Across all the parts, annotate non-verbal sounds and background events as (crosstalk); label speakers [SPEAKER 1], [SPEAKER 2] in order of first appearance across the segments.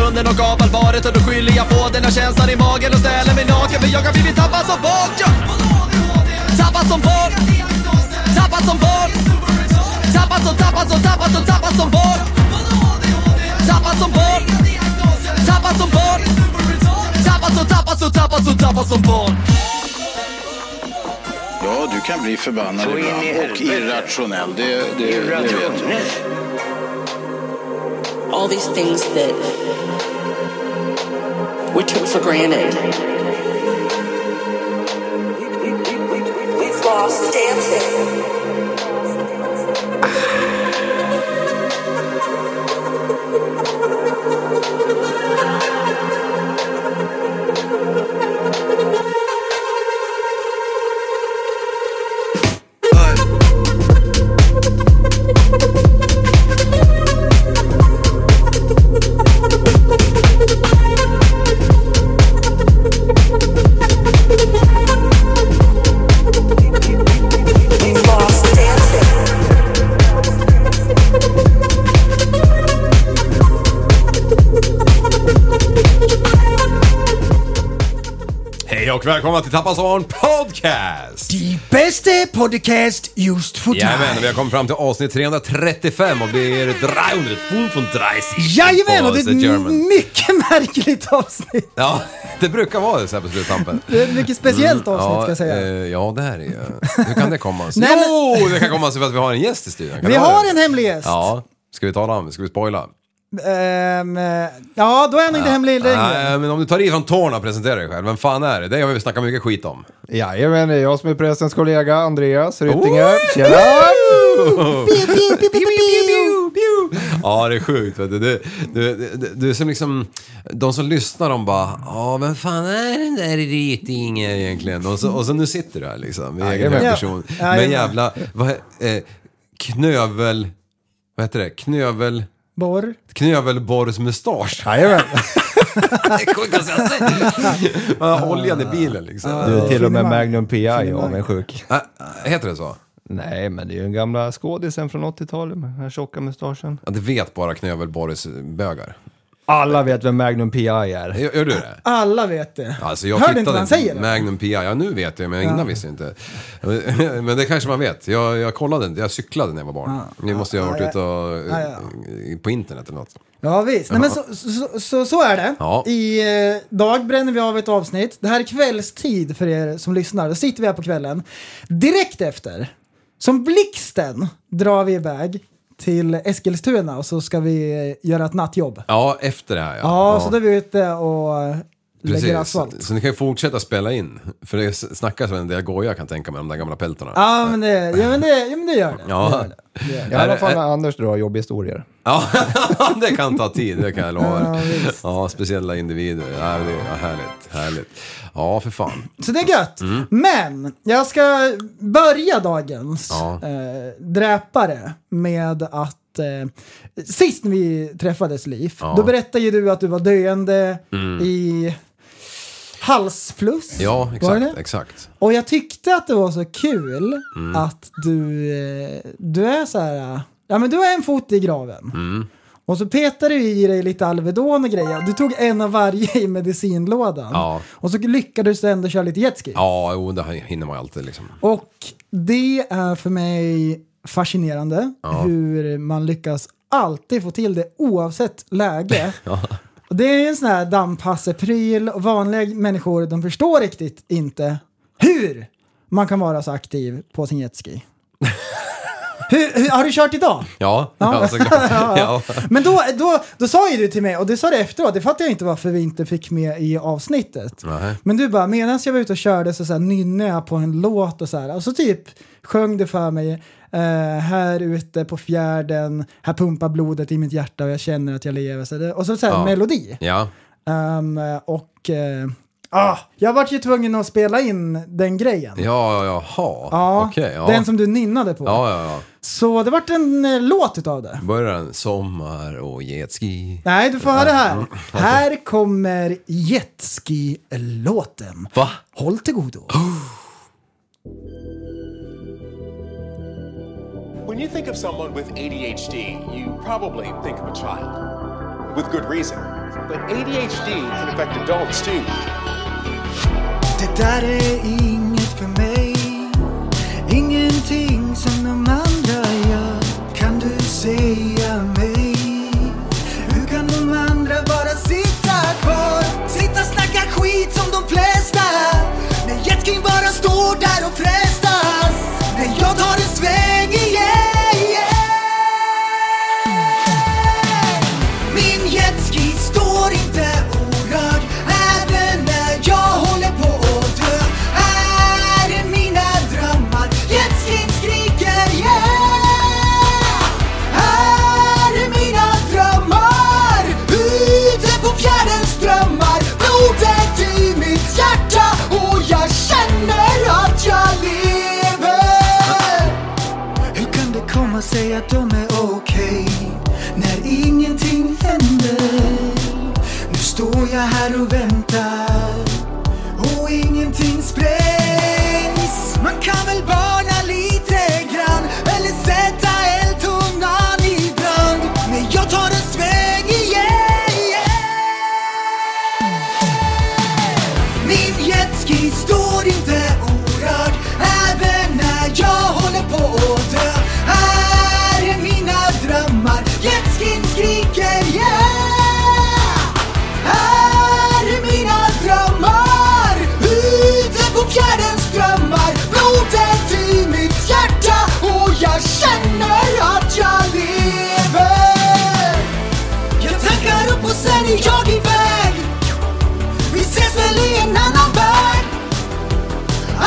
[SPEAKER 1] grannen och gav allvaret och då skyller jag på den här känslan i magen och ställer mig naken för jag har blivit tappad som barn ja. Tappad som barn Tappad som barn Tappad som, tappad som, tappad som, tappad som barn Tappad som barn Tappad som barn Tappad som, tappad som, tappad som, tappad som barn
[SPEAKER 2] Ja, du kan bli förbannad
[SPEAKER 3] Så in i
[SPEAKER 2] ibland och
[SPEAKER 3] helvete.
[SPEAKER 2] irrationell. Det, det, det vet jag.
[SPEAKER 4] all these things that we took for granted. We've lost dancing. We've lost dancing.
[SPEAKER 5] Hej och välkomna till Tappas Arn Podcast!
[SPEAKER 6] Die beste Podcast just för dig.
[SPEAKER 5] Jajamän, och vi har kommit fram till avsnitt 335 och det är 335.
[SPEAKER 6] Jajamän, och det
[SPEAKER 5] På
[SPEAKER 6] är mm. ett
[SPEAKER 5] German.
[SPEAKER 6] mycket (laughs) märkligt avsnitt.
[SPEAKER 5] Ja, (laughs) det brukar vara det så här på sluttampen.
[SPEAKER 6] Det är ett mycket speciellt avsnitt
[SPEAKER 5] Ja,
[SPEAKER 6] ska jag säga.
[SPEAKER 5] eh, ja, det här är ju... Hur kan det komma sig?
[SPEAKER 6] (laughs) Nej, men-
[SPEAKER 5] jo, det kan komma sig för att vi har en gäst i studion. Kan
[SPEAKER 6] vi
[SPEAKER 5] det vara
[SPEAKER 6] har
[SPEAKER 5] det?
[SPEAKER 6] en hemlig gäst.
[SPEAKER 5] Ja, ska vi tala om det? Ska vi spoila?
[SPEAKER 6] Ehm, eh, ja, då är han inte hemlig längre.
[SPEAKER 5] Nej, men om du tar i från tårna och presenterar dig själv, vem fan är det? Det har vi snackat mycket skit om.
[SPEAKER 7] Jajamän, det är jag som är pressens kollega, Andreas Ryttinger.
[SPEAKER 5] Oh! (laughs)
[SPEAKER 7] Tjena!
[SPEAKER 5] Ja, det är sjukt. Vet du. Du, du, du, du är som liksom, de som lyssnar de bara ja vem fan är den där Rytinger egentgen? Och så, och så nu sitter du här liksom med egen
[SPEAKER 7] Jajamän.
[SPEAKER 5] person.
[SPEAKER 6] Ja,
[SPEAKER 5] Men
[SPEAKER 6] jajamän.
[SPEAKER 5] jävla, vad, eh, knövel, vad heter det? Knövel,
[SPEAKER 6] Borr.
[SPEAKER 5] knövelborrsmustasch.
[SPEAKER 6] (laughs)
[SPEAKER 7] Jajamän!
[SPEAKER 5] (laughs) Det är sjukaste jag (laughs) sett. Man har Oljan i bilen liksom.
[SPEAKER 7] Du är till och med
[SPEAKER 6] Finemang.
[SPEAKER 7] Magnum PI
[SPEAKER 6] Finemang.
[SPEAKER 7] avundsjuk.
[SPEAKER 5] Äh, heter det så?
[SPEAKER 7] Nej, men det är ju den gamla skådisen från 80-talet med den här tjocka mustaschen.
[SPEAKER 5] Ja, det vet bara knövelborrsbögar.
[SPEAKER 7] Alla vet vem Magnum PI är.
[SPEAKER 5] Gör, gör du det?
[SPEAKER 6] Alla vet det.
[SPEAKER 5] Alltså jag
[SPEAKER 6] Hör du
[SPEAKER 5] tittade
[SPEAKER 6] inte vad han säger?
[SPEAKER 5] Magnum PI, ja nu vet jag men innan visste jag inte. (laughs) Men det kanske man vet. Jag, jag kollade inte, jag cyklade när jag var barn. Ni måste ju ha varit
[SPEAKER 6] Ja,
[SPEAKER 5] ute och, eh, på internet eller något.
[SPEAKER 6] Ja visst, Nej, men så, så, så, så är det.
[SPEAKER 5] Ja.
[SPEAKER 6] I eh, dag bränner vi av ett avsnitt. Det här är kvällstid för er som lyssnar. Då sitter vi här på kvällen. Direkt efter, som blixten, drar vi iväg till Eskilstuna och så ska vi eh, göra ett nattjobb. Ja,
[SPEAKER 5] Ja, efter det här ja.
[SPEAKER 6] så då är vi ute och eh, lägger asfalt.
[SPEAKER 5] Så ni kan ju fortsätta spela in. För det snackas väl en del goja kan jag tänka mig, de där gamla peltorna.
[SPEAKER 6] Ja men, det, ja, men det, ja men det gör det.
[SPEAKER 5] Ja.
[SPEAKER 6] det, gör det. det, gör det.
[SPEAKER 7] I alla fall när Anders drar jobbhistorier.
[SPEAKER 5] (laughs) Ja, det kan ta tid, det kan jag lova
[SPEAKER 6] Ja,
[SPEAKER 5] er.
[SPEAKER 6] visst.
[SPEAKER 5] Ja, speciella individer. Ja, det är ja, härligt, härligt. Ja, för fan.
[SPEAKER 6] Så det är gött. Men jag ska börja dagens
[SPEAKER 5] Ja.
[SPEAKER 6] eh, dräpare med att eh, sist när vi träffades Liv,
[SPEAKER 5] Ja. Mm.
[SPEAKER 6] då berättade ju du att du var döende i halsfluss.
[SPEAKER 5] Ja,
[SPEAKER 6] Var det
[SPEAKER 5] exakt,
[SPEAKER 6] det?
[SPEAKER 5] exakt.
[SPEAKER 6] Och jag tyckte att det var så kul
[SPEAKER 5] Mm.
[SPEAKER 6] att du, eh, du är så här, eh, ja men du har en fot i graven.
[SPEAKER 5] Mm.
[SPEAKER 6] Och så petade du i dig lite Alvedon och grejer. Du tog en av varje i medicinlådan.
[SPEAKER 5] Ja.
[SPEAKER 6] Och så lyckades du ändå köra lite jetski.
[SPEAKER 5] Ja, jo, det hinner man ju alltid liksom.
[SPEAKER 6] Och det är för mig fascinerande hur man lyckas alltid få till det oavsett
[SPEAKER 5] (laughs)
[SPEAKER 6] läge. Och det är en sån här dammpassepryl och vanliga människor de förstår riktigt inte hur man kan vara så aktiv på
[SPEAKER 5] (laughs)
[SPEAKER 6] sin jetski. hur, hur, har du kört idag?
[SPEAKER 5] Ja, ja.
[SPEAKER 6] (laughs)
[SPEAKER 5] såklart. Ja.
[SPEAKER 6] Men då, då, då sa ju du till mig, och det sa du efteråt, det fattar jag inte varför vi inte fick med i avsnittet.
[SPEAKER 5] Nej.
[SPEAKER 6] Men du bara, medan jag var ute och körde så, så här, nynnade jag på en låt och så här. Och så typ sjöng du för mig, eh, här ute på fjärden, här pumpar blodet i mitt hjärta och jag känner att jag lever. Så här, och så, så här,
[SPEAKER 5] Ja.
[SPEAKER 6] melodi.
[SPEAKER 5] Ja,
[SPEAKER 6] Ehm, och eh, ah, jag vart ju tvungen att spela in den grejen.
[SPEAKER 5] ja, ja, jaha.
[SPEAKER 6] Ja,
[SPEAKER 5] Okej, ja.
[SPEAKER 6] Den som du nynnade på.
[SPEAKER 5] Ja, ja, ja.
[SPEAKER 6] Så det vart en eh, låt utav det.
[SPEAKER 5] Börjar den sommar och jetski.
[SPEAKER 6] Nej, du får höra
[SPEAKER 5] Mm,
[SPEAKER 6] här. Här kommer Jetski-låten.
[SPEAKER 5] Va?
[SPEAKER 6] Håll till godo.
[SPEAKER 8] When you think of someone with ADHD, you probably think of a child.
[SPEAKER 3] with good reason. But ADHD can affect adults too.
[SPEAKER 8] Det där är inget för mig Ingenting som de andra gör Kan du säga mig Hur kan de andra bara sitta kvar Sitta snacka skit som de flesta När jetski bara står där och frestas När jag tar en sväng igen Min jetski står inte orörd Även när jag håller på att dö Här är mina drömmar Jetskin skriker yeah Här är mina drömmar Ute på fjärdens drömmar Blodet i mitt hjärta Och jag känner att jag lever hur kan det komma sig att de är okej när ingenting händer? Nu står jag här och väntar och ingenting sprängs. Man kan väl varna lite grann eller sätta eldtungan ibland. Men jag tar en sväng igen. Min jetski står inte orörd Även när jag håller på att dö Här är mina drömmar Jetskin skriker yeah Här är mina drömmar Ute på fjärdens drömmar Blodet i mitt hjärta Och jag känner att jag lever Jag tankar upp och sen är jag iväg vi ses väl i en annan värld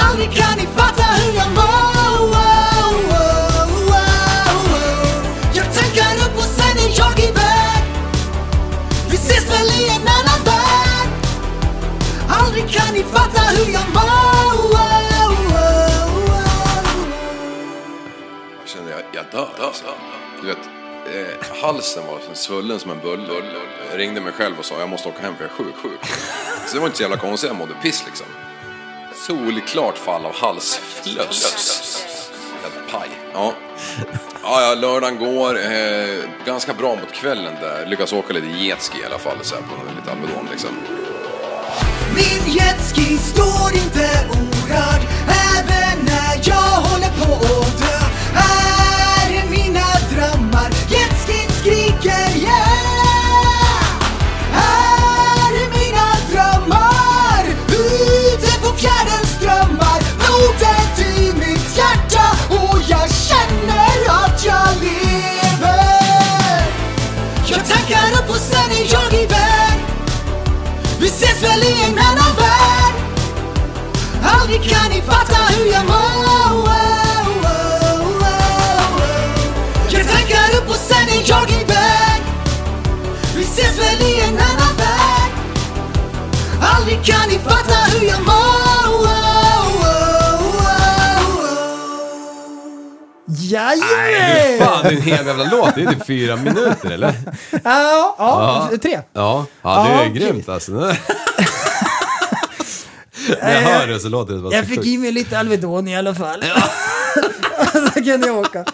[SPEAKER 8] Aldrig kan ni fatta hur jag mår wow, wow, wow, wow. Jag tankar upp och sen är jag iväg Vi ses väl i en annan värld Aldrig kan ni fatta hur jag mår wow, wow, wow.
[SPEAKER 9] Jag kände jag, jag dör. alltså. Du vet, eh, halsen var som svullen som en bulle. Jag ringde mig själv och sa jag måste åka hem för jag är sjuk. sjuk. Så det var inte så jävla konstigt, jag mådde piss liksom. Solklart fall av halsfluss. Helt paj. Ja. Ja, ja, lördagen går. Eh, ganska bra mot kvällen där. Lyckas åka lite jetski i alla fall, så här, på lite Alvedon liksom.
[SPEAKER 8] Min jetski står inte orörd Även när jag håller på att dö Här är mina drömmar Jetskin skriker yeah Här är mina drömmar Ute på fjärdens drömmar Blodet i mitt hjärta Och jag känner att jag lever Jag tankar upp och sen är jag iväg vi ses väl i en annan värld Aldrig kan ni fatta hur jag mår wow, wow, wow, wow. Jag tankar upp och sen är jag iväg Vi ses väl i en annan värld Aldrig kan ni fatta hur jag mår wow, wow, wow, wow.
[SPEAKER 5] Nej,
[SPEAKER 6] Jajamän!
[SPEAKER 5] fan, det är en hel jävla låt. Det är typ fyra minuter, eller?
[SPEAKER 6] Ja, ja, tre.
[SPEAKER 5] Ja, ja det är
[SPEAKER 6] Ja,
[SPEAKER 5] grymt
[SPEAKER 6] (laughs)
[SPEAKER 5] alltså. När jag hör det så låter det bara
[SPEAKER 6] Jag
[SPEAKER 5] så
[SPEAKER 6] fick
[SPEAKER 5] sjukt.
[SPEAKER 6] i mig lite Alvedon i alla fall. (laughs) så kunde jag
[SPEAKER 5] (laughs)
[SPEAKER 6] åka.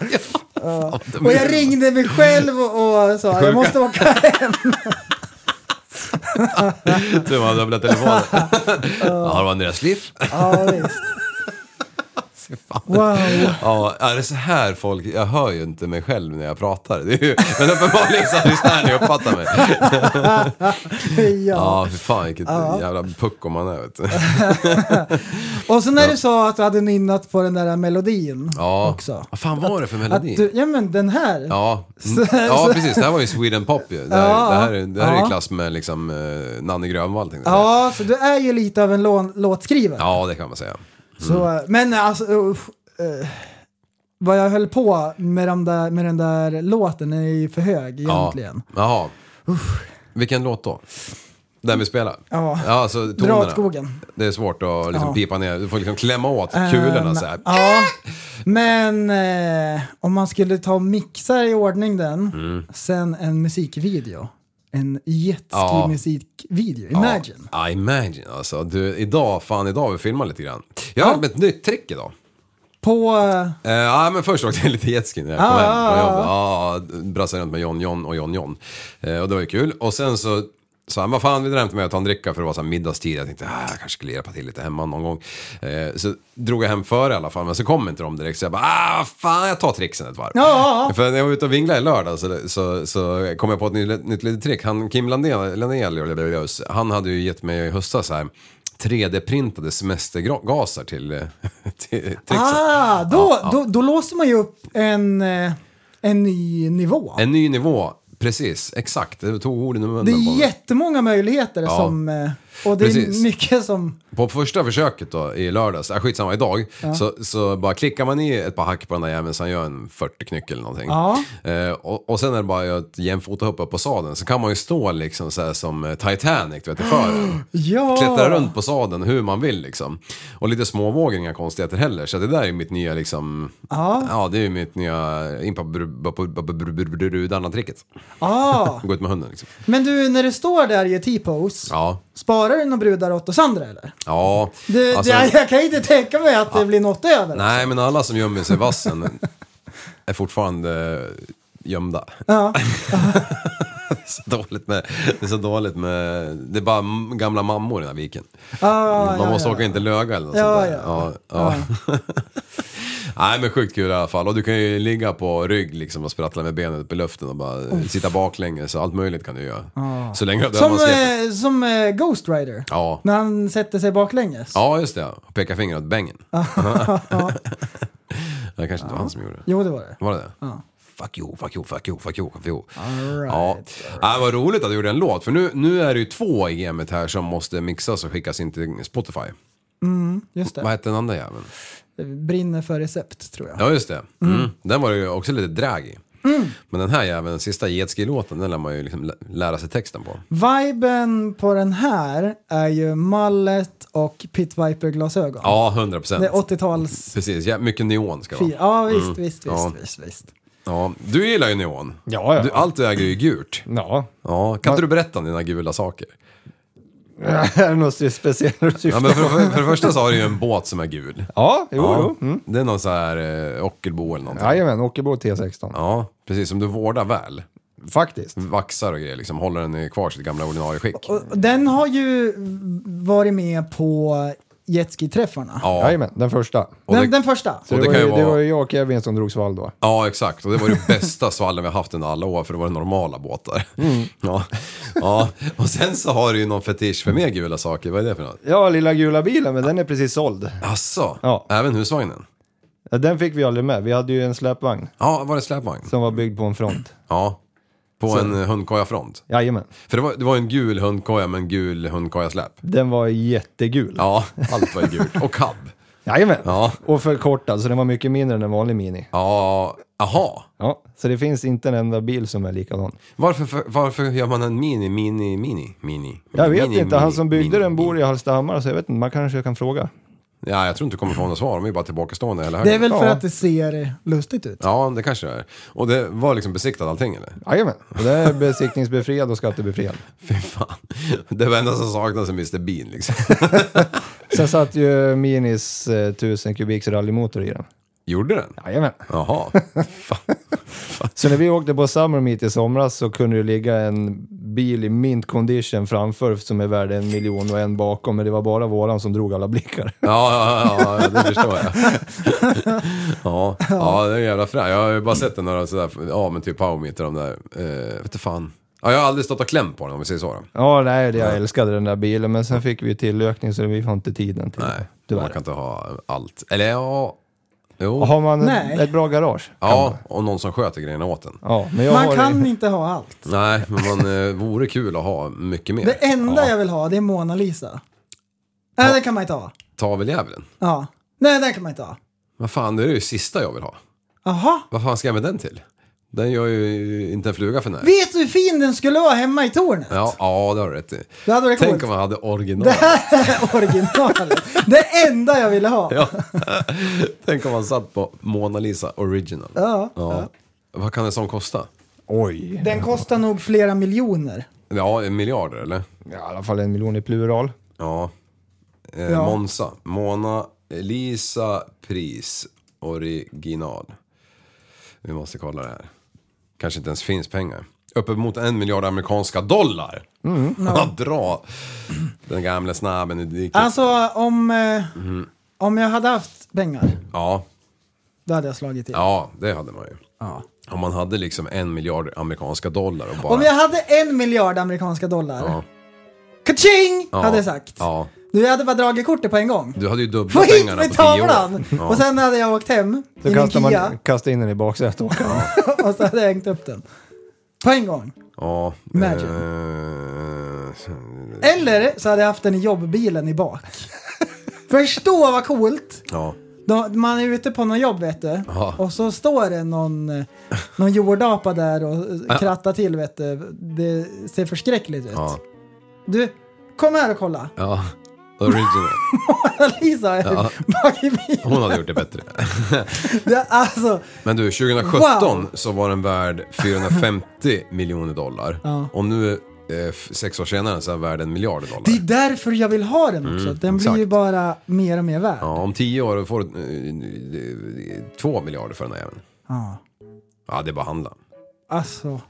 [SPEAKER 6] Ja. Och jag ringde mig själv och, och sa jag måste
[SPEAKER 5] (laughs)
[SPEAKER 6] åka hem.
[SPEAKER 5] Tur man hade öppnat
[SPEAKER 6] (laughs)
[SPEAKER 5] telefonen. Ja, det var Andreas Liff.
[SPEAKER 6] Ja, visst. Wow.
[SPEAKER 5] Ja, är det så här folk... Jag hör ju inte mig själv när jag pratar. Det är ju, men uppenbarligen så lyssnar ni och uppfattar mig.
[SPEAKER 6] Ja.
[SPEAKER 5] Ja, för fan vilket jävla pucko man är vet du.
[SPEAKER 6] (laughs) Och så när du sa att du hade nynnat på den där melodin
[SPEAKER 5] Ja.
[SPEAKER 6] också.
[SPEAKER 5] Vad fan var det för
[SPEAKER 6] Att
[SPEAKER 5] melodi?
[SPEAKER 6] du, ja men den här.
[SPEAKER 5] Ja.
[SPEAKER 6] (laughs)
[SPEAKER 5] Mm. ja, precis. Det här var ju Sweden Pop ju. Det här,
[SPEAKER 6] Ja,
[SPEAKER 5] det här, är- det här är
[SPEAKER 6] ja.
[SPEAKER 5] i klass med liksom eh, Nanne Grönvall tänkte jag säga.
[SPEAKER 6] Ja, så du är ju lite av en lån, låtskrivare.
[SPEAKER 5] Ja, det kan man säga. Mm.
[SPEAKER 6] Så, men alltså, uff, eh, vad jag höll på med, de där, med den där låten är ju för hög egentligen.
[SPEAKER 5] Ja. Jaha. Vilken låt då? Den vi spelar?
[SPEAKER 6] Ja.
[SPEAKER 5] ja så
[SPEAKER 6] Dra
[SPEAKER 5] tonerna.
[SPEAKER 6] åt skogen.
[SPEAKER 5] Det är svårt att liksom
[SPEAKER 6] Ja.
[SPEAKER 5] pipa ner, du får liksom klämma åt kulorna så här.
[SPEAKER 6] Ja, men eh, om man skulle ta och mixa i ordning den,
[SPEAKER 5] Mm.
[SPEAKER 6] sen en musikvideo. En
[SPEAKER 5] Ja.
[SPEAKER 6] jetski-musikvideo, Imagine.
[SPEAKER 5] Ja, imagine alltså. Du, idag, fan idag har vi filmat lite grann. Jag har lärt mig ett nytt trick idag.
[SPEAKER 6] På... eh,
[SPEAKER 5] Eh, Ja, men först (laughs) åkte jag lite jetski när jag kom
[SPEAKER 6] Ah,
[SPEAKER 5] hem
[SPEAKER 6] ah,
[SPEAKER 5] från jobbet.
[SPEAKER 6] ah.
[SPEAKER 5] Ja, brassade runt med John John och John John. Eh, och det var ju kul. Och sen så sa han, vad fan, vi drömde med att ta en dricka för det var så här middagstid. Jag tänkte, ah, jag kanske skulle hjälpa till lite hemma någon gång. Eh, så drog jag hem före i alla fall, men så kom inte de direkt. Så jag bara, ah, vad fan, jag tar trixen ett varv.
[SPEAKER 6] Ja, ja, ja.
[SPEAKER 5] För när jag var ute och vinglade i lördag så, så, så kom jag på ett nytt, nytt litet trick. Han, Kim Landén, Landén, han hade ju gett mig i höstas här 3D-printade semestergasar till, eh, (laughs) till trixen.
[SPEAKER 6] Ah, då, Då, då låser man ju upp en, eh, en ny nivå.
[SPEAKER 5] En ny nivå, precis, exakt. Det tog orden ur munnen
[SPEAKER 6] det
[SPEAKER 5] på
[SPEAKER 6] är
[SPEAKER 5] mig.
[SPEAKER 6] jättemånga möjligheter
[SPEAKER 5] Ja.
[SPEAKER 6] som... eh, Och det är
[SPEAKER 5] Precis.
[SPEAKER 6] mycket som...
[SPEAKER 5] På första försöket då, i lördags, äh, skitsamma, idag, så, så bara klickar man i ett par hack på den där jäveln så han gör en 40 knyck eller någonting.
[SPEAKER 6] Ja.
[SPEAKER 5] Eh, och, och sen är det bara att göra ett jämfota hopp upp på sadeln så kan man ju stå liksom så här som eh, Titanic, du vet, i fören.
[SPEAKER 6] Ja!
[SPEAKER 5] Klättra runt på sadeln hur man vill liksom. Och lite småvågor, inga konstigheter heller. Så det där är mitt nya liksom, ja, det är ju mitt nya in på br- på- på- på- br- brudarna-tricket.
[SPEAKER 6] Ah.
[SPEAKER 5] Gå ut med hunden liksom.
[SPEAKER 6] Men du, när du står där i T-pose,
[SPEAKER 5] Ja,
[SPEAKER 6] sparar du några brudar åt oss andra eller?
[SPEAKER 5] ja.
[SPEAKER 6] Du,
[SPEAKER 5] alltså-
[SPEAKER 6] jag, jag kan ju inte tänka mig att det blir något över.
[SPEAKER 5] Nej, men alla som gömmer sig i vassen är fortfarande gömda. (laughs)
[SPEAKER 6] Ja.
[SPEAKER 5] Det är så dåligt med, det är så dåligt med, det är bara m- gamla mammor i den här viken.
[SPEAKER 6] Ah,
[SPEAKER 5] Man
[SPEAKER 6] ja,
[SPEAKER 5] måste
[SPEAKER 6] ja.
[SPEAKER 5] åka inte löga eller något
[SPEAKER 6] Ja,
[SPEAKER 5] sånt där.
[SPEAKER 6] ja.
[SPEAKER 5] Ja, ja. Nej men sjukt kul i alla fall. Och du kan ju ligga på rygg liksom och sprattla med benet upp i luften och bara sitta baklänges. Så allt möjligt kan du göra. Så länge du
[SPEAKER 6] Ah. Som,
[SPEAKER 5] man släpper.
[SPEAKER 6] eh, som eh, Ghost Rider.
[SPEAKER 5] Ja.
[SPEAKER 6] När han sätter sig baklänges.
[SPEAKER 5] ja, just det. Och peka finger åt
[SPEAKER 6] (laughs)
[SPEAKER 5] bängen. (laughs) det kanske inte var han som gjorde det.
[SPEAKER 6] Jo, det var det.
[SPEAKER 5] Var det det? Fuck you, fuck you, fuck you, fuck you, fuck you.
[SPEAKER 6] All right,
[SPEAKER 5] ja. ja, vad roligt att du gjorde en låt. För nu, nu är det ju två i gamet här som måste mixas och skickas in till Spotify.
[SPEAKER 6] Just
[SPEAKER 5] Vad
[SPEAKER 6] det.
[SPEAKER 5] hette den andra jäveln?
[SPEAKER 6] Det Brinner för recept, tror jag.
[SPEAKER 5] Ja, just det. Mm. Den var det ju också lite drag i. Men den här jäveln, den sista Jetski-låten, den lär man ju liksom lä- lära sig texten på.
[SPEAKER 6] Viben på den här är ju mallet och Pit Viper-glasögon.
[SPEAKER 5] Ja, 100 procent.
[SPEAKER 6] Det är 80-tals...
[SPEAKER 5] Precis, ja, mycket neon ska det vara.
[SPEAKER 6] Ja, visst, visst, visst,
[SPEAKER 5] Ja.
[SPEAKER 6] visst, visst.
[SPEAKER 5] Ja, du gillar ju neon.
[SPEAKER 7] Ja, ja.
[SPEAKER 5] Du, allt du äger är ju gult.
[SPEAKER 7] Ja.
[SPEAKER 5] Ja, kan inte du berätta om dina gula saker?
[SPEAKER 7] är det något speciellt du
[SPEAKER 5] Ja,
[SPEAKER 7] syftar
[SPEAKER 5] men för, för, för det första så har du ju en båt som är gul.
[SPEAKER 7] Ja, jo,
[SPEAKER 5] Ja,
[SPEAKER 7] jo. Mm.
[SPEAKER 5] Det är någon så här eh, Ockelbo eller någonting.
[SPEAKER 7] Jajamän, Ockelbo T16.
[SPEAKER 5] Ja, precis. Som du vårdar väl.
[SPEAKER 7] Faktiskt.
[SPEAKER 5] Vaxar och grejer liksom. Håller den i kvar sitt gamla ordinarie skick.
[SPEAKER 6] Och Den har ju varit med på Jetski-träffarna.
[SPEAKER 5] Ja,
[SPEAKER 7] Jajamän, den första.
[SPEAKER 5] och
[SPEAKER 6] den,
[SPEAKER 5] det,
[SPEAKER 6] den första.
[SPEAKER 5] Och det
[SPEAKER 7] var
[SPEAKER 5] kan ju
[SPEAKER 7] det
[SPEAKER 5] vara-
[SPEAKER 7] var ju jag och Kevin som drog svall då.
[SPEAKER 5] ja, exakt. Och det var det bästa svallen vi har haft under alla år för det var det normala båtar. (laughs) Ja. ja, och sen så har du ju någon fetisch för mer gula saker. Vad är det för något?
[SPEAKER 7] Ja, lilla gula bilen, men den är precis såld.
[SPEAKER 5] Asså,
[SPEAKER 7] Ja.
[SPEAKER 5] även husvagnen?
[SPEAKER 7] Ja, Den fick vi aldrig med. Vi hade ju en släpvagn
[SPEAKER 5] Ja, var det släpvagn?
[SPEAKER 7] som var byggd på en front.
[SPEAKER 5] Ja. På en hundkojafront.
[SPEAKER 7] Jajamän.
[SPEAKER 5] För det var, det var en gul hundkoja med en gul hundkojasläp.
[SPEAKER 7] Den var jättegul.
[SPEAKER 5] Ja, allt var gult. Och cab.
[SPEAKER 7] Jajamän.
[SPEAKER 5] Ja.
[SPEAKER 7] Och förkortad, så den var mycket mindre än en vanlig Mini.
[SPEAKER 5] Ja, aha.
[SPEAKER 7] Ja, så det finns inte en enda bil som är likadan.
[SPEAKER 5] Varför, för, varför gör man en mini, mini, mini, mini?
[SPEAKER 7] Jag vet
[SPEAKER 5] mini,
[SPEAKER 7] inte, han
[SPEAKER 5] mini,
[SPEAKER 7] som byggde
[SPEAKER 5] mini,
[SPEAKER 7] den bor
[SPEAKER 5] mini.
[SPEAKER 7] i Hallstahammar, så jag vet inte, man kanske kan fråga.
[SPEAKER 5] Ja, jag tror inte du kommer få något svar. De är ju bara tillbakastående hela
[SPEAKER 6] Det är
[SPEAKER 5] helgen.
[SPEAKER 6] väl för
[SPEAKER 7] Ja.
[SPEAKER 6] att det ser lustigt ut.
[SPEAKER 5] Ja, det kanske det är. Och det var liksom besiktat allting eller? (laughs)
[SPEAKER 7] Jajamän. Och det är besiktningsbefriad och skattebefriad.
[SPEAKER 5] Fy fan. Det var enda som saknades är Mr Bean liksom. (laughs)
[SPEAKER 7] Sen satt ju Minis eh, 1000 kubiks rallymotor i den.
[SPEAKER 5] Gjorde den?
[SPEAKER 7] Jajamän.
[SPEAKER 5] Jaha. Fan.
[SPEAKER 7] Så när vi åkte på Summer Meet i somras så kunde det ligga en bil i mint condition framför som är värd en miljon och en bakom, men det var bara våran som drog alla blickar.
[SPEAKER 5] Ja, ja, ja, ja, det förstår jag. (laughs) Ja, ja det är jävla frä. Jag har ju bara sett den några sådär, ja men typ powermeter de där, eh, vet du fan. Ja, jag har aldrig stått och klämt på den om vi säger så då.
[SPEAKER 7] Ja, nej, det, jag älskade den där bilen, men sen fick vi ju tillökning så vi har inte tiden till
[SPEAKER 5] Nej,
[SPEAKER 7] det.
[SPEAKER 5] man
[SPEAKER 7] Tyvärr.
[SPEAKER 5] kan inte ha allt. Eller ja, jo.
[SPEAKER 7] Och Har man
[SPEAKER 6] Nej.
[SPEAKER 7] ett bra garage?
[SPEAKER 5] Ja, och någon som sköter grejerna åt en.
[SPEAKER 7] Ja, men jag har
[SPEAKER 6] Man
[SPEAKER 7] det-
[SPEAKER 6] kan inte ha allt.
[SPEAKER 5] Nej, men man eh, vore kul att ha mycket mer.
[SPEAKER 6] Det enda
[SPEAKER 5] ja,
[SPEAKER 6] jag vill ha det är Mona Lisa. Nej, den kan man inte ha.
[SPEAKER 5] Ta väl djävulen.
[SPEAKER 6] Ja. Nej, den kan man inte ha.
[SPEAKER 5] Vad fan, det är det sista jag vill ha.
[SPEAKER 6] Jaha.
[SPEAKER 5] Vad fan ska jag med den till? Den gör ju inte en fluga för när.
[SPEAKER 6] Vet du hur fin den skulle vara hemma i tornet?
[SPEAKER 5] Ja, ja, det har du rätt i.
[SPEAKER 6] Det hade varit
[SPEAKER 5] Tänk
[SPEAKER 6] coolt.
[SPEAKER 5] om man hade original.
[SPEAKER 6] Det här är originalet. Det enda jag ville ha.
[SPEAKER 5] Ja. Tänk om man satt på Mona Lisa original.
[SPEAKER 6] Ja.
[SPEAKER 5] Vad kan en sån kosta?
[SPEAKER 7] Oj,
[SPEAKER 6] Den kostar nog flera miljoner.
[SPEAKER 5] Ja, miljarder eller?
[SPEAKER 7] ja, i alla fall en miljon i plural.
[SPEAKER 5] Ja. Eh,
[SPEAKER 6] Ja.
[SPEAKER 5] Monza. Mona Lisa pris. original. Vi måste kolla det här. Kanske inte ens finns pengar. Uppemot en miljard amerikanska dollar.
[SPEAKER 6] Mm.
[SPEAKER 5] Att (laughs) dra den gamla snabben i diket.
[SPEAKER 6] Alltså om, eh,
[SPEAKER 5] Mm.
[SPEAKER 6] om jag hade haft pengar,
[SPEAKER 5] Ja,
[SPEAKER 6] då hade jag slagit till.
[SPEAKER 5] ja, det hade man ju. Om man hade liksom en miljard amerikanska dollar och bara...
[SPEAKER 6] Om jag hade en miljard amerikanska dollar,
[SPEAKER 5] Ja.
[SPEAKER 6] kaching!
[SPEAKER 5] Ja.
[SPEAKER 6] Hade jag sagt.
[SPEAKER 5] Ja.
[SPEAKER 6] Du, jag hade bara dragit kortet på en gång.
[SPEAKER 5] Du hade ju
[SPEAKER 6] Få
[SPEAKER 5] dubbla
[SPEAKER 6] hit
[SPEAKER 5] pengarna på
[SPEAKER 6] med
[SPEAKER 5] tio år.
[SPEAKER 6] tavlan! Och sen hade jag åkt hem
[SPEAKER 7] Då
[SPEAKER 6] i min
[SPEAKER 7] kastar,
[SPEAKER 6] Kia
[SPEAKER 7] man, kastar in den i baksätet och åker.
[SPEAKER 6] (laughs) och så hade jag hängt upp den. På en gång.
[SPEAKER 5] Ja.
[SPEAKER 6] Imagine.
[SPEAKER 5] eh,
[SPEAKER 6] Eller så hade jag haft den i jobbbilen
[SPEAKER 5] (laughs)
[SPEAKER 6] i bak. Förstå vad coolt!
[SPEAKER 5] ja.
[SPEAKER 6] Då, man är ute på något jobb vet du.
[SPEAKER 5] Ja.
[SPEAKER 6] Och så står det någon, eh, någon jordapa där och eh, krattar till vet du. Det ser förskräckligt ut.
[SPEAKER 5] Ja.
[SPEAKER 6] Du, kom här och kolla.
[SPEAKER 5] Ja. Original.
[SPEAKER 6] Lisa är
[SPEAKER 5] Ja.
[SPEAKER 6] bak i bilen.
[SPEAKER 5] Hon hade gjort det bättre.
[SPEAKER 6] Det, alltså,
[SPEAKER 5] Men du, 2017 så var den värd 450 miljoner dollar.
[SPEAKER 6] Ja.
[SPEAKER 5] Och nu, eh, f- sex år senare, så är den värd en miljard dollar.
[SPEAKER 6] det är därför jag vill ha den också. den blir ju
[SPEAKER 5] Mm, exakt.
[SPEAKER 6] bara mer och mer värd.
[SPEAKER 5] Ja, om tio år får du eh, eh, två miljarder för den här jäveln.
[SPEAKER 6] Ja.
[SPEAKER 5] Ja, det är bara att handla.
[SPEAKER 6] Alltså,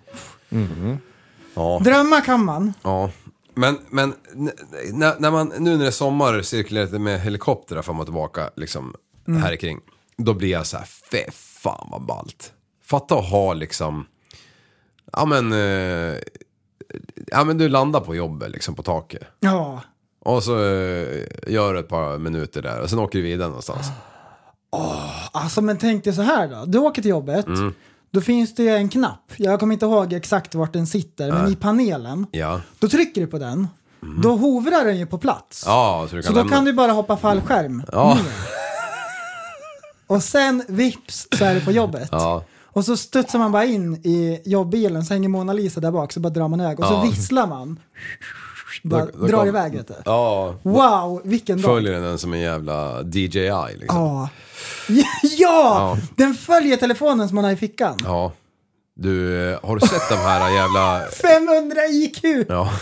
[SPEAKER 5] Ja.
[SPEAKER 6] drömma kan man.
[SPEAKER 5] ja. Men, men n- när, när man, nu när det är sommar cirkulerar det med helikoptrar fram och tillbaka liksom,
[SPEAKER 6] Mm.
[SPEAKER 5] här kring. Då blir jag så här, fy fan vad ballt. Fatta att ha liksom, ja men, eh, ja men du landar på jobbet liksom på taket.
[SPEAKER 6] Ja.
[SPEAKER 5] Och så eh, gör du ett par minuter där och sen åker du vidare
[SPEAKER 6] (gasps)
[SPEAKER 5] någonstans.
[SPEAKER 6] Alltså men tänk dig så här då. Du åker till jobbet.
[SPEAKER 5] Mm.
[SPEAKER 6] Då finns det ju en knapp. Jag kommer inte ihåg exakt vart den sitter, men i panelen.
[SPEAKER 5] Ja,
[SPEAKER 6] Då trycker du på den. Då hovrar den ju på plats.
[SPEAKER 5] Mm. ja så du
[SPEAKER 6] så
[SPEAKER 5] kan
[SPEAKER 6] då
[SPEAKER 5] lämna.
[SPEAKER 6] kan du Mm. bara hoppa fallskärm.
[SPEAKER 5] Ja.
[SPEAKER 6] ner. Och sen vips så är du på jobbet.
[SPEAKER 5] Ja.
[SPEAKER 6] Och så studsar man bara in i jobbbilen, så hänger Mona Lisa där bak, så bara drar man iväg och
[SPEAKER 5] Ja.
[SPEAKER 6] så visslar man. Bara
[SPEAKER 5] Då- då
[SPEAKER 6] drar
[SPEAKER 5] kom-
[SPEAKER 6] iväg vet du.
[SPEAKER 5] Ja,
[SPEAKER 6] Wow, vilken dag.
[SPEAKER 5] följer den som en jävla DJI liksom.
[SPEAKER 6] Ja. (laughs) ja! Den följer telefonen som man har i fickan.
[SPEAKER 5] Ja. Du, eh, har du sett de här jävla...
[SPEAKER 6] 500 IQ!
[SPEAKER 5] Ja.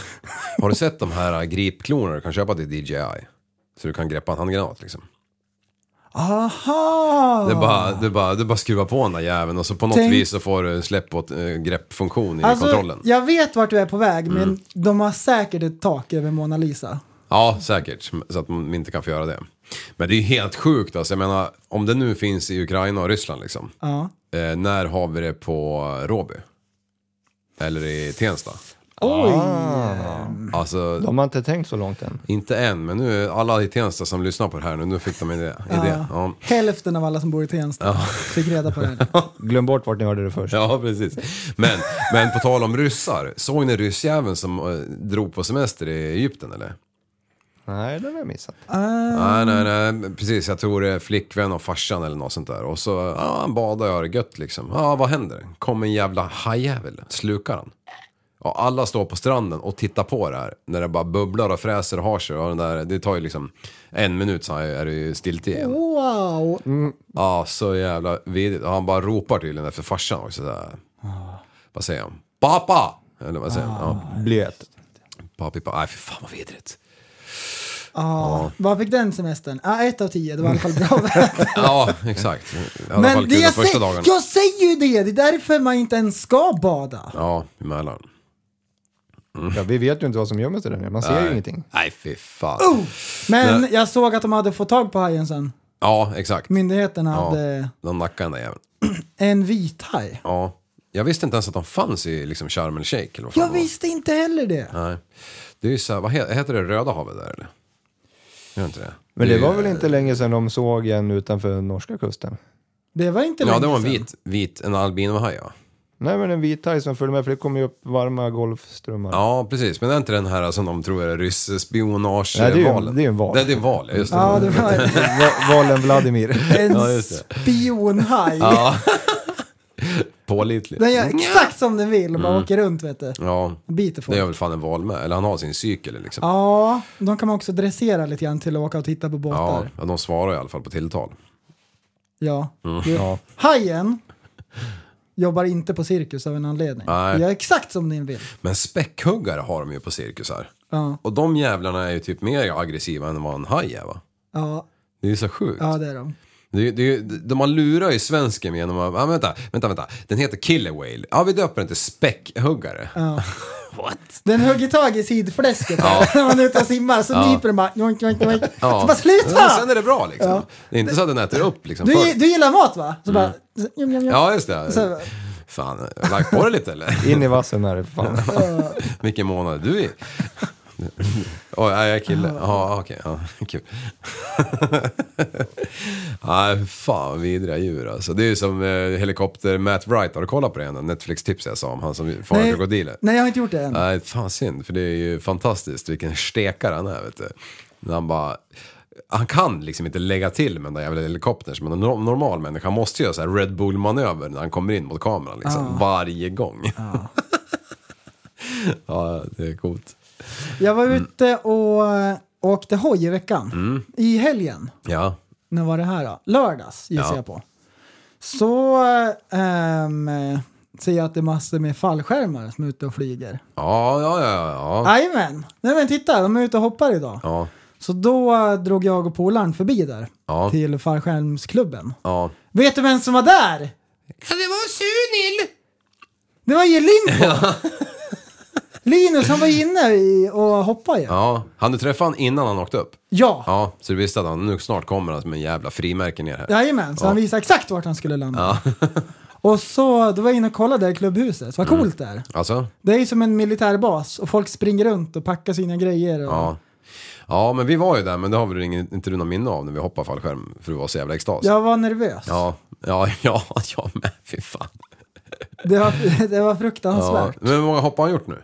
[SPEAKER 5] (laughs) Har du sett de här gripklonorna du kan köpa till DJI? Så du kan greppa en handgranat liksom.
[SPEAKER 6] Aha!
[SPEAKER 5] Det är bara, det är bara, det är bara att skruva på den där jäveln och så på något
[SPEAKER 6] Ah. Tänk-
[SPEAKER 5] vis så får du släpp och eh, greppfunktion i
[SPEAKER 6] Alltså,
[SPEAKER 5] kontrollen. Mm.
[SPEAKER 6] jag vet vart du är på väg, men de har säkert ett tak över Mona Lisa.
[SPEAKER 5] Ja, säkert. Så att man inte kan få göra det. Men det är ju helt sjukt alltså. Jag menar, om det nu finns i Ukraina och Ryssland liksom.
[SPEAKER 6] Ja.
[SPEAKER 5] Eh, när har vi det på Råby? Eller i Tensta?
[SPEAKER 6] Oj!
[SPEAKER 5] Alltså,
[SPEAKER 7] De har inte tänkt så långt än.
[SPEAKER 5] inte än, men nu alla i Tensta som lyssnar på det här nu, nu fick de en idé. idé. Ja.
[SPEAKER 6] Hälften av alla som bor i Tensta fick reda på det här.
[SPEAKER 5] (laughs)
[SPEAKER 7] Glöm bort vart ni hörde det först.
[SPEAKER 5] Ja, precis. Men, men på tal om ryssar, såg ni ryssjäveln som eh, drog på semester i Egypten eller?
[SPEAKER 7] Nej, den har jag missat.
[SPEAKER 5] Nej, nej, nej, men precis. Jag tror det är flickvän och farsan eller något sånt där. Och så, ja, han badar och har det gött liksom. Ja, vad händer? Kom en jävla hajjävel, slukar han. Ja, alla står på stranden och tittar på det här. När det bara bubblar och fräser och har sig. Och den där, det tar ju liksom en minut så är det ju stiltje igen.
[SPEAKER 6] Wow!
[SPEAKER 5] Ja, så jävla vidrigt. Och han bara ropar tydligen efter farsan också. Så här.
[SPEAKER 6] Ah.
[SPEAKER 5] Vad säger han? Pappa! Eller vad säger han? Ja,
[SPEAKER 7] Blöt.
[SPEAKER 5] pappi, pappi. Nej, fy fan vad vidrigt.
[SPEAKER 6] Ja. Vad fick den semestern? Ah, ett av tio, det var i alla fall bra väder. (laughs)
[SPEAKER 5] Ja, exakt. I alla fall
[SPEAKER 6] Men det
[SPEAKER 5] kul de
[SPEAKER 6] jag,
[SPEAKER 5] första
[SPEAKER 6] säger,
[SPEAKER 5] dagarna.
[SPEAKER 6] jag säger ju det, det är därför man inte ens ska bada.
[SPEAKER 5] Ja, i Mälaren.
[SPEAKER 7] Ja, vi vet ju inte vad som gömmer sig där nere. Man ser ju ingenting.
[SPEAKER 5] Nej, fy fan.
[SPEAKER 6] Oh! Men jag såg att de hade fått tag på hajen sen.
[SPEAKER 5] Ja, exakt.
[SPEAKER 6] Myndigheterna
[SPEAKER 5] Ja,
[SPEAKER 6] hade
[SPEAKER 5] de nackade den där jäveln.
[SPEAKER 6] en vit haj.
[SPEAKER 5] Ja. Jag visste inte ens att de fanns i liksom Sharm el Sheikh. Eller vad fan
[SPEAKER 6] Jag
[SPEAKER 5] det var.
[SPEAKER 6] visste inte heller det.
[SPEAKER 5] Nej. Det är ju så här, vad heter, heter det Röda havet där eller? Gör inte det?
[SPEAKER 7] Men
[SPEAKER 5] är
[SPEAKER 7] det
[SPEAKER 5] ju-
[SPEAKER 7] var väl inte länge sedan de såg en utanför norska kusten?
[SPEAKER 6] Det var inte
[SPEAKER 5] Ja,
[SPEAKER 6] länge
[SPEAKER 5] det var en
[SPEAKER 6] sedan.
[SPEAKER 5] vit, vit en albinohaj ja.
[SPEAKER 7] Nej, men en vithaj som följde med, för det kom ju upp varma golfströmmar.
[SPEAKER 5] Ja, precis. Men det är inte den här som de tror är
[SPEAKER 7] Nej, det är ju-
[SPEAKER 5] ryss-spionagevalen?
[SPEAKER 7] det är ju en val.
[SPEAKER 5] Nej, det är en val, ja, just det.
[SPEAKER 6] Ja, det var
[SPEAKER 7] Va- Valen Vladimir.
[SPEAKER 5] (laughs)
[SPEAKER 6] en
[SPEAKER 5] Ja, just
[SPEAKER 6] spionhaj.
[SPEAKER 5] Pålitligt.
[SPEAKER 6] Den gör exakt som den vill och bara åker runt vet du.
[SPEAKER 5] Ja,
[SPEAKER 6] Biter
[SPEAKER 5] Mm. det
[SPEAKER 6] folk.
[SPEAKER 5] gör väl fan en val med. Eller han har sin cykel liksom.
[SPEAKER 6] Ja, de kan man också dressera lite grann till att åka och titta på
[SPEAKER 5] Ja,
[SPEAKER 6] båtar.
[SPEAKER 5] ja, de svarar i alla fall på tilltal.
[SPEAKER 6] Ja.
[SPEAKER 5] Mm.
[SPEAKER 6] Du, Hajen jobbar inte på cirkus av en anledning.
[SPEAKER 5] Nej.
[SPEAKER 6] Gör exakt som den vill.
[SPEAKER 5] Men späckhuggare har de ju på cirkusar.
[SPEAKER 6] Ja,
[SPEAKER 5] Och de jävlarna är ju typ mer aggressiva än vad en haj är va?
[SPEAKER 6] ja,
[SPEAKER 5] Det är ju så sjukt.
[SPEAKER 6] ja det är de.
[SPEAKER 5] Det, det, de har lurat ju svensken genom att, ah, vänta, vänta, vänta, den heter Killer Whale. Ja, vi döper den till späckhuggare.
[SPEAKER 6] Den hugger tag i sidfläsket här, (laughs) när man är ute och simmar. Så nyper den bara... Joink, joink, joink. Så bara
[SPEAKER 5] Ja, Sen är
[SPEAKER 6] sluta!
[SPEAKER 5] det bra liksom. Det är inte så att den äter upp liksom.
[SPEAKER 6] Du,
[SPEAKER 5] För- Mm.
[SPEAKER 6] du gillar mat va? Så bara... Njom, njom, njom.
[SPEAKER 5] Ja, just det.
[SPEAKER 6] Så-
[SPEAKER 5] Fan, lagt på det lite
[SPEAKER 6] (laughs)
[SPEAKER 5] eller?
[SPEAKER 7] In i vassen är det för fan.
[SPEAKER 5] Vilken månad är du i? Oj, jag är kille. Ja, okej. Ja, kul. (laughs) Nej, fan vidriga djur alltså. Det är ju som eh, helikopter Matt Wright. Har du kollat på det än? Netflix-tips jag sa om han som fångar
[SPEAKER 6] Nej.
[SPEAKER 5] krokodiler.
[SPEAKER 6] Nej, jag har inte gjort det än.
[SPEAKER 5] Nej, fan synd. För det är ju fantastiskt vilken stekare han är, vet du. När han bara... Han kan liksom inte lägga till med den där jävla helikoptern som en no- normal människa. Han måste göra så här Red Bull-manöver när han kommer in mot kameran liksom. Varje gång. (laughs) ja, det är coolt.
[SPEAKER 6] Jag var
[SPEAKER 5] Mm.
[SPEAKER 6] ute och eh, åkte hoj i veckan. I helgen.
[SPEAKER 5] Ja.
[SPEAKER 6] När var det här då? Lördags gissar
[SPEAKER 5] Ja.
[SPEAKER 6] jag på. Så ehm, ser jag att det är massor med fallskärmar som är ute och flyger.
[SPEAKER 5] Ja, ja, ja, ja.
[SPEAKER 6] Jajamän! Nej men titta, de är ute och hoppar idag.
[SPEAKER 5] Ja,
[SPEAKER 6] Så då eh, drog jag och polaren förbi där.
[SPEAKER 5] Ja.
[SPEAKER 6] Till fallskärmsklubben.
[SPEAKER 5] ja.
[SPEAKER 6] Vet du vem som var där?
[SPEAKER 5] Det var Sunil!
[SPEAKER 6] Det var
[SPEAKER 5] (laughs)
[SPEAKER 6] ju Limbo! Linus han var inne i och hoppade ju. Ja.
[SPEAKER 5] Ja, han du träffade han innan han åkte upp? Ja, så du visste att han nu snart kommer han som en jävla frimärke ner här.
[SPEAKER 6] Jajamän, så han visade exakt vart han skulle landa. (laughs) och så, då var jag inne och kollade i klubbhuset, vad coolt det är.
[SPEAKER 5] Alltså?
[SPEAKER 6] Det är ju som en militärbas och folk springer runt och packar sina grejer. Och,
[SPEAKER 5] Ja. Ja, men vi var ju där, men det har väl ingen, inte du något minne av när vi hoppade fallskärm för du var så jävla extas.
[SPEAKER 6] Jag var nervös.
[SPEAKER 5] ja, ja, (laughs) ja, jag med. Fy fan.
[SPEAKER 6] Det, var, (laughs) det var
[SPEAKER 5] Ja.
[SPEAKER 6] fruktansvärt.
[SPEAKER 5] Men hur många hopp har han gjort nu?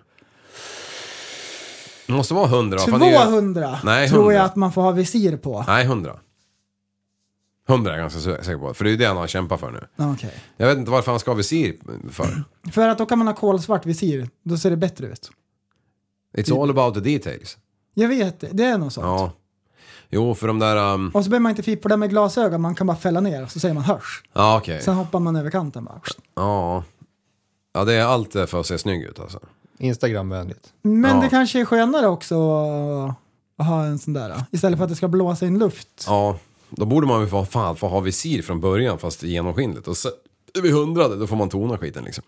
[SPEAKER 5] Det måste vara hundra. va? Fan, det är ju-
[SPEAKER 6] 200
[SPEAKER 5] Nej,
[SPEAKER 6] tror
[SPEAKER 5] 100.
[SPEAKER 6] jag att man får ha visir på.
[SPEAKER 5] Nej, hundra. Hundra är jag ganska sä- säker på, för det är ju det han har kämpat för nu.
[SPEAKER 6] Okej.
[SPEAKER 5] Jag vet inte varför han ska ha visir för.
[SPEAKER 6] För att då kan man ha kolsvart visir, då ser det bättre ut.
[SPEAKER 5] It's all about the details.
[SPEAKER 6] Jag vet det, det är något sånt.
[SPEAKER 5] Ja. Jo, för de där... um,
[SPEAKER 6] Och så behöver man inte fippla med glasögon, man kan bara fälla ner så säger man hörs.
[SPEAKER 5] Ja, okej.
[SPEAKER 6] Sen hoppar man över kanten bara.
[SPEAKER 5] Ja. Ja, det är allt för att se snygg ut alltså.
[SPEAKER 7] Instagramvänligt.
[SPEAKER 6] Men
[SPEAKER 5] Ja.
[SPEAKER 6] det kanske är skönare också att ha en sån där. Istället för att det ska blåsa in luft.
[SPEAKER 5] Ja, då borde man ju få, fan, få ha visir från början fast genomskinligt. Och så är vi hundrade, då får man tona skiten liksom.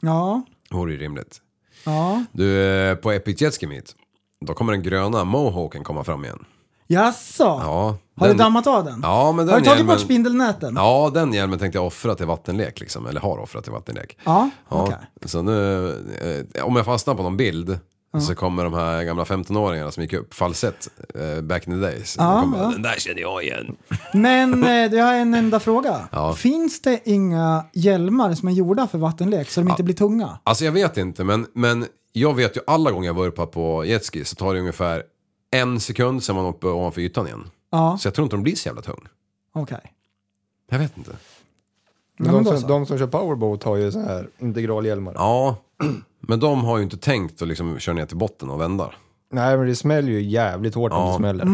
[SPEAKER 6] Ja,
[SPEAKER 5] Det vore ju rimligt.
[SPEAKER 6] ja.
[SPEAKER 5] Du, eh, på Epic Jet Ski Meet, då kommer den gröna mohawken komma fram igen.
[SPEAKER 6] Jaså?
[SPEAKER 5] Ja,
[SPEAKER 6] Har
[SPEAKER 5] den-
[SPEAKER 6] du dammat av den?
[SPEAKER 5] Ja, men den
[SPEAKER 6] har du tagit
[SPEAKER 5] hjälmen-
[SPEAKER 6] bort spindelnäten?
[SPEAKER 5] Ja, den hjälmen tänkte jag offra till vattenlek liksom, eller har offrat till vattenlek.
[SPEAKER 6] Ja, okej.
[SPEAKER 5] Så nu, eh, om jag fastnar på någon bild så kommer de här gamla 15-åringarna som gick upp falsett eh, back in the days.
[SPEAKER 6] Ja,
[SPEAKER 5] De kommer,
[SPEAKER 6] ja.
[SPEAKER 5] Den där känner jag igen.
[SPEAKER 6] Men
[SPEAKER 5] (laughs)
[SPEAKER 6] eh, jag har en enda fråga.
[SPEAKER 5] Ja.
[SPEAKER 6] Finns det inga hjälmar som är gjorda för vattenlek så de inte blir tunga?
[SPEAKER 5] Alltså jag vet inte, men, men jag vet ju alla gånger jag vurpar på jetski så tar det ungefär en sekund sen man är uppe ovanför ytan igen.
[SPEAKER 6] Ja,
[SPEAKER 5] Så jag tror inte de blir så jävla tung.
[SPEAKER 6] okej.
[SPEAKER 5] Jag vet inte.
[SPEAKER 7] Men
[SPEAKER 6] Ja, men
[SPEAKER 7] de,
[SPEAKER 6] då
[SPEAKER 7] som,
[SPEAKER 6] så.
[SPEAKER 7] de som kör powerboat har ju så här integralhjälmar.
[SPEAKER 5] Ja, (clears throat) men de har ju inte tänkt att liksom köra ner till botten och vända.
[SPEAKER 7] Nej, men det smäller ju jävligt hårt när
[SPEAKER 5] Ja.
[SPEAKER 7] det smäller.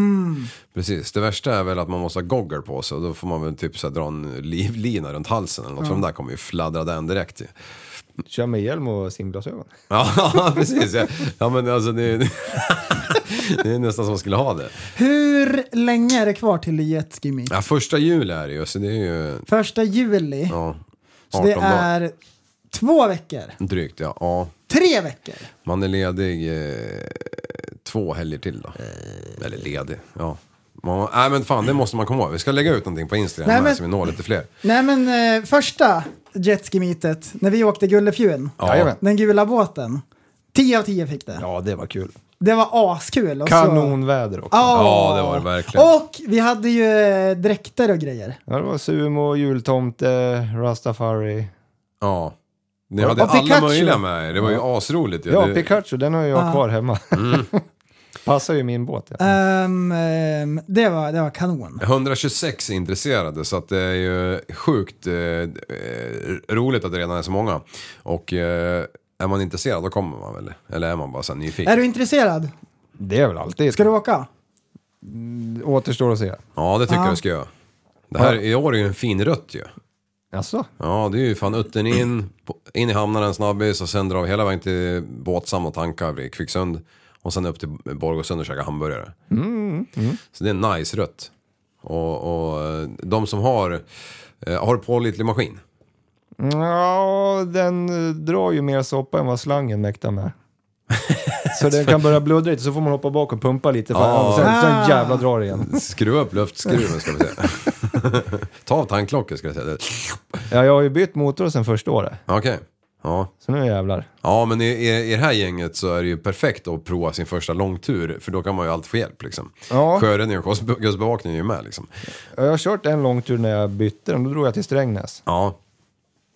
[SPEAKER 5] Precis, det värsta är väl att man måste ha goggar på sig och då får man väl typ så här dra en livlina runt halsen eller något för de där kommer ju fladdra den direkt ju. (laughs)
[SPEAKER 7] Kör med hjälm och simglasögon.
[SPEAKER 5] Ja, precis. Ja, ja men alltså det är, (laughs) det är nästan som man skulle ha det.
[SPEAKER 6] Hur länge är det kvar till Jetski Meet?
[SPEAKER 5] Ja, första juli är det ju så det är ju
[SPEAKER 6] Första juli.
[SPEAKER 5] ja, 18
[SPEAKER 6] så det
[SPEAKER 5] dagar
[SPEAKER 6] är två veckor.
[SPEAKER 5] drygt. Ja. ja,
[SPEAKER 6] Tre veckor.
[SPEAKER 5] man är ledig eh, två helger till då.
[SPEAKER 6] Eh.
[SPEAKER 5] Eller ledig, ja. Man, nej men fan det måste man komma ihåg. Vi ska lägga ut någonting på Instagram
[SPEAKER 6] Nej,
[SPEAKER 5] här
[SPEAKER 6] men-
[SPEAKER 5] så vi når lite fler.
[SPEAKER 6] Nej men eh, första Jetski Meetet, när vi åkte Gullefjun.
[SPEAKER 7] Jajamän.
[SPEAKER 6] Den gula båten. 10 av 10 fick det.
[SPEAKER 7] Ja, det var kul.
[SPEAKER 6] Det var askul. Och så-
[SPEAKER 7] Kanonväder också.
[SPEAKER 5] Ja, det var det verkligen.
[SPEAKER 6] Och vi hade ju eh, dräkter och grejer.
[SPEAKER 7] Ja, det var sumo, jultomte, rastafari.
[SPEAKER 5] Ja. Ni hade
[SPEAKER 6] och
[SPEAKER 5] alla
[SPEAKER 6] Pikachu.
[SPEAKER 5] möjliga med er. Det var ju asroligt ju.
[SPEAKER 7] Ja,
[SPEAKER 5] Det-
[SPEAKER 7] Pikachu, den har jag kvar hemma.
[SPEAKER 5] Mm.
[SPEAKER 7] (laughs) Passar ju min båt. Ja.
[SPEAKER 6] Ehm, ehm, det, var, det var kanon.
[SPEAKER 5] 126 är intresserade så att det är ju sjukt eh, eh, roligt att det redan är så många. Och eh, är man intresserad då kommer man väl? Eller är man bara så här nyfiken?
[SPEAKER 6] Är du intresserad?
[SPEAKER 7] Det är väl alltid.
[SPEAKER 6] Ska du åka?
[SPEAKER 7] Återstår att se.
[SPEAKER 5] Ja det tycker jag du ska göra. Det här i år är ju en fin rött ju.
[SPEAKER 7] Jaså?
[SPEAKER 5] Ja det är ju fan utten in, på- in i hamnarna en snabbis och sen drar vi hela vägen till Båtsam och tankar vid Kvicksund. Och sen upp till Borgåsund och käkar hamburgare. Så det är en nice rött. Och, och eh, de som har, eh, har pålitlig maskin.
[SPEAKER 7] Ja, den eh, drar ju mer soppa än vad slangen
[SPEAKER 5] (laughs)
[SPEAKER 7] mäktar med. Så den kan börja bluddra lite, så får man hoppa bak och pumpa lite. För
[SPEAKER 5] Ja.
[SPEAKER 7] ja. sen,
[SPEAKER 6] Ah.
[SPEAKER 7] sen jävla drar det igen.
[SPEAKER 5] Skruva upp luftskruven ska vi säga. (laughs) Ta av tandklockor ska jag säga.
[SPEAKER 7] Ja, jag har ju bytt motor sen första året,
[SPEAKER 5] Okej. Ja.
[SPEAKER 7] så nu jävlar.
[SPEAKER 5] ja, men i, i, i det här gänget så är det ju perfekt att prova sin första långtur. För då kan man ju alltid få hjälp liksom.
[SPEAKER 7] Ja.
[SPEAKER 5] Sjöräddningen och kust- kustbevakningen är ju med liksom.
[SPEAKER 7] Ja, Jag har kört en lång tur när jag bytte den, då drog jag till Strängnäs.
[SPEAKER 5] Ja,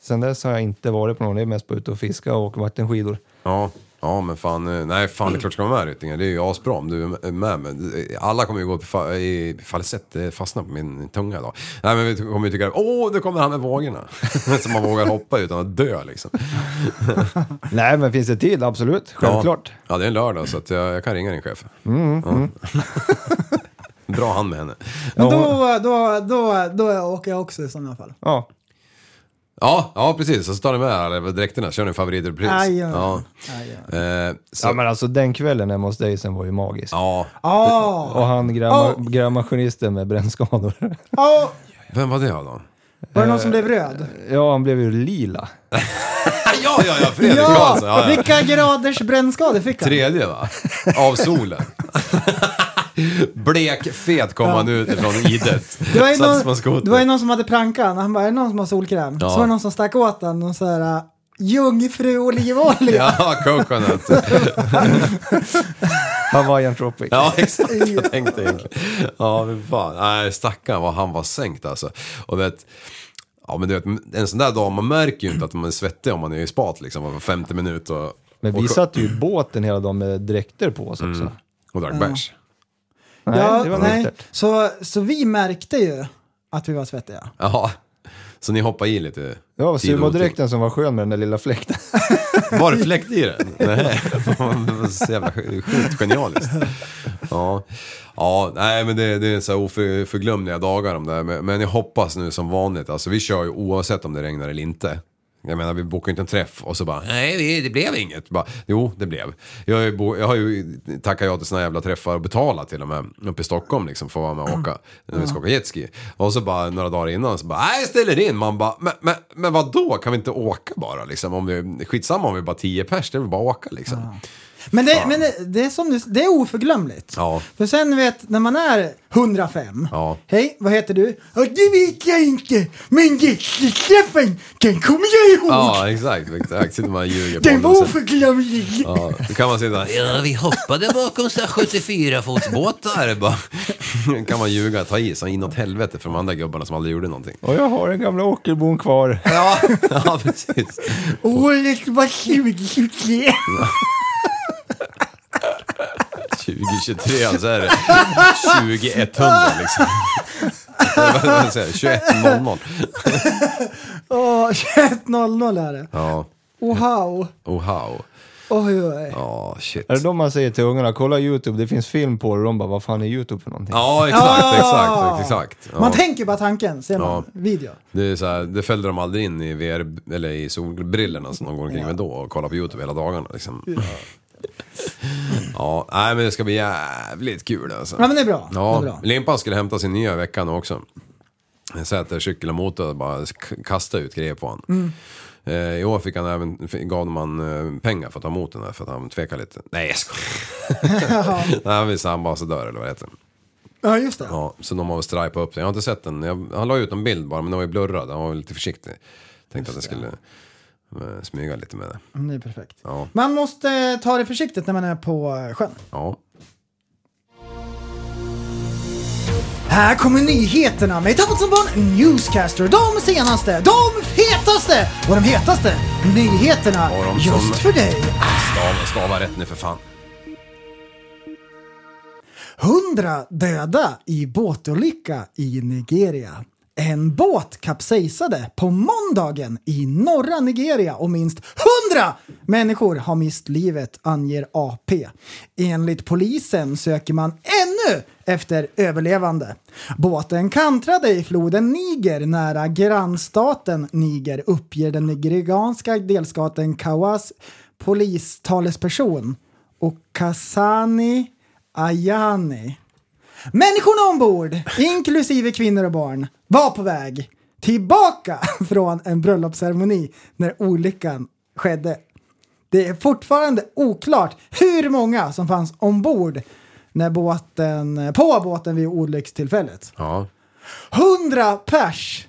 [SPEAKER 7] Sen dess har jag inte varit på någon, det är mest på ute och fiska och åka vattenskidor.
[SPEAKER 5] Ja, ja men fan. eh, Nej, fan det är klart du ska vara med Ryttinger. Det är ju asbra om du är med. Men eh, alla kommer ju gå på fa- i falsett. Det fastnar på min tunga idag. Nej, men vi kommer ju tycka åh, nu kommer han med vågorna. (laughs) Så man vågar hoppa utan att dö liksom.
[SPEAKER 7] Nej, men finns det tid? Absolut, självklart.
[SPEAKER 5] Ja, ja det är en lördag så att jag, jag kan ringa din chef. Ja. (laughs) Dra hand med henne.
[SPEAKER 6] Men då, då, då, då åker jag också i sådana fall.
[SPEAKER 7] Ja.
[SPEAKER 5] Ja, ja precis. Och så tar ni med alla dräkterna. Kör en favoritrepris.
[SPEAKER 6] Aj, ja.
[SPEAKER 5] ja.
[SPEAKER 6] Aj,
[SPEAKER 5] Eh, så,
[SPEAKER 7] ja, men alltså den kvällen hemma hos Dayson var ju magisk.
[SPEAKER 5] ja.
[SPEAKER 6] Ja,
[SPEAKER 7] Och han grävma,
[SPEAKER 6] Oh.
[SPEAKER 7] grävmaskinisten
[SPEAKER 5] (laughs)
[SPEAKER 7] med brännskador.
[SPEAKER 6] ja.
[SPEAKER 5] Vem var det då?
[SPEAKER 6] Var det någon som blev röd?
[SPEAKER 5] Eh,
[SPEAKER 7] Ja, han blev ju lila.
[SPEAKER 5] Ja, ja, ja. Fredrik
[SPEAKER 6] Ja,
[SPEAKER 5] Karlsson. Ja, ja.
[SPEAKER 6] vilka graders brännskador fick han?
[SPEAKER 5] Tredje va? Av
[SPEAKER 6] (laughs)
[SPEAKER 5] solen. Blek, fet kom han ut ifrån idet.
[SPEAKER 6] Det var, ju
[SPEAKER 5] Sattes på en
[SPEAKER 6] någon,
[SPEAKER 5] skoter.
[SPEAKER 6] det var ju någon som hade prankan, han bara, är det någon som har solkräm?
[SPEAKER 5] Ja.
[SPEAKER 6] Så var det någon som stack åt han någon sån här uh, jungfru olivolja.
[SPEAKER 5] Ja, coconut.
[SPEAKER 6] (laughs)
[SPEAKER 7] Hawaiian tropic.
[SPEAKER 5] Ja, exakt. Jag tänkte egentligen. Ja, men fan. Nej, stackarn vad han var sänkt alltså. Och vet, ja men du vet, en sån där dag, man märker ju inte att man är svettig om man är i spat liksom, var femte minut och...
[SPEAKER 7] Men vi
[SPEAKER 5] och, Mm.
[SPEAKER 7] satt ju i båten hela dagen med dräkter på oss också.
[SPEAKER 5] Och drack bärs.
[SPEAKER 7] Nej,
[SPEAKER 6] Ja,
[SPEAKER 7] det var nyktert.
[SPEAKER 6] Så, så vi märkte ju att vi var svettiga.
[SPEAKER 5] Ja. Så ni hoppade i lite?
[SPEAKER 7] Det var
[SPEAKER 5] tid och otid.
[SPEAKER 7] sumodräkten som var skön med den där lilla fläkten. (laughs)
[SPEAKER 5] Var det fläkt i den? Nej, (laughs) det var så jävla sjukt genialiskt. Ja, ja nej men det, det är så här oförglömliga dagar de där. Men, men jag hoppas nu som vanligt, alltså vi kör ju oavsett om det regnar eller inte. Jag menar vi bokar ju inte en träff och så bara, nej vi- det blev inget. Bara, jo, det blev. Jag, har ju bo, jag har ju tackat ja till såna jävla träffar och betalat till och med uppe i Stockholm liksom för att vara med och åka. När vi ska åka jetski. Och så bara några dagar innan så bara, nej jag ställer in. Man bara, men, men, men vadå, kan vi inte åka bara liksom? Om vi, skitsamma om vi är bara tio pers, det är väl bara att åka liksom.
[SPEAKER 6] Men det, men det, det är som du, det är oförglömligt.
[SPEAKER 5] Ja.
[SPEAKER 6] För sen vet, när man är 105.
[SPEAKER 5] Ja.
[SPEAKER 6] Hej, vad heter du? Ja, det vet jag inte. Men gästträffen, den kommer jag ihåg.
[SPEAKER 5] Ja, exakt. exakt. Sitter man och ljuger på
[SPEAKER 6] Den var
[SPEAKER 5] ålderns-
[SPEAKER 6] oförglömlig.
[SPEAKER 5] Ja, då kan man sitta ja vi hoppade bakom 74-fotsbåtar. (laughs) Bara. kan man ljuga, ta i sig inåt helvete för de andra gubbarna som aldrig gjorde någonting.
[SPEAKER 7] Och jag har den gamla åkerbon kvar.
[SPEAKER 5] Ja, (laughs) ja precis.
[SPEAKER 6] Året var 2023.
[SPEAKER 5] 2023 så är det 2100 liksom. (laughs) Vad ska man säga? 2100.
[SPEAKER 6] Åh, 21.00 är det.
[SPEAKER 5] Ja,
[SPEAKER 6] Wow.
[SPEAKER 5] oh how.
[SPEAKER 6] Oj, oj.
[SPEAKER 5] Ja, shit.
[SPEAKER 7] Är det de man säger till ungarna, kolla YouTube, det finns film på det. Och de bara, vad fan är YouTube för någonting?
[SPEAKER 5] Ja, exakt,
[SPEAKER 6] Ja.
[SPEAKER 5] exakt, exakt. Ja.
[SPEAKER 6] Ah. Man tänker bara tanken, ser man.
[SPEAKER 5] Ja.
[SPEAKER 6] Video.
[SPEAKER 5] Det, är så här, det fällde de aldrig in i VR, eller i solbrillorna som de går omkring med då och kollar på YouTube hela dagarna liksom. Ja. (laughs) ja, nej men det ska bli jävligt kul alltså.
[SPEAKER 6] Ja, men det är bra.
[SPEAKER 5] Ja,
[SPEAKER 6] Det är bra.
[SPEAKER 5] Limpan skulle hämta sin nya i veckan också. Sätter cykel och motor och bara k- kasta ut grejer på honom.
[SPEAKER 6] Mm.
[SPEAKER 5] Eh, I år fick han även, f- gav man eh, pengar för att ta emot den där för att han tvekade lite. Nej jag
[SPEAKER 6] (laughs)
[SPEAKER 5] skojar. (laughs) Nej han visste ambassadör eller vad det heter.
[SPEAKER 6] Ja, just det.
[SPEAKER 5] Ja, så de har väl stripat upp den. Jag har inte sett den. Jag, han la ut en bild bara, men den var ju blurrad. Han var väl lite försiktig. Tänkte att jag skulle eh, smyga lite med det.
[SPEAKER 6] Mm, Det är perfekt.
[SPEAKER 5] Ja.
[SPEAKER 6] Man måste eh, ta det försiktigt när man är på eh, sjön.
[SPEAKER 5] Ja.
[SPEAKER 6] Här kommer nyheterna med Tappat som barn Newscaster. De senaste, de hetaste och de hetaste nyheterna
[SPEAKER 5] Och de som-
[SPEAKER 6] just för dig.
[SPEAKER 5] Stava, stava rätt nu för fan.
[SPEAKER 6] 100 döda i båtolycka i Nigeria. En båt kapsejsade på måndagen i norra Nigeria och minst 100 människor har mist livet, anger AP. Enligt polisen söker man ännu efter överlevande. Båten kantrade i floden Niger nära grannstaten Niger uppger den nigerianska delstaten Kawas polistalesperson Okasani Ayani. Människorna ombord, inklusive kvinnor och barn, var på väg tillbaka (laughs) från en bröllopsceremoni när olyckan skedde. Det är fortfarande oklart hur många som fanns ombord när båten, på båten vid olyckstillfället.
[SPEAKER 5] Ja,
[SPEAKER 6] 100 pers!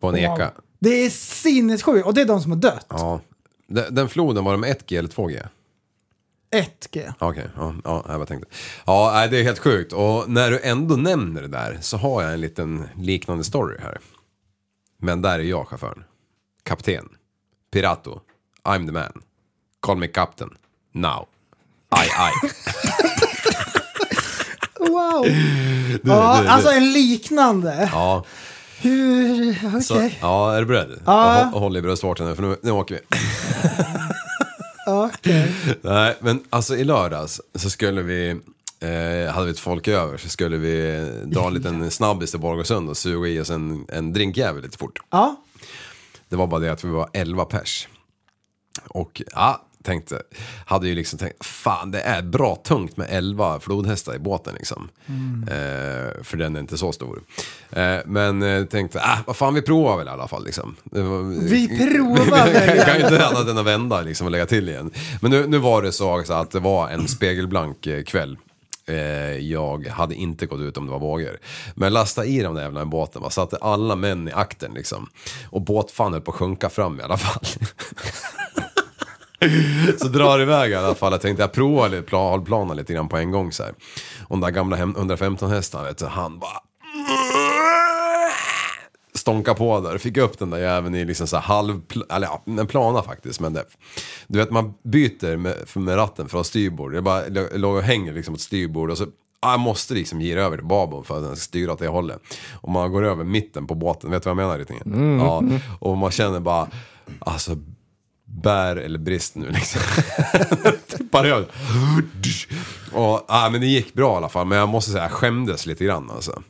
[SPEAKER 5] på en eka.
[SPEAKER 6] Det är sinnessjukt och det är de som har dött.
[SPEAKER 5] Ja. Den den floden, var de 1G eller 2G?
[SPEAKER 6] 1G.
[SPEAKER 5] Okej, ja, ja, jag bara tänkte. Ja, nej, det är helt sjukt. Och när du ändå nämner det där så har jag en liten liknande story här. Men där är jag chauffören. Kapten. Pirato. I'm the man. Call me captain. Now. Aj, aj.
[SPEAKER 6] (laughs) Wow!
[SPEAKER 5] Du,
[SPEAKER 6] Ja,
[SPEAKER 5] du, du.
[SPEAKER 6] alltså en liknande.
[SPEAKER 5] Ja,
[SPEAKER 6] Hur... Okej.
[SPEAKER 5] så, ja, är du beredd?
[SPEAKER 6] Ja.
[SPEAKER 5] Hå- Håll i bröstvårtan nu för nu, nu åker vi.
[SPEAKER 6] (laughs) Okej.
[SPEAKER 5] Nej, men alltså i lördags så skulle vi, eh, hade vi ett folk över så skulle vi dra en
[SPEAKER 6] (laughs)
[SPEAKER 5] liten snabbis till Borgåsund och suga i oss en, en drinkjävel lite fort.
[SPEAKER 6] Ja.
[SPEAKER 5] Det var bara det att vi var 11 pers. Och ja, tänkte, hade ju liksom tänkt, fan det är bra tungt med 11 flodhästar i båten liksom. Eh, för den är inte så stor. Eh, men eh, tänkte, ah, vad fan vi provar väl i alla fall liksom. Det var-
[SPEAKER 6] (laughs)
[SPEAKER 5] (laughs)
[SPEAKER 6] Vi provar
[SPEAKER 5] kan, kan ju
[SPEAKER 6] väl.
[SPEAKER 5] inte annat än att vända liksom, och lägga till igen. Men nu, nu var det så också att det var en spegelblank eh, kväll. Eh, jag hade inte gått ut om det var vågor. Men lasta i de där jävlarna i båten. Va? Satte alla män i akten liksom. Och båtfan höll på att sjunka fram i alla fall. (laughs) Så drar det iväg i alla fall. Jag tänkte jag provar lite plan, halvplana lite grann på en gång så här. Och den där gamla hem- 115 hästen vet du, han bara... Stånka på där, fick upp den där jäveln i liksom så här halv, eller ja, en plana faktiskt. Men det, du vet man byter med, med ratten från styrbord. Det bara lå- låg och hänger liksom åt styrbord och så ah, jag måste liksom gira över till babord för att den ska styra åt det hållet. Och man går över mitten på båten, vet du vad jag menar? Rittingen? Ja, och man känner bara, alltså bär eller brist nu liksom. (laughs) Tippar över. Och, ah, men det gick bra i alla fall, men jag måste säga jag skämdes lite grann alltså.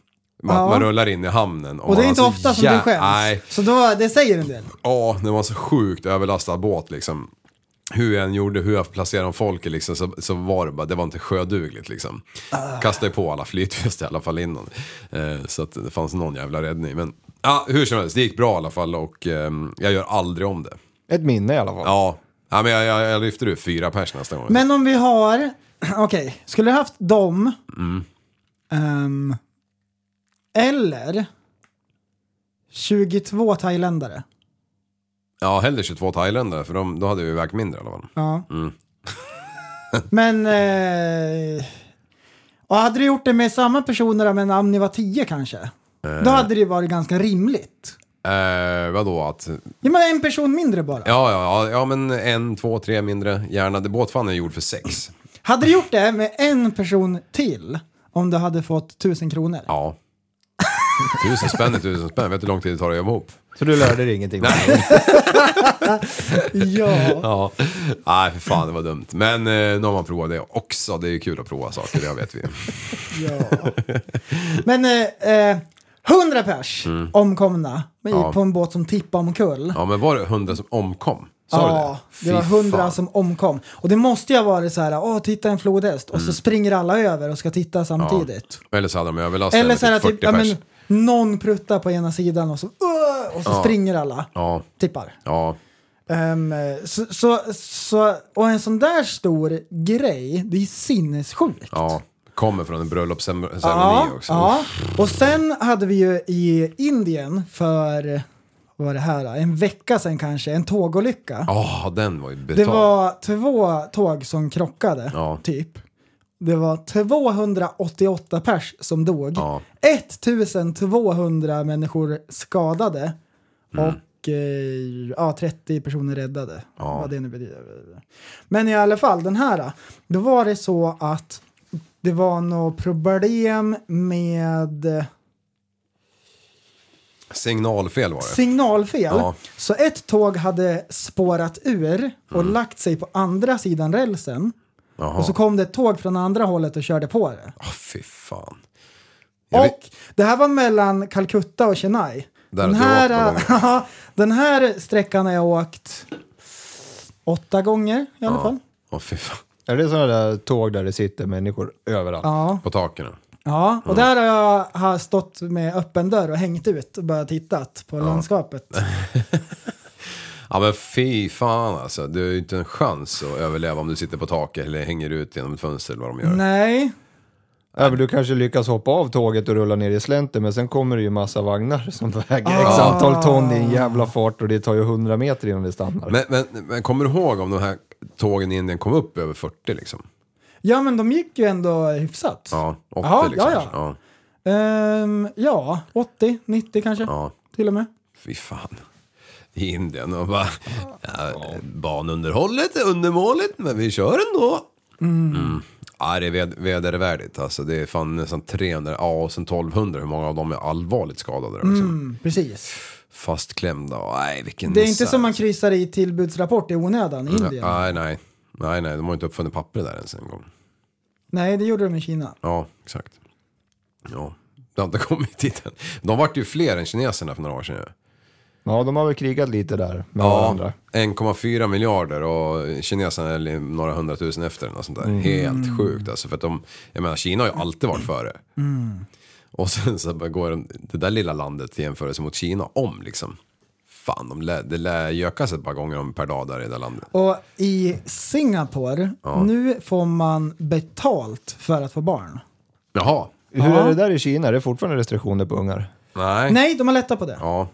[SPEAKER 5] Man,
[SPEAKER 6] Ja.
[SPEAKER 5] man rullar in i hamnen.
[SPEAKER 6] Och det är
[SPEAKER 5] man
[SPEAKER 6] inte
[SPEAKER 5] har så
[SPEAKER 6] ofta som du
[SPEAKER 5] jä-
[SPEAKER 6] skäms.
[SPEAKER 5] Alltså, Nej,
[SPEAKER 6] Så då, det säger en del.
[SPEAKER 5] ja, det var en så sjukt överlastad båt liksom. Hur jag än gjorde, hur jag placerade folk liksom, så, så var det bara, det var inte sjödugligt liksom. Kastade på alla flytväst i alla fall innan. Eh, så att det fanns någon jävla räddning. Men ja, hur som helst, det gick bra i alla fall och ehm, jag gör aldrig om det.
[SPEAKER 7] Ett minne i alla fall.
[SPEAKER 5] Ja, ja men jag, jag, jag lyfter ut fyra pers nästa gång.
[SPEAKER 6] Men om vi har... (clears throat) Okej, skulle du haft dem? Ehm, eller 22 thailändare?
[SPEAKER 5] Ja, hellre 22 thailändare för de, då hade vi vägt mindre i alla fall.
[SPEAKER 6] Ja. Men... Eh, och hade du gjort det med samma personer men Amni var 10 kanske? Då hade det ju varit ganska rimligt.
[SPEAKER 5] Eh, vadå att...
[SPEAKER 6] Ja, men en person mindre bara.
[SPEAKER 5] Ja, ja, ja, ja, men en, två, tre mindre gärna. Det båtfan är gjord för sex.
[SPEAKER 6] Hade du gjort det med en person till om du hade fått 1000 kronor?
[SPEAKER 5] Ja.
[SPEAKER 6] (laughs)
[SPEAKER 5] Tusen spänn är tusen spänn. Vet du hur lång tid det tar att jobba ihop? (laughs)
[SPEAKER 7] Så du lärde dig ingenting?
[SPEAKER 6] Ja.
[SPEAKER 5] Ja. Nej, för fan det var dumt. Men eh, nu har man provat det också. Det är ju kul att prova saker, det vet vi.
[SPEAKER 6] ja. Men eh, eh, 100 pers omkomna med,
[SPEAKER 5] Mm. Ja.
[SPEAKER 6] på en båt som tippade omkull.
[SPEAKER 5] Ja, men var det hundra som omkom? Sa du det?
[SPEAKER 6] det var
[SPEAKER 5] Fy
[SPEAKER 6] hundra
[SPEAKER 5] fan.
[SPEAKER 6] som omkom. Och det måste ju ha varit så här, åh titta en flodhäst.
[SPEAKER 5] Mm.
[SPEAKER 6] Och så springer alla över och ska titta samtidigt.
[SPEAKER 5] Eller så hade de överlast.
[SPEAKER 6] Eller så här typ, ja,
[SPEAKER 5] pers.
[SPEAKER 6] men, någon pruttar på ena sidan och så, "Åh!" och så springer alla.
[SPEAKER 5] Ja,
[SPEAKER 6] Tippar.
[SPEAKER 5] ja.
[SPEAKER 6] Ehm, så, så, så, och en sån där stor grej, det är sinnessjukt.
[SPEAKER 5] Ja, kommer från en bröllopsceremoni
[SPEAKER 6] Ja,
[SPEAKER 5] också.
[SPEAKER 6] ja. Och sen hade vi ju i Indien för, vad var det här, en vecka sedan kanske, en tågolycka.
[SPEAKER 5] Ja, den var ju betald.
[SPEAKER 6] det var två tåg som krockade,
[SPEAKER 5] Ja.
[SPEAKER 6] typ. Det var 288 pers som dog.
[SPEAKER 5] Ja.
[SPEAKER 6] 1200 människor skadade.
[SPEAKER 5] Mm.
[SPEAKER 6] Och eh, ja, 30 personer räddade. Vad det nu betyder. Men i alla fall, den här. Då var det så att det var något problem med
[SPEAKER 5] Signalfel var det.
[SPEAKER 6] signalfel.
[SPEAKER 5] Ja.
[SPEAKER 6] Så ett tåg hade spårat ur och lagt sig på andra sidan rälsen.
[SPEAKER 5] Mm. Jaha.
[SPEAKER 6] Och så kom det ett tåg från andra hållet och körde på det.
[SPEAKER 5] Åh, fy fan. Jag vet-
[SPEAKER 6] Och det här var mellan Calcutta och Chennai.
[SPEAKER 5] Där
[SPEAKER 6] Den
[SPEAKER 5] har du
[SPEAKER 6] här,
[SPEAKER 5] åkt
[SPEAKER 6] (laughs) den här sträckan har jag åkt åtta gånger i alla fall.
[SPEAKER 5] Åh, fy fan.
[SPEAKER 7] Är det sådana där tåg där det sitter människor överallt?
[SPEAKER 6] Ja.
[SPEAKER 5] På taken.
[SPEAKER 6] Ja,
[SPEAKER 5] Mm.
[SPEAKER 6] och där har jag har stått med öppen dörr och hängt ut och bara tittat på landskapet.
[SPEAKER 5] Ja men fy fan alltså. Du har ju inte en chans att överleva om du sitter på taket eller hänger ut genom ett fönster eller vad de gör.
[SPEAKER 6] Nej,
[SPEAKER 7] Ja, men du kanske lyckas hoppa av tåget och rulla ner i slänten, men sen kommer det ju massa vagnar som (laughs) väger x antal ton i en jävla fart och det tar ju 100 meter innan det stannar.
[SPEAKER 5] Men, men, men kommer du ihåg om de här tågen i Indien kom upp över 40 liksom?
[SPEAKER 6] ja men de gick ju ändå hyfsat.
[SPEAKER 5] Ja, 80
[SPEAKER 6] Jaha,
[SPEAKER 5] liksom.
[SPEAKER 6] ja, ja.
[SPEAKER 5] ja.
[SPEAKER 6] Ehm, ja 80, 90 kanske
[SPEAKER 5] Ja.
[SPEAKER 6] till och med.
[SPEAKER 5] Fy fan. I Indien och bara... Ja, banunderhållet är undermåligt, men vi kör ändå. Mm. Ja, det är ved- vedervärdigt. Alltså, det är fan nästan 300, ja och sen 1200. Hur många av dem är allvarligt skadade? Liksom.
[SPEAKER 6] Mm, precis.
[SPEAKER 5] Fastklämda och nej, vilken
[SPEAKER 6] Det är inte
[SPEAKER 5] misär.
[SPEAKER 6] som man kryssar i tillbudsrapport i onödan i Indien.
[SPEAKER 5] Nej, nej. Nej, nej, de har ju inte uppfunnit papper där ens en gång.
[SPEAKER 6] Nej, det gjorde de i Kina.
[SPEAKER 5] Ja, exakt. Ja, det har inte kommit dit än. De vart ju fler än kineserna för några år sedan ju.
[SPEAKER 7] Ja, de har väl krigat lite där med varandra.
[SPEAKER 5] Ja, 1,4 miljarder och kineserna är några hundratusen efter. Något sånt där. Helt sjukt alltså. För att de, jag menar, Kina har ju alltid varit före. Och sen så bara går de, det där lilla landet i jämförelse mot Kina om liksom. Fan, de lä, det lär gökas ett par gånger om per dag där i det där landet.
[SPEAKER 6] Och i Singapore, nu får man betalt för att få barn.
[SPEAKER 5] Jaha,
[SPEAKER 7] Hur är det där i Kina? Är det fortfarande restriktioner på ungar?
[SPEAKER 5] nej.
[SPEAKER 6] Nej, de har lättat på det.
[SPEAKER 5] Ja,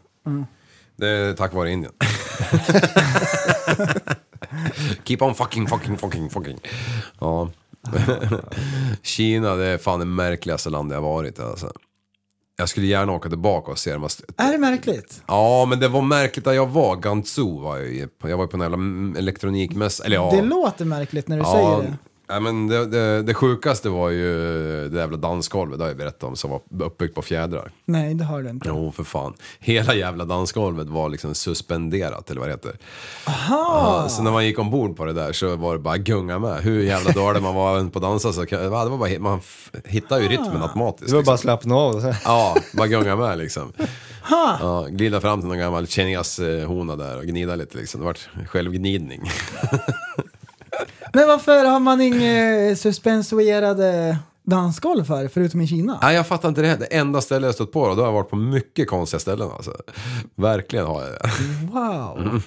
[SPEAKER 5] det är tack vare Indien. (laughs) Keep on fucking, fucking, fucking, fucking. Ja. (laughs) Kina, det är fan det märkligaste landet jag varit i, alltså. Jag skulle gärna åka tillbaka och se dem.
[SPEAKER 6] Är det märkligt?
[SPEAKER 5] Ja, men det var märkligt där jag var. Gansu var jag ju. på. Jag var ju på en jävla mm, elektronikmässa. Eller ja.
[SPEAKER 6] Det låter märkligt när du säger det.
[SPEAKER 5] Ja, men det, det, det sjukaste var ju det jävla dansgolvet, det har jag berättat om, som var uppbyggt på fjädrar.
[SPEAKER 6] Nej, det har du inte.
[SPEAKER 5] Jo, för fan. Hela jävla dansgolvet var liksom suspenderat, eller vad det heter. Ja, så när man gick ombord på det där så var det bara gunga med. Hur jävla dålig man var på att dansa så kan- va, det var bara, man f- hittade ju rytmen automatiskt.
[SPEAKER 7] Det var
[SPEAKER 5] liksom.
[SPEAKER 7] bara att slappna av. och så-
[SPEAKER 5] Ja, bara gunga med liksom. Ja, glida fram till någon gammal kineshona där och gnida lite liksom. Det vart självgnidning. (laughs)
[SPEAKER 6] Men varför har man inga eh, suspensuerade dansgolv för, förutom i Kina?
[SPEAKER 5] Nej, jag fattar inte det. Det enda stället jag stött på då, då har jag varit på mycket konstiga ställen alltså. Verkligen har jag det. Mm.
[SPEAKER 6] Wow.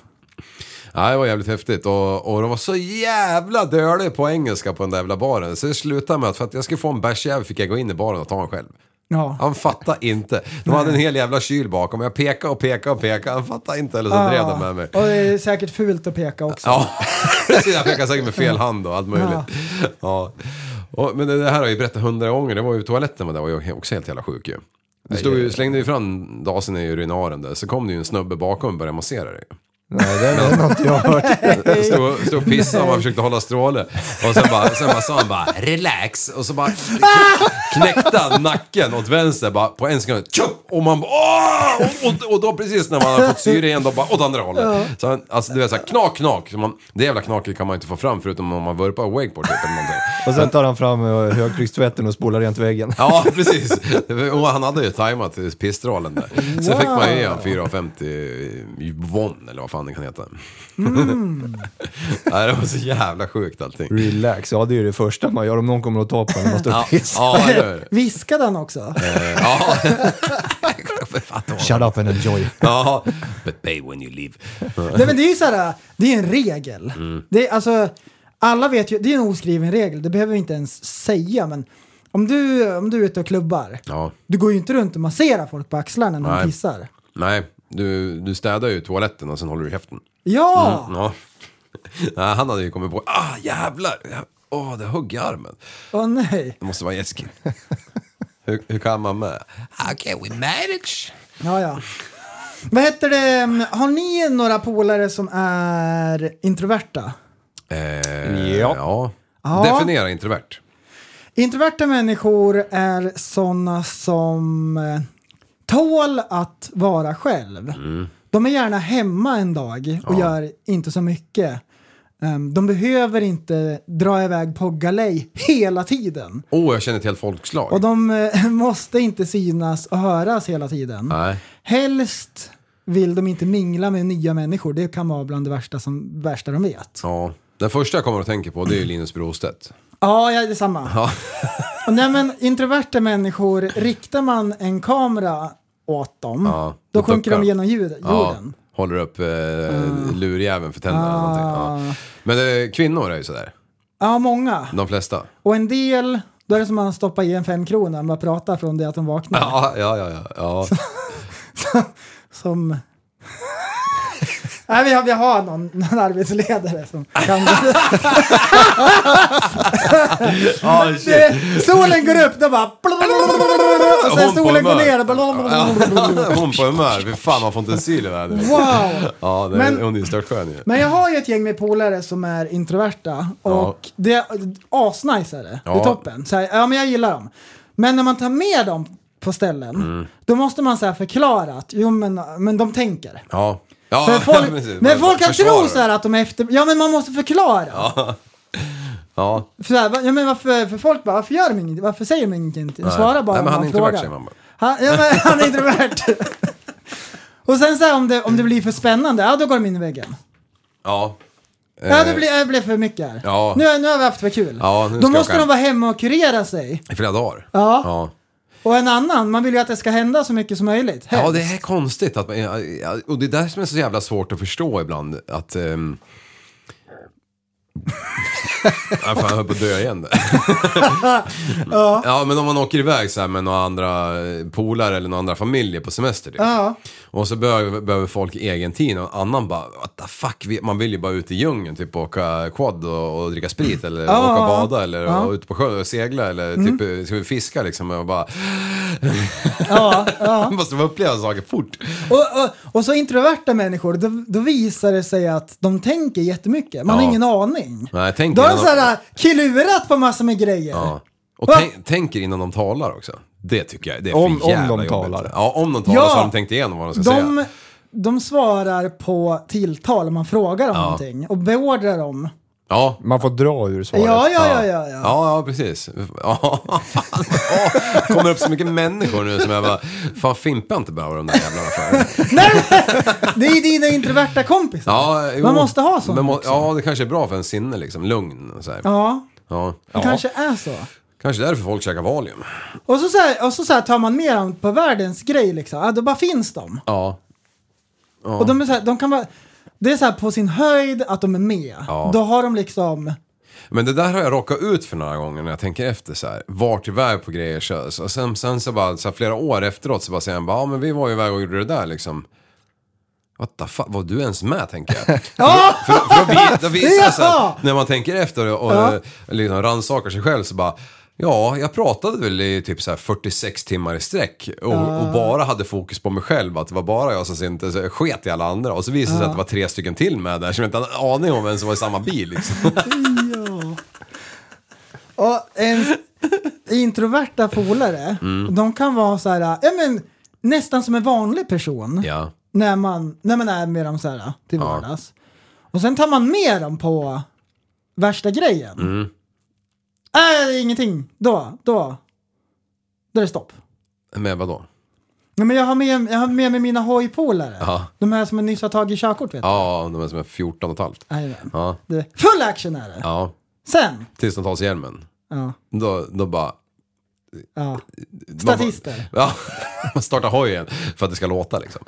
[SPEAKER 5] Ja, det var jävligt häftigt och, och de var så jävla dölig på engelska på den där jävla baren. Så det slutade med att för att jag skulle få en bärsjävel fick jag gå in i baren och ta en själv.
[SPEAKER 6] Ja.
[SPEAKER 5] Han fattade inte. De hade en hel jävla kyl bakom. Jag pekade och pekade och pekade. Han fattade inte eller så drev de med mig.
[SPEAKER 6] Ah. Och det är säkert fult att peka också.
[SPEAKER 5] Ja, (laughs) precis. Jag pekade säkert med fel hand och allt möjligt. Ja. Och, men det det här har jag ju berättat hundra gånger. Det var ju toaletten var där var jag också helt jävla sjuk ju. Det stod ju, slängde ju fram dasen i urinaren där. Så kom det ju en snubbe bakom och började massera dig.
[SPEAKER 7] Nej, det är något jag har
[SPEAKER 5] (laughs)
[SPEAKER 7] hört.
[SPEAKER 5] Stod, stod och pissade och man försökte hålla stråle. Och sen bara, sen bara sa han bara relax och så bara knäckte han nacken åt vänster bara på en sekund. Tjup! Och man bara åh! Och, och, och då precis när man har fått syre igen då bara åt andra hållet. Så han, alltså du vet såhär knak knak. Så man, det jävla knaket kan man inte få fram förutom om man vurpar wakeboard typ eller någonting.
[SPEAKER 7] Och sen tar han fram eh, högtryckstvätten och spolar rent väggen.
[SPEAKER 5] Ja precis. Och han hade ju tajmat pissstrålen där. Så fick man ju ge honom 4,50 won eller vad fan det kan heta. (laughs) Nej, det var så jävla sjukt allting.
[SPEAKER 7] Relax, ja det är ju det första man gör om någon kommer att ta på en. Man står och pissar.
[SPEAKER 5] Ja, eller hur?
[SPEAKER 6] Viskade
[SPEAKER 5] (laughs)
[SPEAKER 6] han också?
[SPEAKER 5] Ja. (laughs) För fan, det var-
[SPEAKER 7] Shut up and enjoy.
[SPEAKER 5] Ja. But pay when you leave.
[SPEAKER 6] Nej men det är ju så här, det är en regel.
[SPEAKER 5] Mm.
[SPEAKER 6] Det är, alltså, alla vet ju, det är en oskriven regel, det behöver vi inte ens säga men om du, om du är ute och klubbar,
[SPEAKER 5] Ja.
[SPEAKER 6] du går ju inte runt och masserar folk på axlarna när
[SPEAKER 5] Nej.
[SPEAKER 6] de pissar.
[SPEAKER 5] Nej, du, du städar ju toaletten och sen håller du käften.
[SPEAKER 6] Ja!
[SPEAKER 5] Ja. Nej, han hade ju kommit på, ah jävlar, Ja, åh det högg i armen.
[SPEAKER 6] Åh nej.
[SPEAKER 5] Det måste vara Jeskin. hur, hur kan man med? Okay, we manage.
[SPEAKER 6] Ja, ja. Vad heter det, har ni några polare som är introverta?
[SPEAKER 5] Eh,
[SPEAKER 7] Ja.
[SPEAKER 5] ja.
[SPEAKER 6] Ja.
[SPEAKER 5] Definiera introvert.
[SPEAKER 6] Introverta människor är sådana som eh, tål att vara själv. De är gärna hemma en dag och gör inte så mycket. Ehm, de behöver inte dra iväg på galej hela tiden.
[SPEAKER 5] Åh, oh, jag känner till ett folkslag.
[SPEAKER 6] Och de eh, (laughs) måste inte synas och höras hela tiden.
[SPEAKER 5] Nej.
[SPEAKER 6] Helst vill de inte mingla med nya människor. Det kan vara bland det värsta, som, värsta de vet.
[SPEAKER 5] Ja. Den första jag kommer att tänka på det är ju Linus Brostedt.
[SPEAKER 6] Ja, jag är detsamma. Och Nej men introverta människor, riktar man en kamera åt dem,
[SPEAKER 5] Ja,
[SPEAKER 6] då
[SPEAKER 5] då
[SPEAKER 6] sjunker
[SPEAKER 5] duckar
[SPEAKER 6] de
[SPEAKER 5] de.
[SPEAKER 6] genom ljud,
[SPEAKER 5] Ja,
[SPEAKER 6] jorden. Ah.
[SPEAKER 5] håller upp eh, lurjäveln för tänderna. eller någonting. Ja. Men eh, kvinnor är ju sådär.
[SPEAKER 6] Ja. många.
[SPEAKER 5] De flesta.
[SPEAKER 6] Och en del, då är det som att man stoppar i en femkrona, man pratar från det att de vaknar.
[SPEAKER 5] Ja, ja, ja. ja,
[SPEAKER 6] (laughs)
[SPEAKER 5] ja.
[SPEAKER 6] Alltså, Som... (laughs) Nej, vi har, vi har någon, någon arbetsledare som
[SPEAKER 5] (laughs)
[SPEAKER 6] kan...
[SPEAKER 5] Ah, shit.
[SPEAKER 6] Det- solen går upp, då bara... Och sen
[SPEAKER 5] Hon på
[SPEAKER 6] solen går
[SPEAKER 5] humör.
[SPEAKER 6] ner.
[SPEAKER 5] Ja, (laughs) hon på humör. Fy fan, man får inte en syl i världen.
[SPEAKER 6] Wow!
[SPEAKER 5] Ja, det,
[SPEAKER 6] Men-
[SPEAKER 5] hon är ju störtskön ju.
[SPEAKER 6] Men jag har ju ett gäng med polare som är introverta och
[SPEAKER 5] Ja.
[SPEAKER 6] det asnice är det. Det
[SPEAKER 5] Ja.
[SPEAKER 6] är toppen. Så här, ja men jag gillar dem. Men när man tar med dem på ställen,
[SPEAKER 5] Mm.
[SPEAKER 6] då måste man så här förklara att jo men, men de tänker.
[SPEAKER 5] Ja. ja (laughs)
[SPEAKER 6] För folk,
[SPEAKER 5] precis.
[SPEAKER 6] men folk kan
[SPEAKER 5] Försvarar
[SPEAKER 6] tro
[SPEAKER 5] du?
[SPEAKER 6] så här att de är efter... Ja men man måste förklara.
[SPEAKER 5] Ja.
[SPEAKER 6] För, så här, va- ja, men varför, för folk bara, varför gör de ingenting? Varför säger de ingenting? De svarar bara
[SPEAKER 5] Nej, men han
[SPEAKER 6] om
[SPEAKER 5] är
[SPEAKER 6] man
[SPEAKER 5] introvert,
[SPEAKER 6] frågar.
[SPEAKER 5] säger man bara.
[SPEAKER 6] Han, ja, men, han är
[SPEAKER 5] (laughs)
[SPEAKER 6] introvert. Och sen så här, om det, om det blir för spännande, ja då går de in i väggen.
[SPEAKER 5] Ja.
[SPEAKER 6] Ja,
[SPEAKER 5] Eh,
[SPEAKER 6] det blir, det blir för mycket här.
[SPEAKER 5] Ja.
[SPEAKER 6] Nu, nu har vi haft för kul.
[SPEAKER 5] Ja, nu
[SPEAKER 6] Då
[SPEAKER 5] ska jag
[SPEAKER 6] måste
[SPEAKER 5] åka
[SPEAKER 6] de
[SPEAKER 5] hem.
[SPEAKER 6] vara hemma och kurera sig.
[SPEAKER 5] I flera dagar.
[SPEAKER 6] Ja.
[SPEAKER 5] ja.
[SPEAKER 6] Och en annan, man vill ju att det ska hända så mycket som möjligt.
[SPEAKER 5] Ja,
[SPEAKER 6] Helst.
[SPEAKER 5] det är konstigt. Att man, ja, och det är där som är så jävla svårt att förstå ibland. Att... Um... (laughs) ja, fan, jag höll på att dö igen där. ja. men om man åker iväg så här med några andra eh, polare eller några andra familjer på semester. Typ.
[SPEAKER 6] Ja.
[SPEAKER 5] Och så behöver, behöver folk egen tid och annan bara, what the fuck, vi- man vill ju bara ut i djungeln, typ åka quad och, och dricka sprit eller
[SPEAKER 6] Ja,
[SPEAKER 5] åka och
[SPEAKER 6] ja.
[SPEAKER 5] bada eller ja. ut på sjön och segla eller typ, eh, ska vi fiska liksom? Och bara,
[SPEAKER 6] Ja, ja.
[SPEAKER 5] man (laughs) måste uppleva saker fort.
[SPEAKER 6] Och, och, och så introverta människor, då, då visar det sig att de tänker jättemycket. Man
[SPEAKER 5] Ja.
[SPEAKER 6] har ingen aning.
[SPEAKER 5] Nej, tänk
[SPEAKER 6] Då har de
[SPEAKER 5] innan
[SPEAKER 6] så här klurat på massor med grejer.
[SPEAKER 5] Ja. Och
[SPEAKER 6] Va?
[SPEAKER 5] tänk, tänker innan de talar också. Det tycker jag det är för
[SPEAKER 7] Om- om de
[SPEAKER 5] jävla jobbigt.
[SPEAKER 7] talar.
[SPEAKER 5] Ja, om de talar
[SPEAKER 6] Ja.
[SPEAKER 5] så har de tänkt igenom vad de ska
[SPEAKER 6] De,
[SPEAKER 5] säga.
[SPEAKER 6] de svarar på tilltal om man frågar om någonting och beordrar dem.
[SPEAKER 5] Ja.
[SPEAKER 7] Man får dra ur svaret.
[SPEAKER 6] Ja, ja, ja, ja. ja.
[SPEAKER 5] Ja, ja, precis. Ja, (laughs) fan. Ja, kommer upp så mycket människor nu som jag bara, fan Fimpa inte behöver de där jävlarna för.
[SPEAKER 6] Nej, det är dina introverta kompisar.
[SPEAKER 5] Ja, jo.
[SPEAKER 6] Man måste ha sånt
[SPEAKER 5] Men må-
[SPEAKER 6] också.
[SPEAKER 5] Ja, det kanske är bra för en sinne liksom, lugn och så här.
[SPEAKER 6] ja.
[SPEAKER 5] Ja.
[SPEAKER 6] Det kanske är så.
[SPEAKER 5] Kanske därför folk käkar Valium.
[SPEAKER 6] Och så, så, här, och så, så här tar man med dem på världens grej liksom. Ja, då bara finns de.
[SPEAKER 5] Ja.
[SPEAKER 6] Och de är så här, de kan vara... Det är så här på sin höjd att de är med.
[SPEAKER 5] Ja.
[SPEAKER 6] Då har de liksom...
[SPEAKER 5] Men det där har jag råkat ut för några gånger när jag tänker efter så här. Vart iväg på grejer körs. Och sen, sen så bara så här, flera år efteråt så bara säger han bara, ja men vi var ju iväg och gjorde det där liksom. What the fuck, var du ens med tänker
[SPEAKER 6] (laughs)
[SPEAKER 5] jag.
[SPEAKER 6] Ja!
[SPEAKER 5] För, då- för då, vi- då visar det sig
[SPEAKER 6] Ja!
[SPEAKER 5] att när man tänker efter och, och
[SPEAKER 6] Ja.
[SPEAKER 5] liksom rannsakar sig själv så bara Ja, jag pratade väl i typ så här 46 timmar i sträck och, och bara hade fokus på mig själv. Att det var bara jag som inte så jag sket i alla andra. Och så visade det sig att det var tre stycken till med där som jag inte hade en aning om vem som var i samma bil. Liksom.
[SPEAKER 6] Och ens introverta polare,
[SPEAKER 5] Mm.
[SPEAKER 6] de kan vara så här... Ja, men, nästan som en vanlig person.
[SPEAKER 5] Ja.
[SPEAKER 6] När, man, när man är med dem så här till
[SPEAKER 5] Ja.
[SPEAKER 6] vardags. Och sen tar man med dem på värsta grejen. Mm. Äh, ingenting. Då, då. Då är det stopp.
[SPEAKER 5] Men vadå?
[SPEAKER 6] Nej, men jag, har med, jag har med mig mina hojpolare.
[SPEAKER 5] Ja.
[SPEAKER 6] De här som nyss har tagit körkort vet du.
[SPEAKER 5] Ja, de är som är 14 och ett halvt.
[SPEAKER 6] Jajamän.
[SPEAKER 5] Ja.
[SPEAKER 6] Det- Full action är det.
[SPEAKER 5] ja.
[SPEAKER 6] Sen.
[SPEAKER 5] Tills de tar sig hjälmen.
[SPEAKER 6] Ja,
[SPEAKER 5] Då, då bara...
[SPEAKER 6] ja.
[SPEAKER 5] man bara-
[SPEAKER 6] Statister.
[SPEAKER 5] Ja, (laughs) man startar hojen för att det ska låta liksom.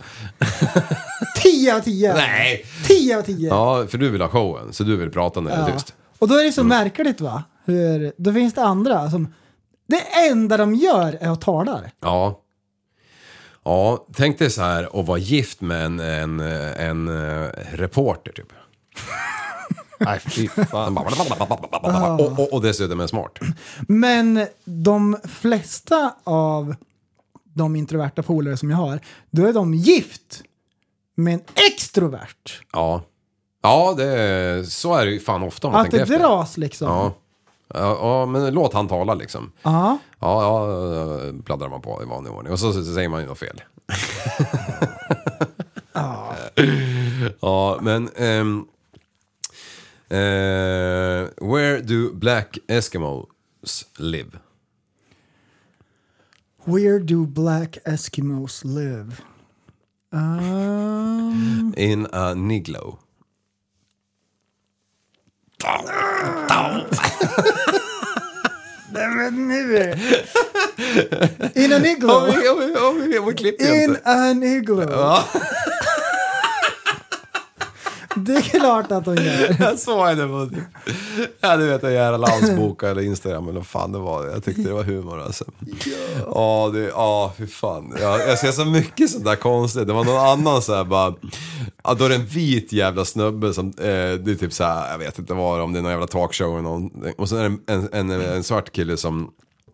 [SPEAKER 6] 10 av 10.
[SPEAKER 5] Nej!
[SPEAKER 6] 10 av 10.
[SPEAKER 5] Ja, för du vill ha showen, så du vill prata när det är
[SPEAKER 6] Ja.
[SPEAKER 5] tyst. Mm.
[SPEAKER 6] Och då är det så märkligt va? Hur, då finns det andra som... Det enda de gör är att tala.
[SPEAKER 5] Ja. Ja, tänk dig så här och vara gift med en, en, en eh, reporter typ.
[SPEAKER 7] Nej, fy fan.
[SPEAKER 5] Och, och, och dessutom en smart.
[SPEAKER 6] Men de flesta av de introverta polare som jag har, då är de gift med en extrovert.
[SPEAKER 5] Ja. Ja, det, är- så är det ju fan ofta om man
[SPEAKER 6] Att det
[SPEAKER 5] tänker efter.
[SPEAKER 6] dras liksom.
[SPEAKER 5] Ja. Ja, ja, men låt han tala liksom.
[SPEAKER 6] Ja.
[SPEAKER 5] Ja, ja, pladdrar man på i vanlig ordning. Och så, så säger man ju något
[SPEAKER 6] (laughs)
[SPEAKER 5] fel. (laughs) ja, men... ehm, eh, where do black Eskimos live?
[SPEAKER 6] Where do black Eskimos live?
[SPEAKER 5] Ah.
[SPEAKER 6] Um,
[SPEAKER 5] In a niglo.
[SPEAKER 6] det men nu! In an
[SPEAKER 5] Om
[SPEAKER 6] igloo!
[SPEAKER 5] vi, om vi, om vi, om vi klipper ju
[SPEAKER 6] In
[SPEAKER 5] inte.
[SPEAKER 6] an igloo!
[SPEAKER 5] Ja,
[SPEAKER 6] Det är klart att de gör.
[SPEAKER 5] (laughs) jag såg det på typ. Ja, du vet den jävla landsboka eller Instagram eller vad fan det var. Jag tyckte det var humor alltså. Ja, det, ja fy fan. Ja, jag ser så mycket sånt där konstigt. Det var någon annan så här bara. Ja, då är det en vit jävla snubbe som, eh, det är typ så här, jag vet inte vad det är, om det är någon jävla talkshow eller någonting. Och sen är det en, en, en, en svart kille som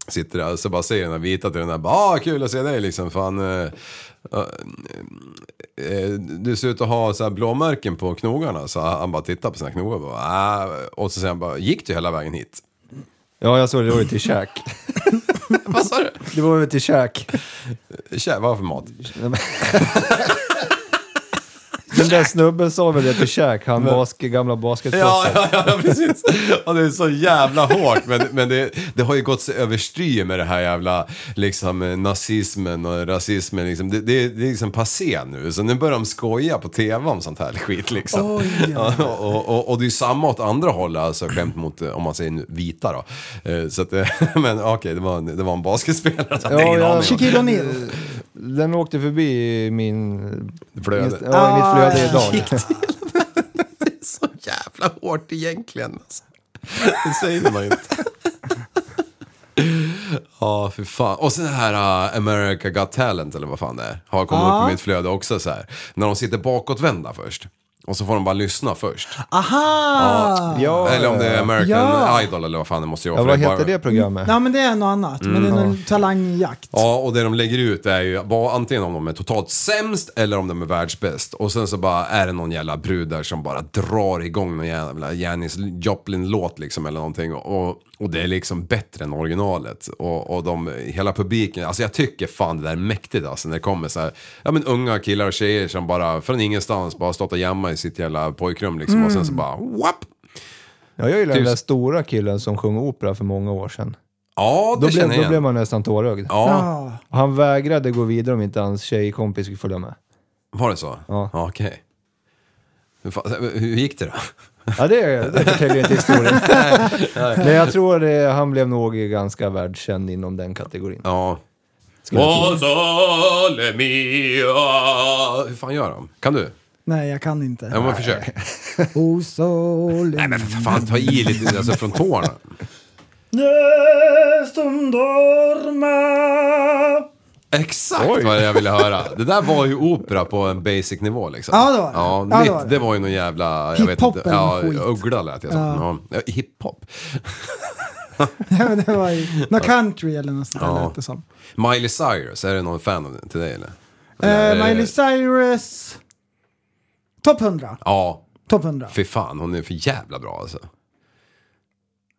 [SPEAKER 5] sitter där och så bara säger den där vita till den där, bara, ah kul att se dig liksom, fan. Eh, ja, eh, du ser ut att ha så här blåmärken på knogarna. Så han bara tittar på sina knogar och bara, ah. Och så säger han bara, gick du hela vägen hit?
[SPEAKER 7] Ja, jag såg det. Det var ju till käk.
[SPEAKER 5] Vad sa du?
[SPEAKER 7] Det var ju till käk.
[SPEAKER 5] Tja, vad för mat?
[SPEAKER 7] Den där snubben sa väl det till käk, han bas gamla
[SPEAKER 5] Ja,
[SPEAKER 7] basketproffset.
[SPEAKER 5] ja, ja, precis. Och det är så jävla hårt. Men, men det, det har ju gått sig överstyr med det här jävla liksom, eh, nazismen och rasismen. Liksom. Det, det, det är liksom passé nu. Så nu börjar de skoja på tv om sånt här skit. Liksom. ja. (laughs) och, och, och det är samma åt andra hållet, alltså, skämt mot, eh, om man säger nu, vita då. Eh, Så att, (laughs) eh, men okej, det, var en, det var en basketspelare. Så jag hade ingen
[SPEAKER 7] ja.
[SPEAKER 5] aning om.
[SPEAKER 6] Shaquille O'Neal.
[SPEAKER 7] Den åkte förbi min...
[SPEAKER 5] Flöde.
[SPEAKER 7] Ja, i mitt flöde
[SPEAKER 6] Ah,
[SPEAKER 7] idag.
[SPEAKER 5] så jävla hårt egentligen. Alltså. Det säger man ju inte. (laughs) Ja, för fan. Och sen det här uh, America Got Talent eller vad fan det är. Har kommit upp i mitt flöde också så här. När de sitter bakåtvända först. Och så får de bara lyssna först.
[SPEAKER 6] Aha!
[SPEAKER 7] Ja,
[SPEAKER 5] eller om det är American
[SPEAKER 6] Ja.
[SPEAKER 5] Idol eller vad fan det måste vara.
[SPEAKER 7] ja,
[SPEAKER 5] för
[SPEAKER 7] vad
[SPEAKER 5] det är Mm, bara-
[SPEAKER 7] heter det programmet?
[SPEAKER 6] Ja men det är något annat. Men det är en talangjakt.
[SPEAKER 5] Ja, och det de lägger ut är ju bara antingen om de är totalt sämst eller om de är världsbäst. Och sen så bara är det någon jävla brud där som bara drar igång någon jävla Janis Joplin-låt liksom eller någonting. Och, och det är liksom bättre än originalet. Och, och de, hela publiken, alltså jag tycker fan det där är mäktigt alltså när det kommer så här, ja men unga killar och tjejer som bara från ingenstans bara stått och jammat i sitt jävla pojkrum liksom och
[SPEAKER 7] Mm.
[SPEAKER 5] sen så bara wap!
[SPEAKER 7] Ja, jag gillar den
[SPEAKER 5] Tusen-
[SPEAKER 7] där stora killen som sjöng opera för många år sedan.
[SPEAKER 5] Ja, det
[SPEAKER 7] Då, blev,
[SPEAKER 5] känner
[SPEAKER 7] då
[SPEAKER 5] jag
[SPEAKER 7] blev
[SPEAKER 5] igen.
[SPEAKER 7] man nästan tårögd.
[SPEAKER 5] Ja,
[SPEAKER 6] Ah.
[SPEAKER 7] Han vägrade gå vidare om inte hans tjejkompis skulle följa med.
[SPEAKER 5] var det så?
[SPEAKER 7] Ja.
[SPEAKER 5] Okej. Hur fan- Hur gick det då?
[SPEAKER 7] Ja, det, det förtäljer inte
[SPEAKER 5] (laughs)
[SPEAKER 7] historien. Men jag tror det, han blev nog ganska världskänd inom den kategorin.
[SPEAKER 5] Ja.
[SPEAKER 7] Skulle jag tro.
[SPEAKER 5] sole mia. Hur fan gör de? Kan du?
[SPEAKER 6] Nej jag kan
[SPEAKER 5] Ja,
[SPEAKER 6] inte.
[SPEAKER 5] men försök.
[SPEAKER 6] (laughs) O sol
[SPEAKER 5] Nej men för fan, ta i lite alltså, från tårna.
[SPEAKER 6] Nestum dorma.
[SPEAKER 5] Exakt vad jag ville höra. Det där var ju opera på en basic nivå liksom.
[SPEAKER 6] Ja, det var det.
[SPEAKER 5] Ja,
[SPEAKER 6] Ja,
[SPEAKER 5] mitt,
[SPEAKER 6] det
[SPEAKER 5] det,
[SPEAKER 6] var
[SPEAKER 5] var
[SPEAKER 6] det.
[SPEAKER 5] ju någon jävla...
[SPEAKER 6] Hiphop eller
[SPEAKER 5] Ja,
[SPEAKER 6] skit.
[SPEAKER 5] uggla lät jag som. Ja. Ja, hiphop.
[SPEAKER 6] (laughs) Ja, men det var ju något country eller något sånt där
[SPEAKER 5] Ja.
[SPEAKER 6] lät det som.
[SPEAKER 5] Miley Cyrus, är det någon fan av den till dig eller?
[SPEAKER 6] Eh,
[SPEAKER 5] Eller-
[SPEAKER 6] Miley Cyrus. Topp 100.
[SPEAKER 5] Ja,
[SPEAKER 6] Topp 100.
[SPEAKER 5] fy fan. Hon är för jävla bra alltså.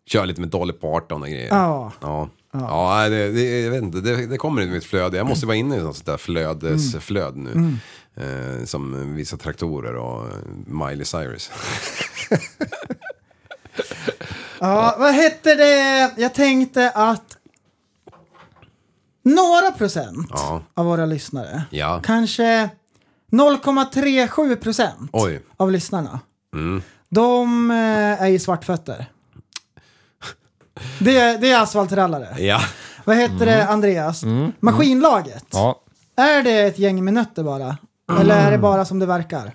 [SPEAKER 5] Kör lite med Dolly Parton och grejer.
[SPEAKER 6] Ja.
[SPEAKER 5] Ja. Ja, nej, det, det, jag vet inte, det, det kommer i mitt flöde. Jag måste vara inne i något sånt där flödesflöd nu. Eh, som vissa traktorer och eh, Miley Cyrus.
[SPEAKER 6] Ja, vad hette det? Jag tänkte att några procent
[SPEAKER 5] Ja.
[SPEAKER 6] av våra lyssnare,
[SPEAKER 5] Ja.
[SPEAKER 6] kanske 0,37 procent
[SPEAKER 5] Oj.
[SPEAKER 6] av lyssnarna, Mm. de eh, är ju svartfötter. Det, är- det är asfaltrallare.
[SPEAKER 5] Ja.
[SPEAKER 6] Vad heter det Andreas? Maskinlaget.
[SPEAKER 7] Ja,
[SPEAKER 6] Är det ett gäng med nötter bara? Eller är det bara som det verkar?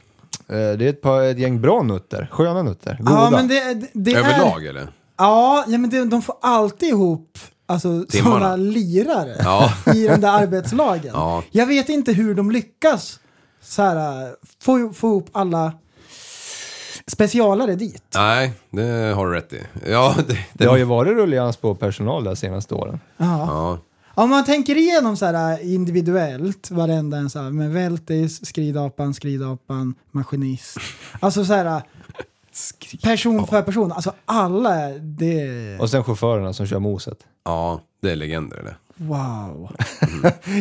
[SPEAKER 7] eh, det är ett, par, ett gäng bra nutter. Sköna nutter. Goda.
[SPEAKER 6] Ja, men det, det, det
[SPEAKER 5] Överlag
[SPEAKER 6] Är,
[SPEAKER 5] eller?
[SPEAKER 6] ja, ja, men det, de får alltid ihop alltså,
[SPEAKER 5] Timmarna.
[SPEAKER 6] sådana lirare
[SPEAKER 5] Ja.
[SPEAKER 6] (laughs) i de där arbetslagen.
[SPEAKER 5] Ja.
[SPEAKER 6] Jag vet inte hur de lyckas så här, få, få ihop alla specialare dit.
[SPEAKER 5] Nej, det har du rätt i. Ja, det, det,
[SPEAKER 7] Det har ju varit rullians på personal de senaste åren.
[SPEAKER 5] ja.
[SPEAKER 6] Om man tänker igenom så här individuellt, varenda en så här, med Veltis, skridapan, skridapan, maskinist. Alltså så här, person för person. Alltså alla, är- det är
[SPEAKER 7] Och sen chaufförerna som kör moset.
[SPEAKER 5] ja, det är legender eller? (laughs)
[SPEAKER 6] wow.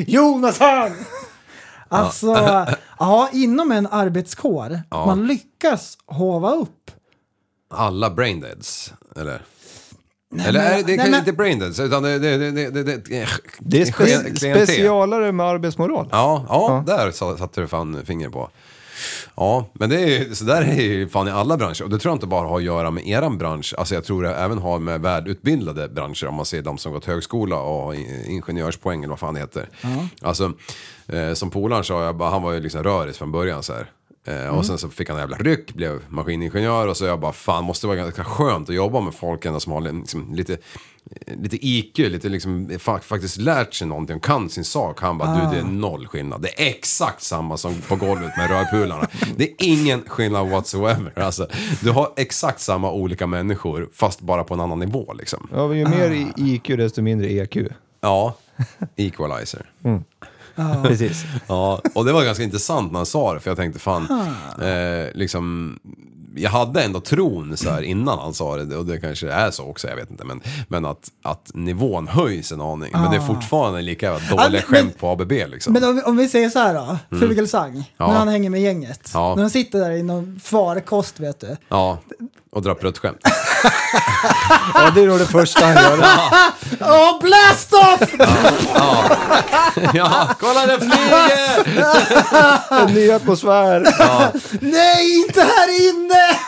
[SPEAKER 6] Jonas Hall!
[SPEAKER 5] (laughs)
[SPEAKER 6] Alltså, ja, inom en arbetskår, man lyckas hova upp.
[SPEAKER 5] Alla braindeads, eller? eller är det, det är
[SPEAKER 6] nej,
[SPEAKER 5] kanske
[SPEAKER 6] men-
[SPEAKER 5] inte braindeads, utan det, det, det, det, det, det,
[SPEAKER 7] Det är spe
[SPEAKER 5] klientel.
[SPEAKER 7] specialare med arbetsmoral.
[SPEAKER 5] Ja, ja, där sa- satte du fan fingret på. Ja, men det är, ju- så där är ju fan i alla branscher. Och det tror jag inte bara har att göra med eran bransch. Alltså jag tror det även har med välutbildade branscher. Om man ser de som gått högskola och har in- ingenjörspoäng eller vad fan det heter. Alltså, eh, som polaren sa, jag bara, han var ju liksom röris från början så här. Eh, Och sen så fick han en jävla ryck, blev maskiningenjör och så jag bara fan måste det vara ganska skönt att jobba med folk ändå som har liksom, lite, lite IQ, lite liksom fa- faktiskt lärt sig någonting och kan sin sak. Han bara du det är noll skillnad. Det är exakt samma som på golvet med rörpularna. Det är ingen skillnad whatsoever. Alltså, du har exakt samma olika människor fast bara på en annan nivå liksom.
[SPEAKER 7] Ja, ju mer i- IQ desto mindre E EQ.
[SPEAKER 5] Ja, equalizer.
[SPEAKER 7] Precis.
[SPEAKER 5] Ja, och det var ganska intressant när han sa det, för jag tänkte fan,
[SPEAKER 6] Ah.
[SPEAKER 5] eh, liksom, jag hade ändå tron så här innan han sa det, och det kanske är så också, jag vet inte, men, men att, att nivån höjs en aning. Men det är fortfarande lika jävla
[SPEAKER 6] Ah. Ja,
[SPEAKER 5] dåliga
[SPEAKER 6] men-
[SPEAKER 5] skämt på ABB liksom.
[SPEAKER 6] Men om, vi- om vi säger så här då, Fuglesang,
[SPEAKER 5] Mm. Ja.
[SPEAKER 6] när han hänger med gänget.
[SPEAKER 5] Ja.
[SPEAKER 6] När de sitter där i någon farkost vet du.
[SPEAKER 5] Ja, och dra
[SPEAKER 6] (laughs)
[SPEAKER 5] pruttskämt.
[SPEAKER 7] Ja, det är nog det första han gör.
[SPEAKER 6] Åh, blast off! (laughs)
[SPEAKER 5] ja, kolla det flyger!
[SPEAKER 7] En ny
[SPEAKER 5] (laughs)
[SPEAKER 7] atmosfär.
[SPEAKER 6] Nej, inte här inne!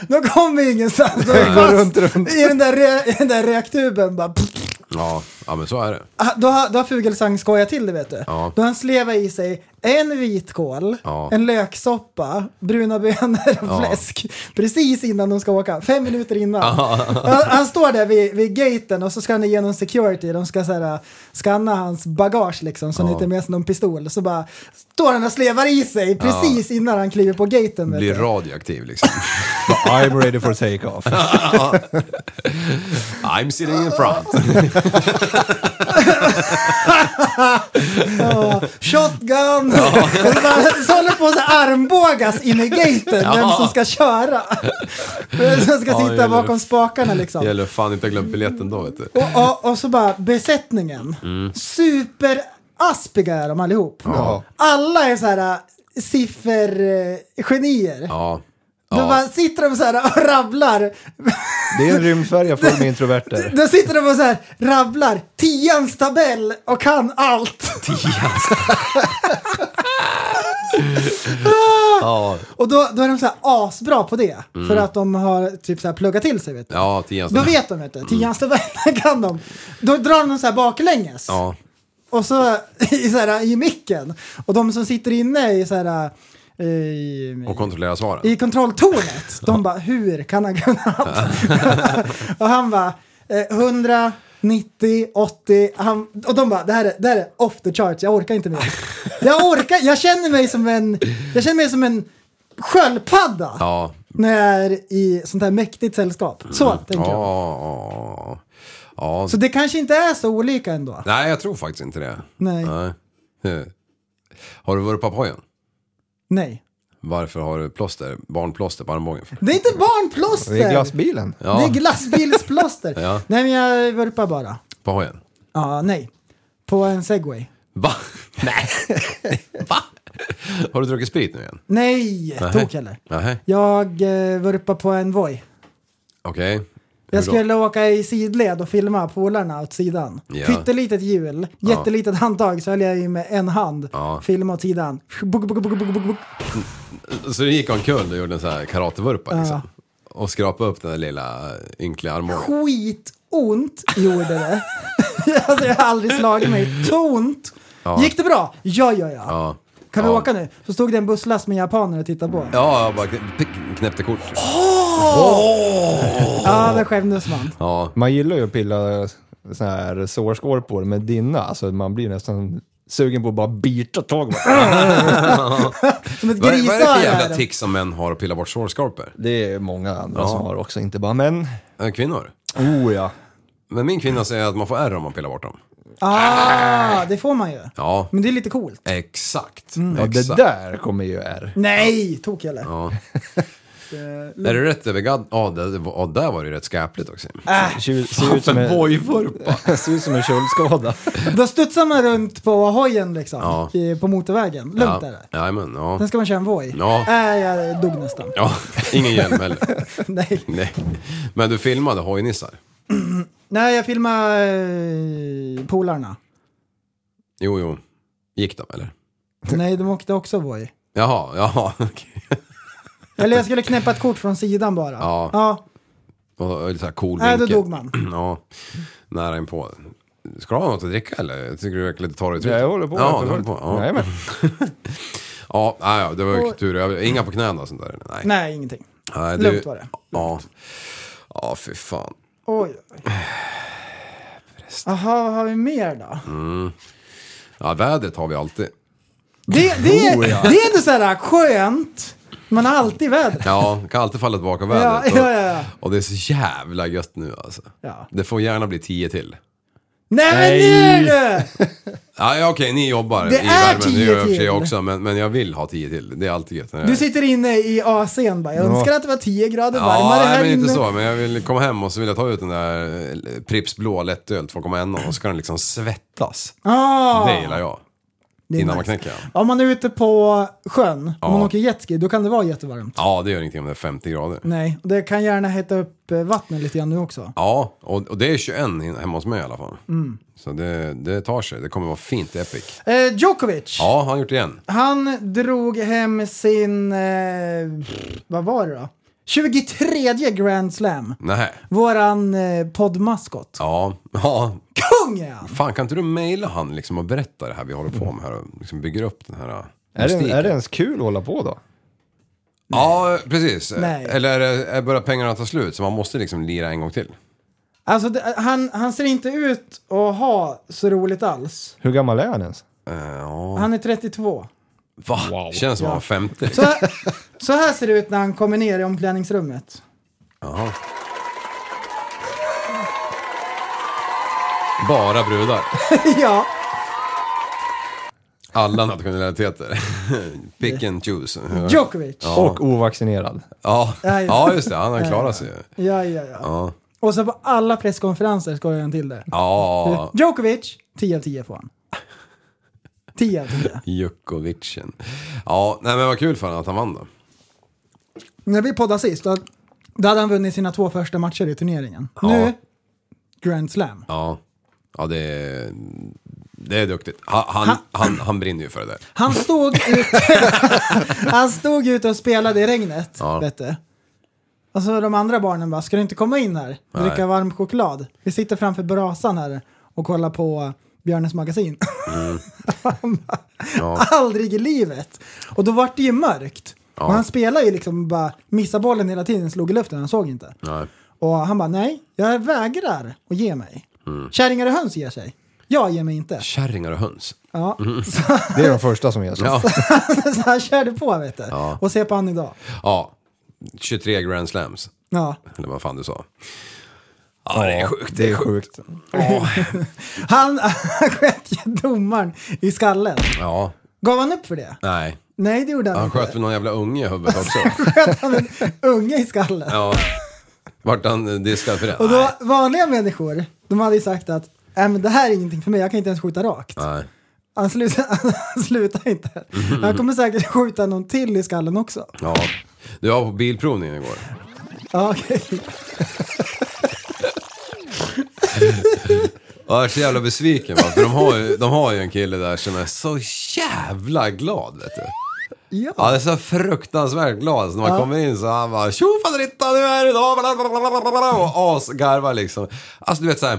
[SPEAKER 6] (laughs) De kommer
[SPEAKER 5] (laughs)
[SPEAKER 6] ingenstans. De är
[SPEAKER 7] Går
[SPEAKER 6] fast
[SPEAKER 7] runt, runt.
[SPEAKER 6] I den där, re, i den där räktuben bara.
[SPEAKER 5] Ja, ja, men så är det.
[SPEAKER 6] Ah, Då har, då har Fuglesang skojat till det vet du.
[SPEAKER 5] Ja.
[SPEAKER 6] Då har han slevat i sig en vitkål,
[SPEAKER 5] Ja.
[SPEAKER 6] en löksoppa, bruna bönor och fläsk. Precis innan de ska åka, fem minuter innan. Han, han står där vid, vid gaten och så ska han igenom security. De ska så här, scanna hans bagage liksom så han inte är med sig någon pistol. Så bara står han och slevar i sig precis innan han kliver på gaten. Vet
[SPEAKER 5] Blir
[SPEAKER 6] du.
[SPEAKER 5] radioaktiv
[SPEAKER 6] (laughs)
[SPEAKER 5] liksom.
[SPEAKER 7] I'm ready for take-off.
[SPEAKER 5] I'm sitting in front.
[SPEAKER 6] Ja, Shotgun! (laughs) så håller på att armbågas in i gaten vem som ska
[SPEAKER 5] (laughs)
[SPEAKER 6] köra. Vem som ska
[SPEAKER 5] Ja,
[SPEAKER 6] sitta
[SPEAKER 5] gäller.
[SPEAKER 6] bakom spakarna liksom.
[SPEAKER 5] Gäller fan inte ha glömt biljetten då vet du.
[SPEAKER 6] Och, och, och så bara besättningen.
[SPEAKER 5] Mm.
[SPEAKER 6] Superaspiga är de allihop. Alla är så här äh, siffergenier.
[SPEAKER 5] Ja.
[SPEAKER 6] Då bara sitter de så här och rabblar.
[SPEAKER 7] Det är en rymdfärja full med introverter.
[SPEAKER 6] Då sitter de och så här rabblar tians tabell och kan allt.
[SPEAKER 5] Ja,
[SPEAKER 6] Och då, då är de så här asbra på det.
[SPEAKER 5] Mm.
[SPEAKER 6] För att de har typ så här pluggat till sig. Vet du.
[SPEAKER 5] ja tians.
[SPEAKER 6] Då vet de inte.
[SPEAKER 5] Mm.
[SPEAKER 6] Tians tabell kan de. Då drar de så här baklänges.
[SPEAKER 5] Ja.
[SPEAKER 6] Och så (laughs) i, så här, i micken. Och de som sitter inne i så här... eh, I,
[SPEAKER 5] Och kontrollera svaren. (laughs)
[SPEAKER 6] i kontrolltornet. De bara, hur kan han kunna allt? och han bara, eh, 100, 90, 80. Han, och de bara, det här, är, det här är off the charts, jag orkar
[SPEAKER 5] (laughs)
[SPEAKER 6] inte mer. jag orkar, jag känner mig som en, jag känner mig som en sköldpadda.
[SPEAKER 5] Ja.
[SPEAKER 6] När jag är i sånt här mäktigt sällskap. Så
[SPEAKER 5] Mm.
[SPEAKER 6] tänker jag.
[SPEAKER 5] Ja, ja.
[SPEAKER 6] Så det kanske inte är så olika ändå.
[SPEAKER 5] Nej, jag tror faktiskt inte det.
[SPEAKER 6] Nej.
[SPEAKER 5] Nej. Eh. Har du varit på Apoyen?
[SPEAKER 6] Nej.
[SPEAKER 5] Varför har du plåster, barnplåster på armbågen? för?
[SPEAKER 6] Det är inte barnplåster!
[SPEAKER 7] Det är glassbilen.
[SPEAKER 6] Det är glassbilsplåster.
[SPEAKER 5] (laughs) Ja.
[SPEAKER 6] Nej men jag vurpar bara.
[SPEAKER 5] På Apoyen?
[SPEAKER 6] Ja, nej. På en segway.
[SPEAKER 5] Va? (laughs) Nej. Va? Har du druckit sprit nu igen?
[SPEAKER 6] Nej, tok heller.
[SPEAKER 5] Nej.
[SPEAKER 6] Jag eh, vurpade på en Voi.
[SPEAKER 5] Okej.
[SPEAKER 6] Jag
[SPEAKER 5] Hur då?
[SPEAKER 6] skulle åka i sidled och filma polarna åt sidan.
[SPEAKER 5] Ja.
[SPEAKER 6] Pyttelitet hjul, jättelitet handtag så höll jag i med en hand.
[SPEAKER 5] Ja.
[SPEAKER 6] Filma åt sidan. Buk, buk, buk, buk, buk, buk.
[SPEAKER 5] Så du gick omkull och gjorde en sån här karatevurpa liksom? Och skrapa upp den där lilla eh, ynkliga armbågen?
[SPEAKER 6] Skitont gjorde det. (laughs) alltså, jag har aldrig slagit mig. Så ont. Gick det bra? Ja, ja, ja.
[SPEAKER 5] Ja.
[SPEAKER 6] Kan vi
[SPEAKER 5] Ja.
[SPEAKER 6] åka nu? Så stod det en busslast med japaner och tittade på.
[SPEAKER 5] Ja, jag bara knä- pick- knäppte kort.
[SPEAKER 6] Ja, där skämdes man.
[SPEAKER 5] Ja.
[SPEAKER 7] Man gillar ju att pilla såna här sårskorpor, men dina, alltså man blir nästan sugen på att bara bita tag
[SPEAKER 5] (laughs)
[SPEAKER 7] i dem.
[SPEAKER 6] Som ett
[SPEAKER 5] Vad är, vad är det för
[SPEAKER 6] grisöra. är
[SPEAKER 5] jävla
[SPEAKER 6] de.
[SPEAKER 5] tick som män har att pilla bort sårskorpor?
[SPEAKER 7] Det är många andra som har också, inte bara män.
[SPEAKER 5] Eh, Kvinnor?
[SPEAKER 7] Oh ja.
[SPEAKER 5] Men min kvinna säger att man får ärr om man pillar bort dem.
[SPEAKER 6] Ah, det får man ju.
[SPEAKER 5] Ja,
[SPEAKER 6] Men det är lite coolt.
[SPEAKER 5] exakt.
[SPEAKER 7] Mm, ja
[SPEAKER 5] exakt.
[SPEAKER 7] det där kommer ju är.
[SPEAKER 6] Nej, tok jag eller?
[SPEAKER 5] Ja. Är det rätt över gadd? Ja, det, det var- ja, där var det ju rätt skäpligt också.
[SPEAKER 7] Ser, ser, ut som
[SPEAKER 5] För
[SPEAKER 7] en,
[SPEAKER 5] vojvurpa.
[SPEAKER 7] (laughs) ser ut som en köldskada.
[SPEAKER 6] Äh, Då studsar man runt på hojen liksom,
[SPEAKER 5] Ja.
[SPEAKER 6] i- på motorvägen. Lugnt
[SPEAKER 5] Ja,
[SPEAKER 6] är det.
[SPEAKER 5] jajamän, ja.
[SPEAKER 6] Sen ska man köra en Voi.
[SPEAKER 5] Ja.
[SPEAKER 6] Äh, jag dog nästan. (laughs)
[SPEAKER 5] ja. (laughs) Ingen hjälm heller.
[SPEAKER 6] Nej.
[SPEAKER 5] Nej. Men du filmade hojnissar?
[SPEAKER 6] Nej, jag filmade eh, polarna.
[SPEAKER 5] Jo, jo. Gick de eller?
[SPEAKER 6] (laughs) Nej, de åkte också Voi.
[SPEAKER 5] Jaha, jaha. (laughs) okej.
[SPEAKER 6] Eller jag skulle knäppa ett kort från sidan bara.
[SPEAKER 5] Ja.
[SPEAKER 6] ja.
[SPEAKER 5] Och, och så här cool
[SPEAKER 6] Nej, då
[SPEAKER 5] vinkel.
[SPEAKER 6] dog man.
[SPEAKER 5] (clears throat) Ja, nära inpå. Ska du ha något att dricka eller? Jag tycker du verkar lite torr i
[SPEAKER 7] Jag håller på.
[SPEAKER 5] Ja,
[SPEAKER 7] jag
[SPEAKER 5] du håller på. Ja.
[SPEAKER 7] Jajamän.
[SPEAKER 5] Ja, nej, ja, det var ju
[SPEAKER 6] Och-
[SPEAKER 5] tur. Jag- Inga på knäna och sånt där? Nej.
[SPEAKER 6] Nej, ingenting.
[SPEAKER 5] nej
[SPEAKER 6] lugnt var det.
[SPEAKER 5] Ja. ja, fy fan.
[SPEAKER 6] Oj. Jaha, vad har vi mer då?
[SPEAKER 5] Mm. Ja, vädret har vi alltid.
[SPEAKER 6] Det, det, är, det är ändå så här skönt. Man har alltid väder.
[SPEAKER 5] Ja, man kan alltid falla tillbaka på
[SPEAKER 6] Ja,
[SPEAKER 5] vädret.
[SPEAKER 6] ja, (laughs) ja, ja.
[SPEAKER 5] Och, och det är så jävla gött nu alltså.
[SPEAKER 6] Ja.
[SPEAKER 5] Det får gärna bli tio till.
[SPEAKER 6] Nej, men nu är det!
[SPEAKER 5] Ja, ja, okej, ni jobbar
[SPEAKER 6] Det
[SPEAKER 5] i
[SPEAKER 6] är
[SPEAKER 5] värmen. Det
[SPEAKER 6] tio
[SPEAKER 5] gör jag i och för sig
[SPEAKER 6] till.
[SPEAKER 5] också, men, men jag vill ha tio till. Det är alltid gött. när jag-
[SPEAKER 6] Du sitter inne i AC'n bara. Jag önskar att det var 10 grader
[SPEAKER 5] Ja,
[SPEAKER 6] varmare
[SPEAKER 5] nej,
[SPEAKER 6] här
[SPEAKER 5] men
[SPEAKER 6] inne.
[SPEAKER 5] inte så. Men jag vill komma hem och så vill jag ta ut den där eh, Pripps blå lättöl 2,1 och så ska den liksom svettas.
[SPEAKER 6] Ah,
[SPEAKER 5] Det gillar jag.
[SPEAKER 6] det är
[SPEAKER 5] Innan man
[SPEAKER 6] nice.
[SPEAKER 5] knäcker den.
[SPEAKER 6] Om man är ute på sjön, om man åker jetski, då kan det vara jättevarmt.
[SPEAKER 5] Ja, det gör ingenting om det är 50 grader.
[SPEAKER 6] Nej, och det kan gärna hetta upp eh, vattnet lite grann nu också.
[SPEAKER 5] Ja, och, och det är 21 in- hemma hos mig i alla fall. Så det, det tar sig. Det kommer vara fint epic.
[SPEAKER 6] Eh, Djokovic,
[SPEAKER 5] Ja, han har gjort det igen.
[SPEAKER 6] han drog hem sin, eh, vad var det då? 23 Grand Slam.
[SPEAKER 5] Nej.
[SPEAKER 6] Våran eh, poddmaskot.
[SPEAKER 5] Ja, (laughs) ja.
[SPEAKER 6] Kung är han!
[SPEAKER 5] Fan, kan inte du mejla han liksom och berätta det här vi håller på med här och liksom bygger upp den här
[SPEAKER 7] Är, det,
[SPEAKER 5] mystiken?
[SPEAKER 7] är det ens kul att hålla på då?
[SPEAKER 5] Ja, precis.
[SPEAKER 6] Nej.
[SPEAKER 5] Eller är det- är- börjar pengarna ta slut så man måste liksom lira en gång till?
[SPEAKER 6] Alltså, det, han, han ser inte ut att ha så roligt alls.
[SPEAKER 7] Hur gammal är han ens?
[SPEAKER 5] Eh, ja.
[SPEAKER 6] Han är 32.
[SPEAKER 5] Va? Känns som han var 50. (laughs)
[SPEAKER 6] Så här, så här ser det ut när han kommer ner i omklädningsrummet. (laughs)
[SPEAKER 5] Jaha. Bara brudar.
[SPEAKER 6] ja,
[SPEAKER 5] Alla nationaliteter. (laughs) Pick and choose.
[SPEAKER 6] Djokovic. Ja,
[SPEAKER 7] Och ovaccinerad.
[SPEAKER 5] Ja.
[SPEAKER 6] Nej.
[SPEAKER 5] ja, just det. Han har klarat sig.
[SPEAKER 6] ja, ja.
[SPEAKER 5] Ja.
[SPEAKER 6] Och så på alla presskonferenser skojar han till det.
[SPEAKER 5] Ja,
[SPEAKER 6] Djokovic, 10 av 10 får han. 10 av 10.
[SPEAKER 5] Jukovicen. Ja, nej men vad kul för honom att han vann då.
[SPEAKER 6] När vi poddade sist, då, då hade han vunnit sina två första matcher i turneringen.
[SPEAKER 5] Ja.
[SPEAKER 6] Nu, Grand Slam.
[SPEAKER 5] Ja, ja det, är, det är duktigt. Han, han, han, han brinner ju för det där.
[SPEAKER 6] Han stod ute, (laughs) han stod ute och spelade i regnet, vet du. Och så de andra barnen bara, ska du inte komma in här? Dricka
[SPEAKER 5] Nej.
[SPEAKER 6] varm choklad. Vi sitter framför brasan här och kollar på Björnes magasin.
[SPEAKER 5] Mm.
[SPEAKER 6] (laughs) Han bara, Aldrig i livet! Och då vart det ju mörkt. Och han spelade ju liksom bara, missade bollen hela tiden, slog i luften, han såg inte.
[SPEAKER 5] Nej.
[SPEAKER 6] Och han bara, nej, jag vägrar att ge mig.
[SPEAKER 5] Mm.
[SPEAKER 6] Kärringar och höns ger sig. Jag ger mig inte.
[SPEAKER 5] Kärringar och höns.
[SPEAKER 6] Ja.
[SPEAKER 5] Mm.
[SPEAKER 7] Det är de första som ger sig.
[SPEAKER 5] Ja.
[SPEAKER 6] (laughs) så han körde på vet du. Och se på han idag.
[SPEAKER 5] ja, 23 grand slams.
[SPEAKER 6] Ja.
[SPEAKER 5] Eller vad fan du sa. Ja, det är sjukt. Det är sjukt.
[SPEAKER 6] Han (laughs) han sköt ju domaren i skallen.
[SPEAKER 5] Ja,
[SPEAKER 6] Gav han upp för det?
[SPEAKER 5] nej.
[SPEAKER 6] Nej, det gjorde han,
[SPEAKER 5] Han
[SPEAKER 6] inte.
[SPEAKER 5] sköt väl någon jävla unge i huvudet också.
[SPEAKER 6] sköt (laughs) han en unge i skallen.
[SPEAKER 5] Ja. Vart han eh, diskad för det?
[SPEAKER 6] Och
[SPEAKER 5] Nej.
[SPEAKER 6] då, vanliga människor, de hade ju sagt att Nej, men det här är ingenting för mig, jag kan inte ens skjuta rakt.
[SPEAKER 5] Nej.
[SPEAKER 6] Han slutar, (laughs) han slutar inte.
[SPEAKER 5] Mm.
[SPEAKER 6] Han kommer säkert skjuta någon till i skallen också.
[SPEAKER 5] Ja. Du var på bilprovningen igår.
[SPEAKER 6] Ja, okej.
[SPEAKER 5] Ja, Jag är så jävla besviken va? För de har, ju, de har ju en kille där som är så jävla glad vet du.
[SPEAKER 6] Ja.
[SPEAKER 5] Han är så fruktansvärt glad. Så när man kommer in så han bara tjo faderitta nu är det dag. bla, bla, bla, bla, bla, bla, Och asgarvar liksom. Alltså du vet såhär.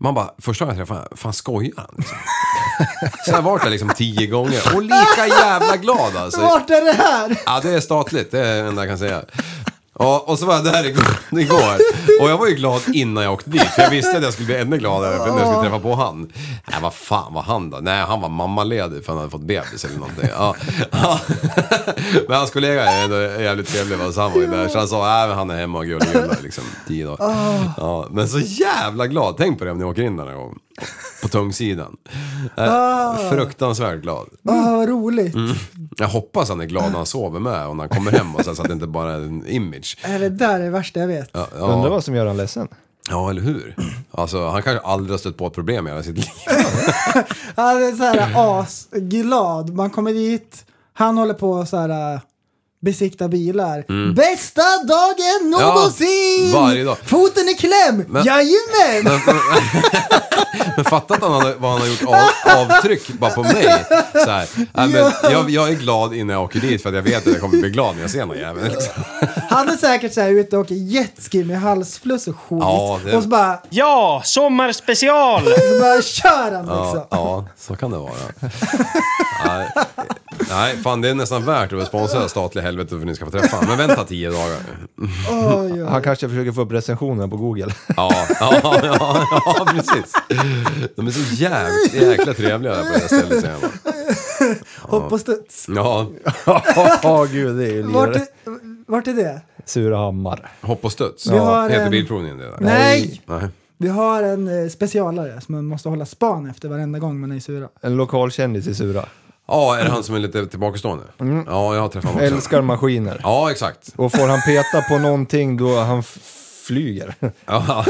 [SPEAKER 5] Man bara, första gången jag träffade honom, fan skojar han? Liksom. Så jag har varit där liksom tio gånger och lika jävla glad alltså.
[SPEAKER 6] Vart är det här?
[SPEAKER 5] Ja, det är statligt, det är det enda jag kan säga. Och, och så var jag där igår, (laughs) igår och jag var ju glad innan jag åkte dit för jag visste att jag skulle bli ännu gladare för när jag skulle träffa på han. Nej, vad fan var han då? Nej, han var mammaledig för han hade fått bebis eller någonting. Ja. Ja. (laughs) Men hans kollega är ändå jävligt trevlig va, så han var ju där. Så han sa, nej men han är hemma och gullar liksom tio dagar. Ja, men så jävla glad, tänk på det om ni åker in den här gången. På tungsidan. Eh, Fruktansvärt glad.
[SPEAKER 6] Åh, vad roligt.
[SPEAKER 5] Mm. Jag hoppas han är glad när han sover med och när han kommer hem och så så att det inte bara är en image.
[SPEAKER 6] Är det där är det värsta jag vet.
[SPEAKER 5] Ja,
[SPEAKER 7] Undrar
[SPEAKER 5] ja,
[SPEAKER 7] vad som gör honom ledsen.
[SPEAKER 5] ja, eller hur? Alltså, han kanske aldrig har stött på ett problem i hela sitt liv.
[SPEAKER 6] Han är så här asglad. Man kommer dit, han håller på och så här äh, besikta bilar. Bästa dagen någonsin!
[SPEAKER 5] Mm. varje dag.
[SPEAKER 6] Foten i kläm!
[SPEAKER 5] Men- (laughs)
[SPEAKER 6] Jajamän!
[SPEAKER 5] Men, men, Men fatta att han hade, vad han har gjort av, avtryck bara på mig. Så här. Nej, men jag, jag är glad innan jag åker dit för att jag vet att jag kommer bli glad när jag ser någon jävel. Liksom.
[SPEAKER 6] Han är säkert så här ute och åker jetski med halsfluss och skit.
[SPEAKER 5] Ja, det-
[SPEAKER 6] Och så bara, (laughs)
[SPEAKER 10] Ja, sommarspecial!
[SPEAKER 6] så bara kör han liksom.
[SPEAKER 5] Ja, ja, så kan det vara. Nej, nej, fan det är nästan värt att sponsra det här statliga helvetet för att ni ska få träffa honom. Men vänta tio dagar.
[SPEAKER 6] Oj, oj.
[SPEAKER 7] (laughs) Han kanske försöker få upp recensionerna
[SPEAKER 5] (laughs)
[SPEAKER 7] på Google.
[SPEAKER 5] Ja, ja, ja, ja precis. De är så jävligt jäkla trevliga där på det här stället. säger jag bara.
[SPEAKER 6] Hopp och studs.
[SPEAKER 5] Ja,
[SPEAKER 7] Ja, gud, det är ju
[SPEAKER 6] Vart är,
[SPEAKER 7] lirare.
[SPEAKER 6] vart är det?
[SPEAKER 7] Surahammar.
[SPEAKER 5] (laughs) hopp och studs.
[SPEAKER 6] Vi har
[SPEAKER 5] Heter
[SPEAKER 6] en-
[SPEAKER 5] bilprovningen det där?
[SPEAKER 6] Nej!
[SPEAKER 5] Nej.
[SPEAKER 6] Vi har en eh, specialare som man måste hålla span efter varenda gång man är i Sura.
[SPEAKER 7] En lokal kändis i Sura.
[SPEAKER 5] Ja, är det han som är lite tillbakastående?
[SPEAKER 6] Mm.
[SPEAKER 5] Ja, jag har träffat honom också.
[SPEAKER 7] Älskar maskiner.
[SPEAKER 5] Ja, exakt.
[SPEAKER 7] Och får han peta på någonting då han f- flyger. (laughs)
[SPEAKER 6] (laughs)
[SPEAKER 5] Ja,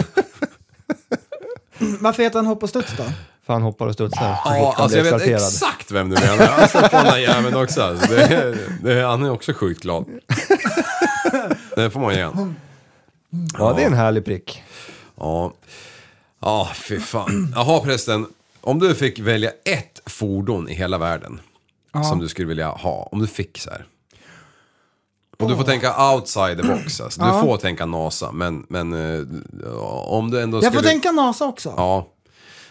[SPEAKER 6] Varför heter han Hopp och studs då?
[SPEAKER 7] För han hoppar och studsar. så
[SPEAKER 5] ja
[SPEAKER 7] fort han
[SPEAKER 5] alltså jag
[SPEAKER 7] blir
[SPEAKER 5] vet
[SPEAKER 7] exalterad.
[SPEAKER 5] exakt vem du menar. Jag har sett på den där jäveln också. alltså. Det, är- det, är- han är också sjukt glad.
[SPEAKER 6] (laughs)
[SPEAKER 5] Det får man ge han.
[SPEAKER 7] Ja, det är en härlig prick.
[SPEAKER 5] Ja, ja fy fan. Jaha förresten, om du fick välja ett fordon i hela världen som du skulle vilja ha, om du fick så här. Och du får tänka outside the box, alltså. du får tänka NASA, men, men eh, om du ändå
[SPEAKER 6] Jag
[SPEAKER 5] skulle...
[SPEAKER 6] får tänka NASA också.
[SPEAKER 5] Ja,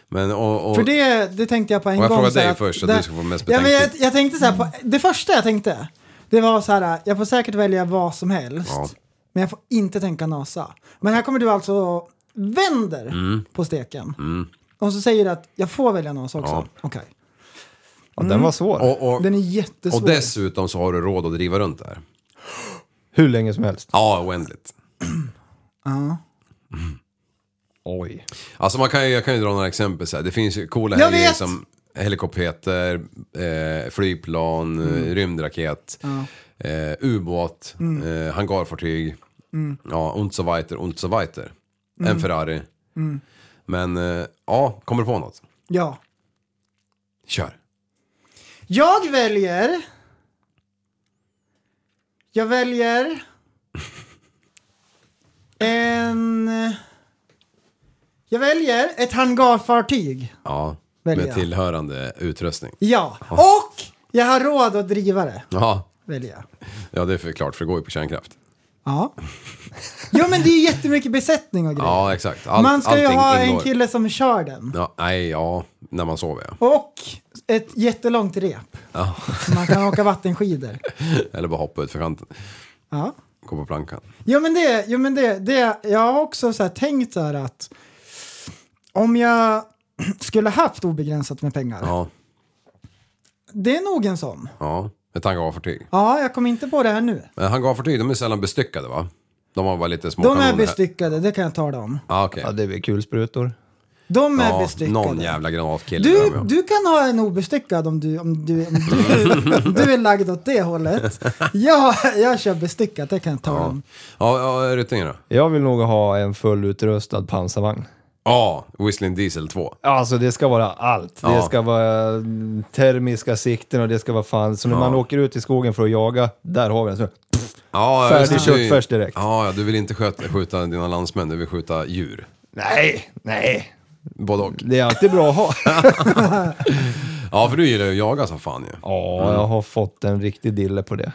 [SPEAKER 5] men och, och,
[SPEAKER 6] För det, det tänkte jag på en
[SPEAKER 5] Och jag
[SPEAKER 6] gång.
[SPEAKER 5] frågar
[SPEAKER 6] så här
[SPEAKER 5] dig
[SPEAKER 6] att-
[SPEAKER 5] först, så
[SPEAKER 6] där-
[SPEAKER 5] du ska få mest
[SPEAKER 6] ja, men jag,
[SPEAKER 5] betänketid.
[SPEAKER 6] jag tänkte så här på, det första jag tänkte, det var så här, jag får säkert välja vad som helst,
[SPEAKER 5] Ja.
[SPEAKER 6] men jag får inte tänka NASA. Men här kommer du alltså och vänder
[SPEAKER 5] Mm.
[SPEAKER 6] på steken. Och så säger du att jag får välja NASA också.
[SPEAKER 5] Ja.
[SPEAKER 6] Okej.
[SPEAKER 7] Ja, Den var svår.
[SPEAKER 5] Mm. och, och,
[SPEAKER 6] Den är
[SPEAKER 5] och
[SPEAKER 6] jättesvår.
[SPEAKER 5] dessutom så har du råd att driva runt där.
[SPEAKER 7] Hur länge som helst.
[SPEAKER 5] Ja, oändligt.
[SPEAKER 7] Oj.
[SPEAKER 5] Alltså man kan ju, jag kan ju dra några exempel så här. Det finns ju coola
[SPEAKER 6] Jag
[SPEAKER 5] grejer
[SPEAKER 6] vet!
[SPEAKER 5] som helikopter, eh, flygplan,
[SPEAKER 6] Mm.
[SPEAKER 5] eh, rymdraket, eh, ubåt, eh, hangarfartyg.
[SPEAKER 6] Mm.
[SPEAKER 5] Ja, und so weiter, und so weiter. En Ferrari.
[SPEAKER 6] Mm.
[SPEAKER 5] Men eh, ja, kommer du på något?
[SPEAKER 6] Ja.
[SPEAKER 5] Kör.
[SPEAKER 6] Jag väljer... Jag väljer... En... Jag väljer ett hangarfartyg.
[SPEAKER 5] Ja,
[SPEAKER 6] Välja.
[SPEAKER 5] med tillhörande utrustning.
[SPEAKER 6] Ja. Och jag har råd att driva det,
[SPEAKER 5] Ja,
[SPEAKER 6] väljer jag.
[SPEAKER 5] ja det är förklart för det går ju på kärnkraft.
[SPEAKER 6] Ja. Jo men det är ju jättemycket besättning och grejer.
[SPEAKER 5] Ja, exakt. Allt-
[SPEAKER 6] Man ska ju
[SPEAKER 5] allting
[SPEAKER 6] ha en
[SPEAKER 5] ingår.
[SPEAKER 6] kille som kör den.
[SPEAKER 5] Ja, nej, ja, när man sover ja.
[SPEAKER 6] Och ett jättelångt rep.
[SPEAKER 5] ja.
[SPEAKER 6] Så man kan åka vattenskidor.
[SPEAKER 5] Eller bara hoppa ut för kanten,
[SPEAKER 6] Ja.
[SPEAKER 5] gå på plankan.
[SPEAKER 6] Jo men det, jo, men det, det jag har också så här tänkt så här att om jag (clears throat) skulle haft obegränsat med pengar,
[SPEAKER 5] Ja,
[SPEAKER 6] det är nog en sån.
[SPEAKER 5] ja. Ett hangarfartyg.
[SPEAKER 6] Ja, jag kom inte på det här nu.
[SPEAKER 5] Men hangarfartyg, de är sällan bestyckade va? De har bara lite små
[SPEAKER 6] De är
[SPEAKER 5] kanoner.
[SPEAKER 6] bestyckade, det kan jag tala om.
[SPEAKER 5] Ja, okej.
[SPEAKER 7] Ja, det är väl kulsprutor.
[SPEAKER 6] De är
[SPEAKER 5] Ja,
[SPEAKER 6] bestyckade.
[SPEAKER 5] någon jävla granatkille. där
[SPEAKER 6] Du,
[SPEAKER 5] med.
[SPEAKER 6] du kan ha en obestyckad om du, om du, om
[SPEAKER 5] (laughs)
[SPEAKER 6] du, om du är lagd åt det hållet. Ja, jag kör bestyckat, det kan jag tala om.
[SPEAKER 5] Ja, ja Ryttingen då?
[SPEAKER 7] Jag vill nog ha en fullutrustad pansarvagn.
[SPEAKER 5] Ja, Whistling Diesel 2.
[SPEAKER 7] Alltså det ska vara allt.
[SPEAKER 5] Ja.
[SPEAKER 7] Det ska vara mm, termiska sikten och det ska vara fan. Så när man åker ut i skogen för att jaga, där har vi den. Så,
[SPEAKER 5] Ja,
[SPEAKER 7] Färdig
[SPEAKER 5] just det. Du-
[SPEAKER 7] köttfärs direkt.
[SPEAKER 5] Ja, ja, du vill inte skjuta, skjuta dina landsmän, du vill skjuta djur.
[SPEAKER 7] nej, nej.
[SPEAKER 5] Både och.
[SPEAKER 7] Det är alltid bra att ha. (laughs)
[SPEAKER 5] Ja, för du gillar ju att jaga som fan ju. Ja.
[SPEAKER 7] Ja, jag har fått en riktig dille på det.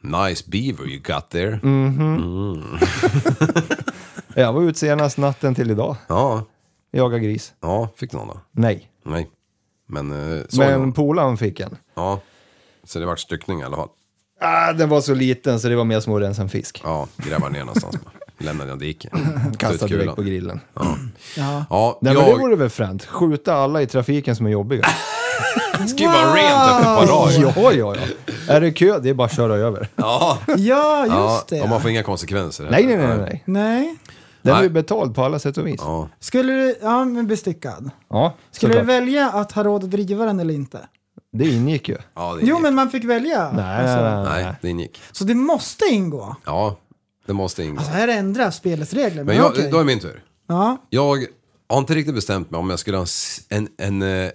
[SPEAKER 5] nice beaver you got there.
[SPEAKER 6] Mm.
[SPEAKER 7] Jag var ute senast natten till idag.
[SPEAKER 5] Ja,
[SPEAKER 7] Jaga gris.
[SPEAKER 5] ja, fick du någon då?
[SPEAKER 7] Nej.
[SPEAKER 5] Nej. Men eh, så
[SPEAKER 7] Men polaren fick en.
[SPEAKER 5] Ja. Så det vart styckning i alla fall.
[SPEAKER 7] Ah, den var så liten så det var mer som att rensa en fisk.
[SPEAKER 5] Ja, gräva ner någonstans bara. Lämna den diken.
[SPEAKER 7] (laughs)
[SPEAKER 5] Ta ut
[SPEAKER 7] Kastad direkt
[SPEAKER 5] kulan.
[SPEAKER 7] på grillen.
[SPEAKER 5] Ja,
[SPEAKER 7] Nej, men det
[SPEAKER 5] jag
[SPEAKER 7] vore väl fränt. Skjuta alla i trafiken som är jobbiga.
[SPEAKER 5] (laughs) ska ju vara rent efter ett par dagar.
[SPEAKER 7] ja, ja, ja. Är det kö, det är bara att köra över.
[SPEAKER 5] Ja,
[SPEAKER 6] Ja,
[SPEAKER 5] ja
[SPEAKER 6] just
[SPEAKER 5] och
[SPEAKER 6] det.
[SPEAKER 5] man får inga konsekvenser.
[SPEAKER 7] Nej, nej, nej, nej.
[SPEAKER 6] Nej.
[SPEAKER 7] Den är
[SPEAKER 5] Nej.
[SPEAKER 7] ju betald på alla sätt och vis.
[SPEAKER 5] Ja.
[SPEAKER 6] Skulle du, ja men bestyckad.
[SPEAKER 7] Ja,
[SPEAKER 6] Skulle
[SPEAKER 7] såklart.
[SPEAKER 6] du välja att ha råd att driva den eller inte?
[SPEAKER 7] Det ingick ju. Alltså,
[SPEAKER 5] Ja, det ingick.
[SPEAKER 6] Jo, men man fick välja. Alltså,
[SPEAKER 7] Nej, nej, nej.
[SPEAKER 5] Nej, det ingick.
[SPEAKER 6] Så det måste ingå.
[SPEAKER 5] Ja, det måste ingå.
[SPEAKER 6] Alltså här ändras spelets regler. Men,
[SPEAKER 5] Men jag,
[SPEAKER 6] okej.
[SPEAKER 5] då är min tur.
[SPEAKER 6] ja.
[SPEAKER 5] Jag har inte riktigt bestämt mig om jag skulle ha en, s- en, en eh,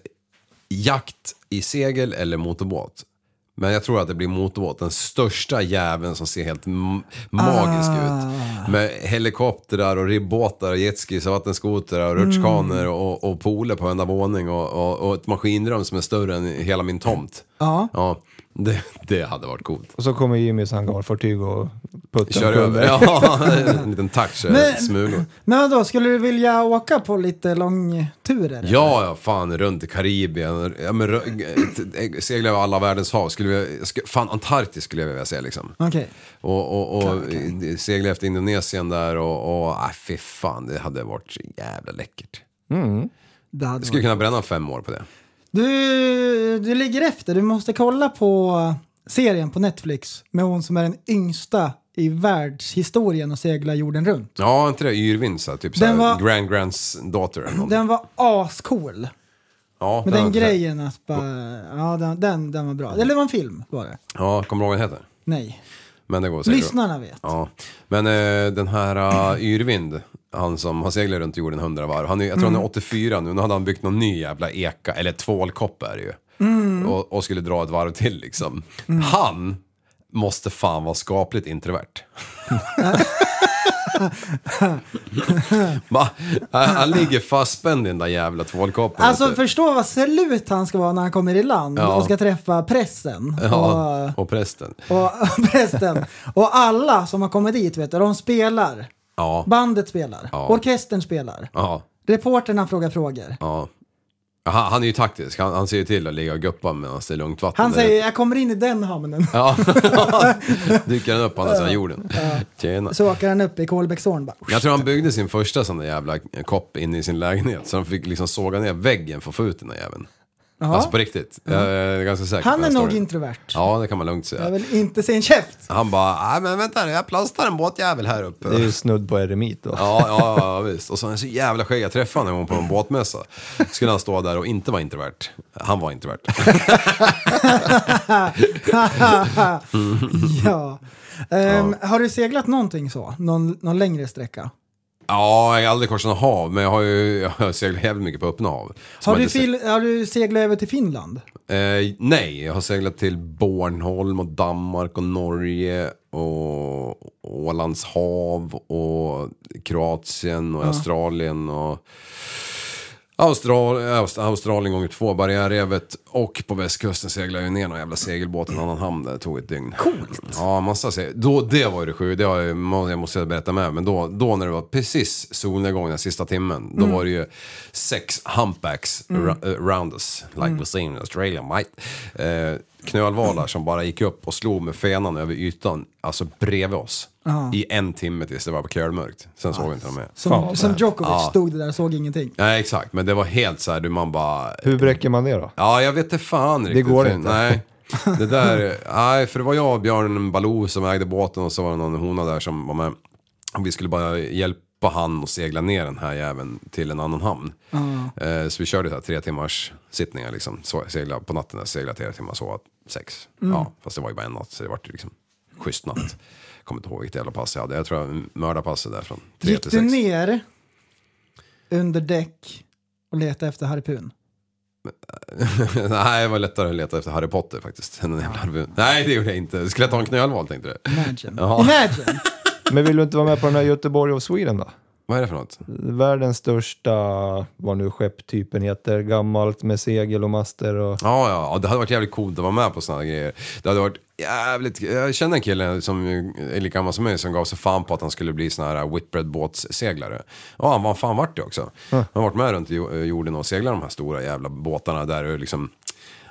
[SPEAKER 5] jakt i segel eller motorbåt. Men jag tror att det blir motorbåt, den största jäveln som ser helt m- magisk
[SPEAKER 6] Ah.
[SPEAKER 5] ut. Med helikoptrar och ribbåtar och jetskis och vattenskotrar
[SPEAKER 6] Mm.
[SPEAKER 5] och rutschkanor och, och pooler på varenda våning och, och, och ett maskinrum som är större än hela min tomt.
[SPEAKER 6] Ja.
[SPEAKER 5] ja det, det hade varit coolt.
[SPEAKER 7] Och så kommer Jimmys hangarfartyg och puttar
[SPEAKER 5] Kör
[SPEAKER 7] kunder.
[SPEAKER 5] över. Ja, en liten touch, eh, smulor.
[SPEAKER 6] Men då skulle du vilja åka på lite långturer?
[SPEAKER 5] Ja, ja, fan runt i Karibien. Ja, men, rö- t- t- segla över alla världens hav. Skulle jag, sk- fan Antarktis skulle jag vilja se liksom.
[SPEAKER 6] Okej.
[SPEAKER 5] Och, och, och eh, segla efter Indonesien där och, och ah, fy fan, det hade varit så jävla läckert.
[SPEAKER 6] Det
[SPEAKER 5] Jag
[SPEAKER 6] hade
[SPEAKER 5] skulle
[SPEAKER 6] varit.
[SPEAKER 5] kunna bränna fem år på det.
[SPEAKER 6] Du, du ligger efter, du måste kolla på serien på Netflix med hon som är den yngsta i världshistorien och segla jorden runt.
[SPEAKER 5] Ja, inte det Yrvin så här, typ så här,
[SPEAKER 6] Den var-
[SPEAKER 5] Grand Grands daughter eller någonting.
[SPEAKER 6] Den var ascool.
[SPEAKER 5] Ja,
[SPEAKER 6] Men den grejen att bara, ja den, den, den var bra. Eller det var en film var det.
[SPEAKER 5] Ja, kommer du ihåg vad den heter?
[SPEAKER 6] Nej.
[SPEAKER 5] Men det går säkert.
[SPEAKER 6] Lyssnarna vet.
[SPEAKER 5] Ja, men eh, den här uh, Yrvind, han som han seglar runt jorden hundra varv. Han är, jag tror han är
[SPEAKER 6] Mm.
[SPEAKER 5] 84 nu, nu hade han byggt någon ny jävla eka, eller tvålkopp är det ju.
[SPEAKER 6] Mm.
[SPEAKER 5] Och, och skulle dra ett varv till liksom. Han måste fan vara skapligt
[SPEAKER 6] (laughs)
[SPEAKER 5] introvert. Ma, han, han ligger fastspänd i den där jävla tvålkoppen.
[SPEAKER 6] Alltså
[SPEAKER 5] vet du.
[SPEAKER 6] förstå vad slut han ska vara när han kommer i land
[SPEAKER 5] Ja.
[SPEAKER 6] och ska träffa pressen.
[SPEAKER 5] ja, och prästen.
[SPEAKER 6] Och, (laughs) och prästen. Och alla som har kommit dit vet du, de spelar.
[SPEAKER 5] Ja,
[SPEAKER 6] Bandet spelar.
[SPEAKER 5] Ja.
[SPEAKER 6] Orkestern spelar.
[SPEAKER 5] ja,
[SPEAKER 6] Reporterna frågar frågor.
[SPEAKER 5] ja. Han, han är ju taktisk, han, han ser ju till att ligga och guppa medan det är lugnt vatten.
[SPEAKER 6] Han
[SPEAKER 5] där ute.
[SPEAKER 6] säger jag kommer in i den hamnen.
[SPEAKER 5] Ja, dyker den upp på andra sidan jorden. Tjena.
[SPEAKER 6] (laughs) Så åker han upp i Kolbäcksån. bara.
[SPEAKER 5] Jag tror han byggde sin första sån där jävla eh, kopp inne i sin lägenhet så han fick liksom såga ner väggen för att få ut den där jäveln. Alltså på riktigt, jag är ganska säker på
[SPEAKER 6] Han är
[SPEAKER 5] den
[SPEAKER 6] nog
[SPEAKER 5] storyn.
[SPEAKER 6] introvert.
[SPEAKER 5] Ja, det kan man lugnt
[SPEAKER 6] Jag
[SPEAKER 5] säga.
[SPEAKER 6] vill inte se en käft. (laughs)
[SPEAKER 5] Han bara, nej men vänta nu, jag plastar en båtjävel här uppe.
[SPEAKER 7] Det är ju snudd på eremit då.
[SPEAKER 5] Ja, ja, ja, visst. Och så är han så jävla skygg. Jag träffade honom en gång på en båtmässa. Skulle han stå där och inte vara introvert. Han var introvert. (laughs)
[SPEAKER 6] Ja. Ehm, Har du seglat någonting så? Någon, någon längre sträcka?
[SPEAKER 5] Ja, jag har aldrig korsat något hav, men jag har ju jag har seglat jävligt mycket på öppna hav. Som jag
[SPEAKER 6] Har du,
[SPEAKER 5] inte sett.
[SPEAKER 6] fil- har du seglat över till Finland?
[SPEAKER 5] Eh, nej, jag har seglat till Bornholm och Danmark och Norge och Ålands hav och Kroatien och Australien och Austral Aust- Australien gånger två, Barriärrevet och på västkusten seglade jag ju ner någon jävla segelbåt i en annan hamn där det tog ett dygn. Coolt! Ja, massa seg- då, Det var ju det sjuka, det har jag, må- jag måste berätta med, men då, då när det var precis solnedgång den sista timmen, då var det ju sex humpbacks ra- eh, around us, like we see in Australia mate. Eh, knölvalar som bara gick upp och slog med fenan över ytan, alltså bredvid oss. I en timme tills det var kölmörkt. Sen såg vi inte dem mer.
[SPEAKER 7] Fan,
[SPEAKER 6] Som,
[SPEAKER 7] vad
[SPEAKER 6] som
[SPEAKER 7] härligt.
[SPEAKER 6] Djokovic stod det där och såg ingenting.
[SPEAKER 5] Nej exakt, men det var helt så här, du man bara...
[SPEAKER 7] Hur bräcker man det då?
[SPEAKER 5] Ja, jag vet inte fan riktigt.
[SPEAKER 7] går
[SPEAKER 5] för-
[SPEAKER 7] inte.
[SPEAKER 6] (laughs)
[SPEAKER 5] Nej. Det där, nej, för det var jag och Björn Baloo som ägde båten och så var det någon hona där som var med. Och vi skulle bara hjälpa han att segla ner den här jäveln till en annan hamn. Eh, så vi körde så här tre timmars sittningar liksom. Så, segla, på natten där, segla tre timmar, sova sex.
[SPEAKER 6] Mm.
[SPEAKER 5] Ja, fast det var ju bara en natt så det var ju liksom schysst natt. Kommer inte ihåg vilket jävla pass jag hade. Jag tror jag mördade passet där från tre
[SPEAKER 6] Gick
[SPEAKER 5] till
[SPEAKER 6] du
[SPEAKER 5] sex.
[SPEAKER 6] ner under däck och letade efter harpun?
[SPEAKER 5] (laughs) Nej, det var lättare att leta efter Harry Potter faktiskt. Än en jävla harpun. (laughs) Nej, det gjorde jag inte. Skulle jag ta en knölval tänkte du?
[SPEAKER 6] Imagine.
[SPEAKER 5] Ja. (laughs)
[SPEAKER 6] Imagine!
[SPEAKER 7] Men vill du inte vara med på den här Göteborg of Sweden då?
[SPEAKER 5] Vad är det för något?
[SPEAKER 7] Världens största, vad nu skepptypen heter, gammalt med segel och master och...
[SPEAKER 5] Ja, ja, ja, det hade varit jävligt coolt att vara med på sådana grejer. Det hade varit jävligt... Jag känner en kille som ju är lika gammal som mig som gav sig fan på att han skulle bli sån här whitbread båtsseglare. Ja, han var fan vart det också. Han har varit med runt jo- jorden och seglat de här stora jävla båtarna där du liksom...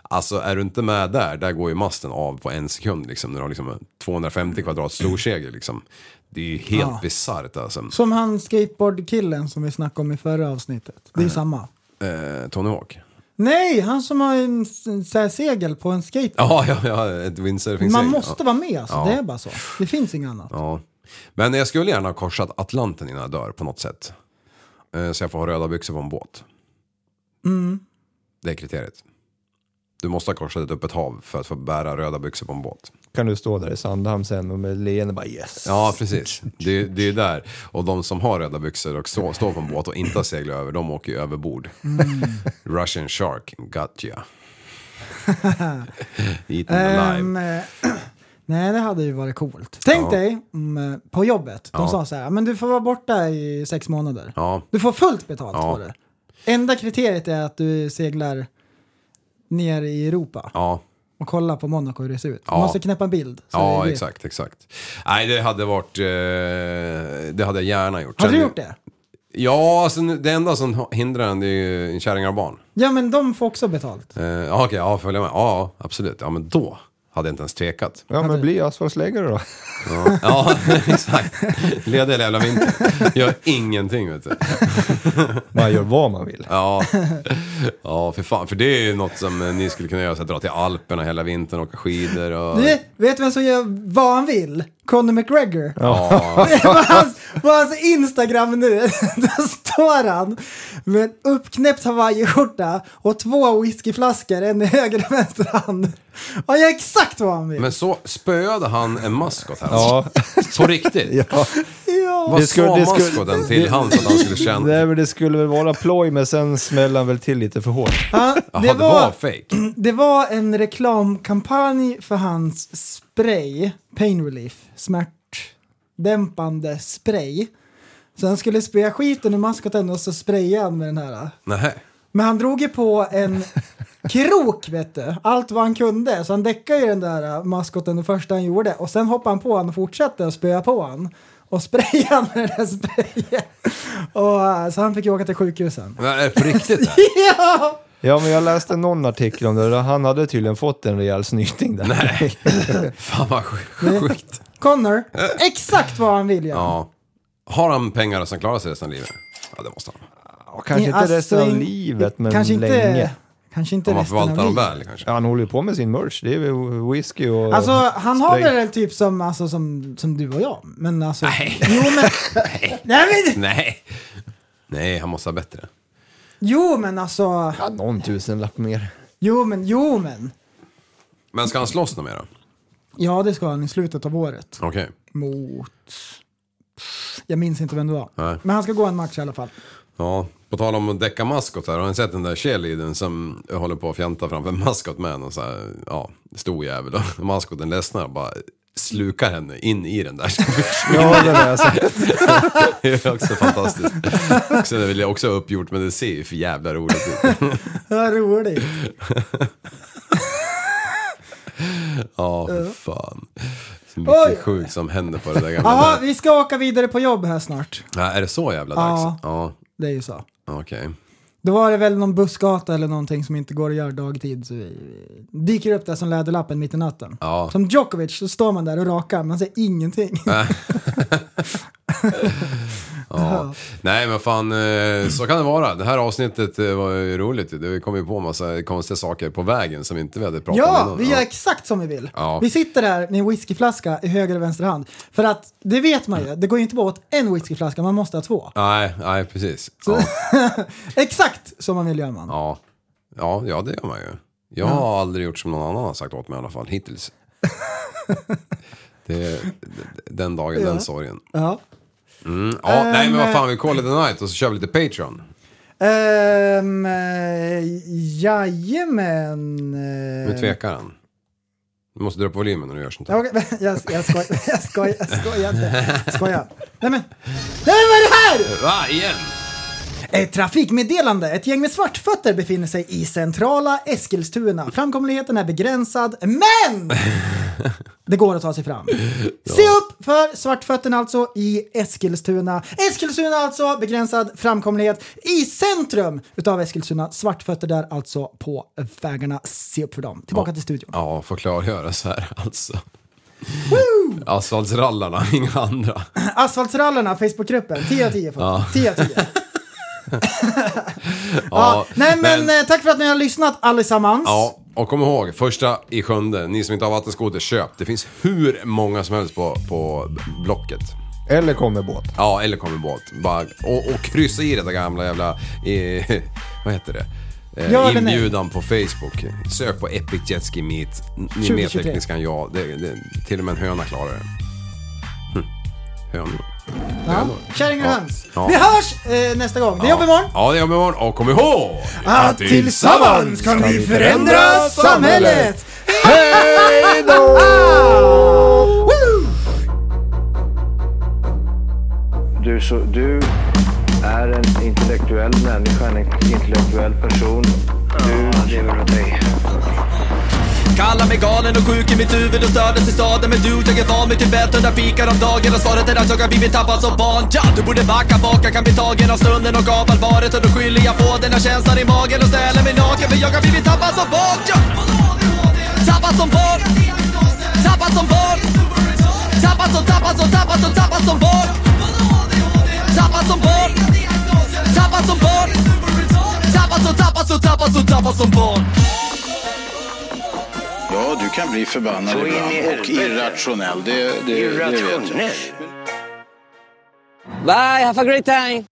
[SPEAKER 5] Alltså är du inte med där, där går ju masten av på en sekund liksom. När du har liksom en 250 kvadrat
[SPEAKER 6] Mm.
[SPEAKER 5] storsegel liksom. Det är ju helt
[SPEAKER 6] Ah.
[SPEAKER 5] bisarrt alltså.
[SPEAKER 6] Som han skateboardkillen som vi snackade om i förra avsnittet.
[SPEAKER 5] Mm.
[SPEAKER 6] Det är ju samma.
[SPEAKER 5] Eh, Tony Hawk.
[SPEAKER 6] Nej, han som har en s- så här segel på en skateboard.
[SPEAKER 5] Ja, ja, ja, ett windsurfing
[SPEAKER 6] Man måste vara med alltså.
[SPEAKER 5] Ja.
[SPEAKER 6] Det är bara så. Det finns inget annat.
[SPEAKER 5] Ja. Men jag skulle gärna ha korsat Atlanten innan jag dör på något sätt. Eh, Så jag får ha röda byxor på en båt. Mm. Det är kriteriet. Du måste ha korsat ett öppet hav för att få bära röda byxor på en båt.
[SPEAKER 7] Kan du stå där i Sandhamn sen och med leende bara yes.
[SPEAKER 5] Ja, precis. Det, är- det är ju där. Och de som har röda byxor och står står på en båt och inte Mm. (laughs) har seglat över, de åker ju överbord. Russian shark, got ya. Eaten alive.
[SPEAKER 6] Ehm, eh, (clears throat) nej, det hade ju varit coolt. Tänk dig om, eh, på jobbet, de
[SPEAKER 5] Ja.
[SPEAKER 6] sa så här, men du får vara borta i sex månader.
[SPEAKER 5] Ja.
[SPEAKER 6] Du får fullt betalt
[SPEAKER 5] Ja.
[SPEAKER 6] för det. Enda kriteriet är att du seglar ner i Europa
[SPEAKER 5] Ja,
[SPEAKER 6] och kollar på Monaco hur det ser ut. Du
[SPEAKER 5] Ja.
[SPEAKER 6] måste knäppa en bild. så är
[SPEAKER 5] ja
[SPEAKER 6] det-
[SPEAKER 5] exakt, exakt. Nej, det hade varit... Eh, det hade jag gärna gjort.
[SPEAKER 6] Har
[SPEAKER 5] Sen-
[SPEAKER 6] du gjort det?
[SPEAKER 5] Ja, alltså, nu- det enda som hindrar en det är ju kärringar och barn.
[SPEAKER 6] Ja, men de får också betalt.
[SPEAKER 5] Eh, ja, Okej, ja, följa med. Ja, absolut. Ja, men då hade jag inte ens tvekat.
[SPEAKER 7] Ja,
[SPEAKER 6] Alltså-
[SPEAKER 7] men bli asfaltsläggare
[SPEAKER 6] (laughs)
[SPEAKER 7] då.
[SPEAKER 5] Ja, (laughs) ja exakt. Ledig hela jävla vintern. Gör ingenting, vet du.
[SPEAKER 7] Man gör vad man vill.
[SPEAKER 5] Ja, ja för fan. För det är ju något som eh, ni skulle kunna göra, så att dra till Alperna hela vintern och åka skidor och...
[SPEAKER 6] Du, Eh, vet du vem som gör vad han vill? Conor McGregor. (laughs)
[SPEAKER 5] Ja,
[SPEAKER 6] på, hans, på hans Instagram nu, (laughs) där står han med en uppknäppt hawaiiskjorta och två whiskyflaskor, en i höger och vänster hand. Han gör exakt vad han vill.
[SPEAKER 5] men så spöade han en maskot här.
[SPEAKER 6] (laughs)
[SPEAKER 7] Ja,
[SPEAKER 5] På riktigt?
[SPEAKER 7] (laughs) ja.
[SPEAKER 6] ja.
[SPEAKER 5] Vad
[SPEAKER 7] Det skulle-
[SPEAKER 5] sa
[SPEAKER 7] det skulle-
[SPEAKER 5] maskoten till han så att han skulle känna?
[SPEAKER 7] Nej, men det skulle väl vara ploj, men sen smällde han väl till lite för hårt.
[SPEAKER 6] Ja,
[SPEAKER 5] Jaha,
[SPEAKER 6] det, var,
[SPEAKER 5] fake.
[SPEAKER 6] det var en reklamkampanj för hans spray, pain relief, smärtdämpande spray. Så han skulle spraya skiten ur maskoten och så sprayade han med den här.
[SPEAKER 5] Nej.
[SPEAKER 6] Men han drog ju på en krok vet du, allt vad han kunde. Så han däckade ju den där äh, maskoten det första han gjorde och sen hoppade han på han och fortsatte att spöa på han. Och sprayade han med den där sprayen. Och, äh, så han fick ju åka till sjukhusen.
[SPEAKER 5] Men är det på
[SPEAKER 6] (laughs)
[SPEAKER 5] riktigt? här?
[SPEAKER 6] Ja!
[SPEAKER 7] Ja, men jag läste någon artikel om det. där Han hade tydligen fått en rejäl snyting där. (laughs) Nej.
[SPEAKER 5] Fan vad sj- sjukt.
[SPEAKER 6] Connor, exakt vad han vill göra.
[SPEAKER 5] Ja. Har han pengar som klarar sig resten av livet? Ja, det måste han.
[SPEAKER 7] Kanske inte
[SPEAKER 6] Alltså,
[SPEAKER 7] resten av
[SPEAKER 6] in-
[SPEAKER 7] livet, men
[SPEAKER 6] kanske inte,
[SPEAKER 7] länge.
[SPEAKER 6] Kanske inte
[SPEAKER 5] Om man
[SPEAKER 6] resten av
[SPEAKER 5] förvaltar dem
[SPEAKER 6] livet.
[SPEAKER 5] väl kanske.
[SPEAKER 7] Ja, han håller ju på med sin merch. Det är ju whisky och...
[SPEAKER 6] Alltså han har
[SPEAKER 7] spray.
[SPEAKER 6] väl typ som, alltså, som, som du och jag. Men alltså... Nej. Jo men... Nej, men,
[SPEAKER 5] Nej. Nej, han måste ha bättre.
[SPEAKER 6] jo men alltså...
[SPEAKER 7] Ja, någon tusenlapp mer.
[SPEAKER 6] Jo men, jo men.
[SPEAKER 5] Men ska han slåss något mer då?
[SPEAKER 6] Ja, det ska han i slutet av året.
[SPEAKER 5] Okej.
[SPEAKER 6] Mot... Jag minns inte vem det var.
[SPEAKER 5] Nej.
[SPEAKER 6] Men han ska gå en match i alla fall.
[SPEAKER 5] Ja, på tal om att däcka maskot här. Har ni sett den där cheerleadern som håller på att fjanta framför maskot med en och så här, ja, stor jävel. Och maskoten ledsnar och bara slukar henne in i den där. (laughs)
[SPEAKER 7] Ja, det har jag sett.
[SPEAKER 5] Det är också fantastiskt. Också, det vill jag också ha uppgjort, men det ser ju för jävla roligt ut.
[SPEAKER 6] Vad roligt.
[SPEAKER 5] Ja, för fan. Så
[SPEAKER 6] Oj.
[SPEAKER 5] mycket sjukt som händer på det där gamla
[SPEAKER 6] Jaha,
[SPEAKER 5] nätet.
[SPEAKER 6] vi ska åka vidare på jobb här snart.
[SPEAKER 5] ja, Är det så jävla
[SPEAKER 6] Ja.
[SPEAKER 5] dags? Ja.
[SPEAKER 6] Det är ju så.
[SPEAKER 5] Okej.
[SPEAKER 6] Då var det väl någon bussgata eller någonting som inte går att göra dagtid. Så vi vi dyker upp där som läderlappen mitt i natten.
[SPEAKER 5] Ja.
[SPEAKER 6] Som Djokovic så står man där och rakar, man säger ingenting.
[SPEAKER 5] Ja. Nej men fan, eh, så kan det vara. Det här avsnittet eh, var ju roligt. ju. Det kom ju på en massa konstiga saker på vägen som inte vi hade pratat om
[SPEAKER 6] (laughs) Ja,
[SPEAKER 5] innan.
[SPEAKER 6] vi gör exakt som vi vill.
[SPEAKER 5] Ja.
[SPEAKER 6] Vi sitter här med en whiskyflaska i höger och vänster hand. För att det vet man ju, det går ju inte bara åt en whiskyflaska, man måste ha två.
[SPEAKER 5] Nej, nej precis. Ja.
[SPEAKER 6] Exakt som man vill göra man.
[SPEAKER 5] Ja. Ja, ja, det gör man ju. Jag har aldrig gjort som någon annan har sagt åt mig i alla fall,
[SPEAKER 6] (laughs)
[SPEAKER 5] hittills. det, d- d- den dagen, den sorgen.
[SPEAKER 6] Ja.
[SPEAKER 5] Mm, ja, nej men vad
[SPEAKER 6] Ehm,
[SPEAKER 5] fan, vi call it a night och så kör vi lite Patreon.
[SPEAKER 6] Ehm, eh, jajamän.
[SPEAKER 5] Nu
[SPEAKER 6] eh,
[SPEAKER 5] tvekar han. Du måste dra upp volymen när du gör sånt här.
[SPEAKER 6] Ja, okej, (laughs) jag, jag skojar, jag skojar, jag skojar inte.
[SPEAKER 5] (laughs)
[SPEAKER 6] Skojar. Nej men, nej men vad är det här?
[SPEAKER 5] Va, igen?
[SPEAKER 6] Ett trafikmeddelande. Ett gäng med svartfötter befinner sig i centrala Eskilstuna. Framkomligheten är begränsad,
[SPEAKER 5] (laughs)
[SPEAKER 6] men det går att ta sig fram. Se upp för svartfötterna alltså i Eskilstuna. Eskilstuna alltså, begränsad framkomlighet i centrum utav Eskilstuna. Svartfötter där alltså på vägarna. Se upp för dem. Tillbaka till studion.
[SPEAKER 5] Ja, får klargöras här alltså. Asfaltsrallarna, (laughs) inga andra.
[SPEAKER 6] Asfaltsrallarna, Facebookgruppen. 10 av 10
[SPEAKER 5] Ja.
[SPEAKER 6] folk. 10 av
[SPEAKER 5] (laughs)
[SPEAKER 6] (laughs) 10. Ja, nej men, eh, tack för att ni har lyssnat allesammans.
[SPEAKER 5] Ja, och kom ihåg, första i sjunde, ni som inte har vattenskoter, köp. Det finns hur många som helst på, på Blocket.
[SPEAKER 7] Eller kommer båt.
[SPEAKER 5] Ja, eller kom i båt. Bara, och, och kryssa i det där gamla jävla, eh, (laughs) vad heter det? Eh,
[SPEAKER 6] Ja eller nej?
[SPEAKER 5] inbjudan på Facebook. Sök på Epic Jetski Meet. Ni är mer
[SPEAKER 6] 2023.
[SPEAKER 5] Hm. tekniska än jag. Det, det, till och med en höna klarar det. Hönor.
[SPEAKER 6] Ja. Kärringar och
[SPEAKER 5] Ja.
[SPEAKER 6] höns.
[SPEAKER 5] Ja.
[SPEAKER 6] Vi hörs eh, nästa gång. Det är jobb imorgon.
[SPEAKER 5] Ja, det gör vi imorgon. Och kom ihåg
[SPEAKER 6] Att tillsammans kan vi förändra samhället!
[SPEAKER 5] Hej då!
[SPEAKER 6] (laughs) Woo!
[SPEAKER 7] Du, så, du är en intellektuell människa, en intellektuell person. Du lever av dig.
[SPEAKER 8] Kallar mig galen och sjuk i mitt huvud och stördes i staden Men du, jag är van vid Tibet och där fikar om dagen Och svaret är att jag har blivit tappad som barn ja! Du borde backa bak, jag kan bli tagen av stunden och av allvaret Och då skyller jag på den här känslan i magen och ställer mig naken För jag har blivit tappad som barn ja! Tappad som barn Tappad som barn Tappad som, tappad som, tappad som, tappad som barn Tappad som barn Tappad som barn Tappad som, tappad som, tappad som, tappad som barn
[SPEAKER 2] Ja, du kan bli förbannad
[SPEAKER 7] Så in i
[SPEAKER 2] ibland och
[SPEAKER 7] helvete.
[SPEAKER 2] irrationell. Det, det, det vet jag.
[SPEAKER 7] Irrationell.
[SPEAKER 8] Bye, have a great time!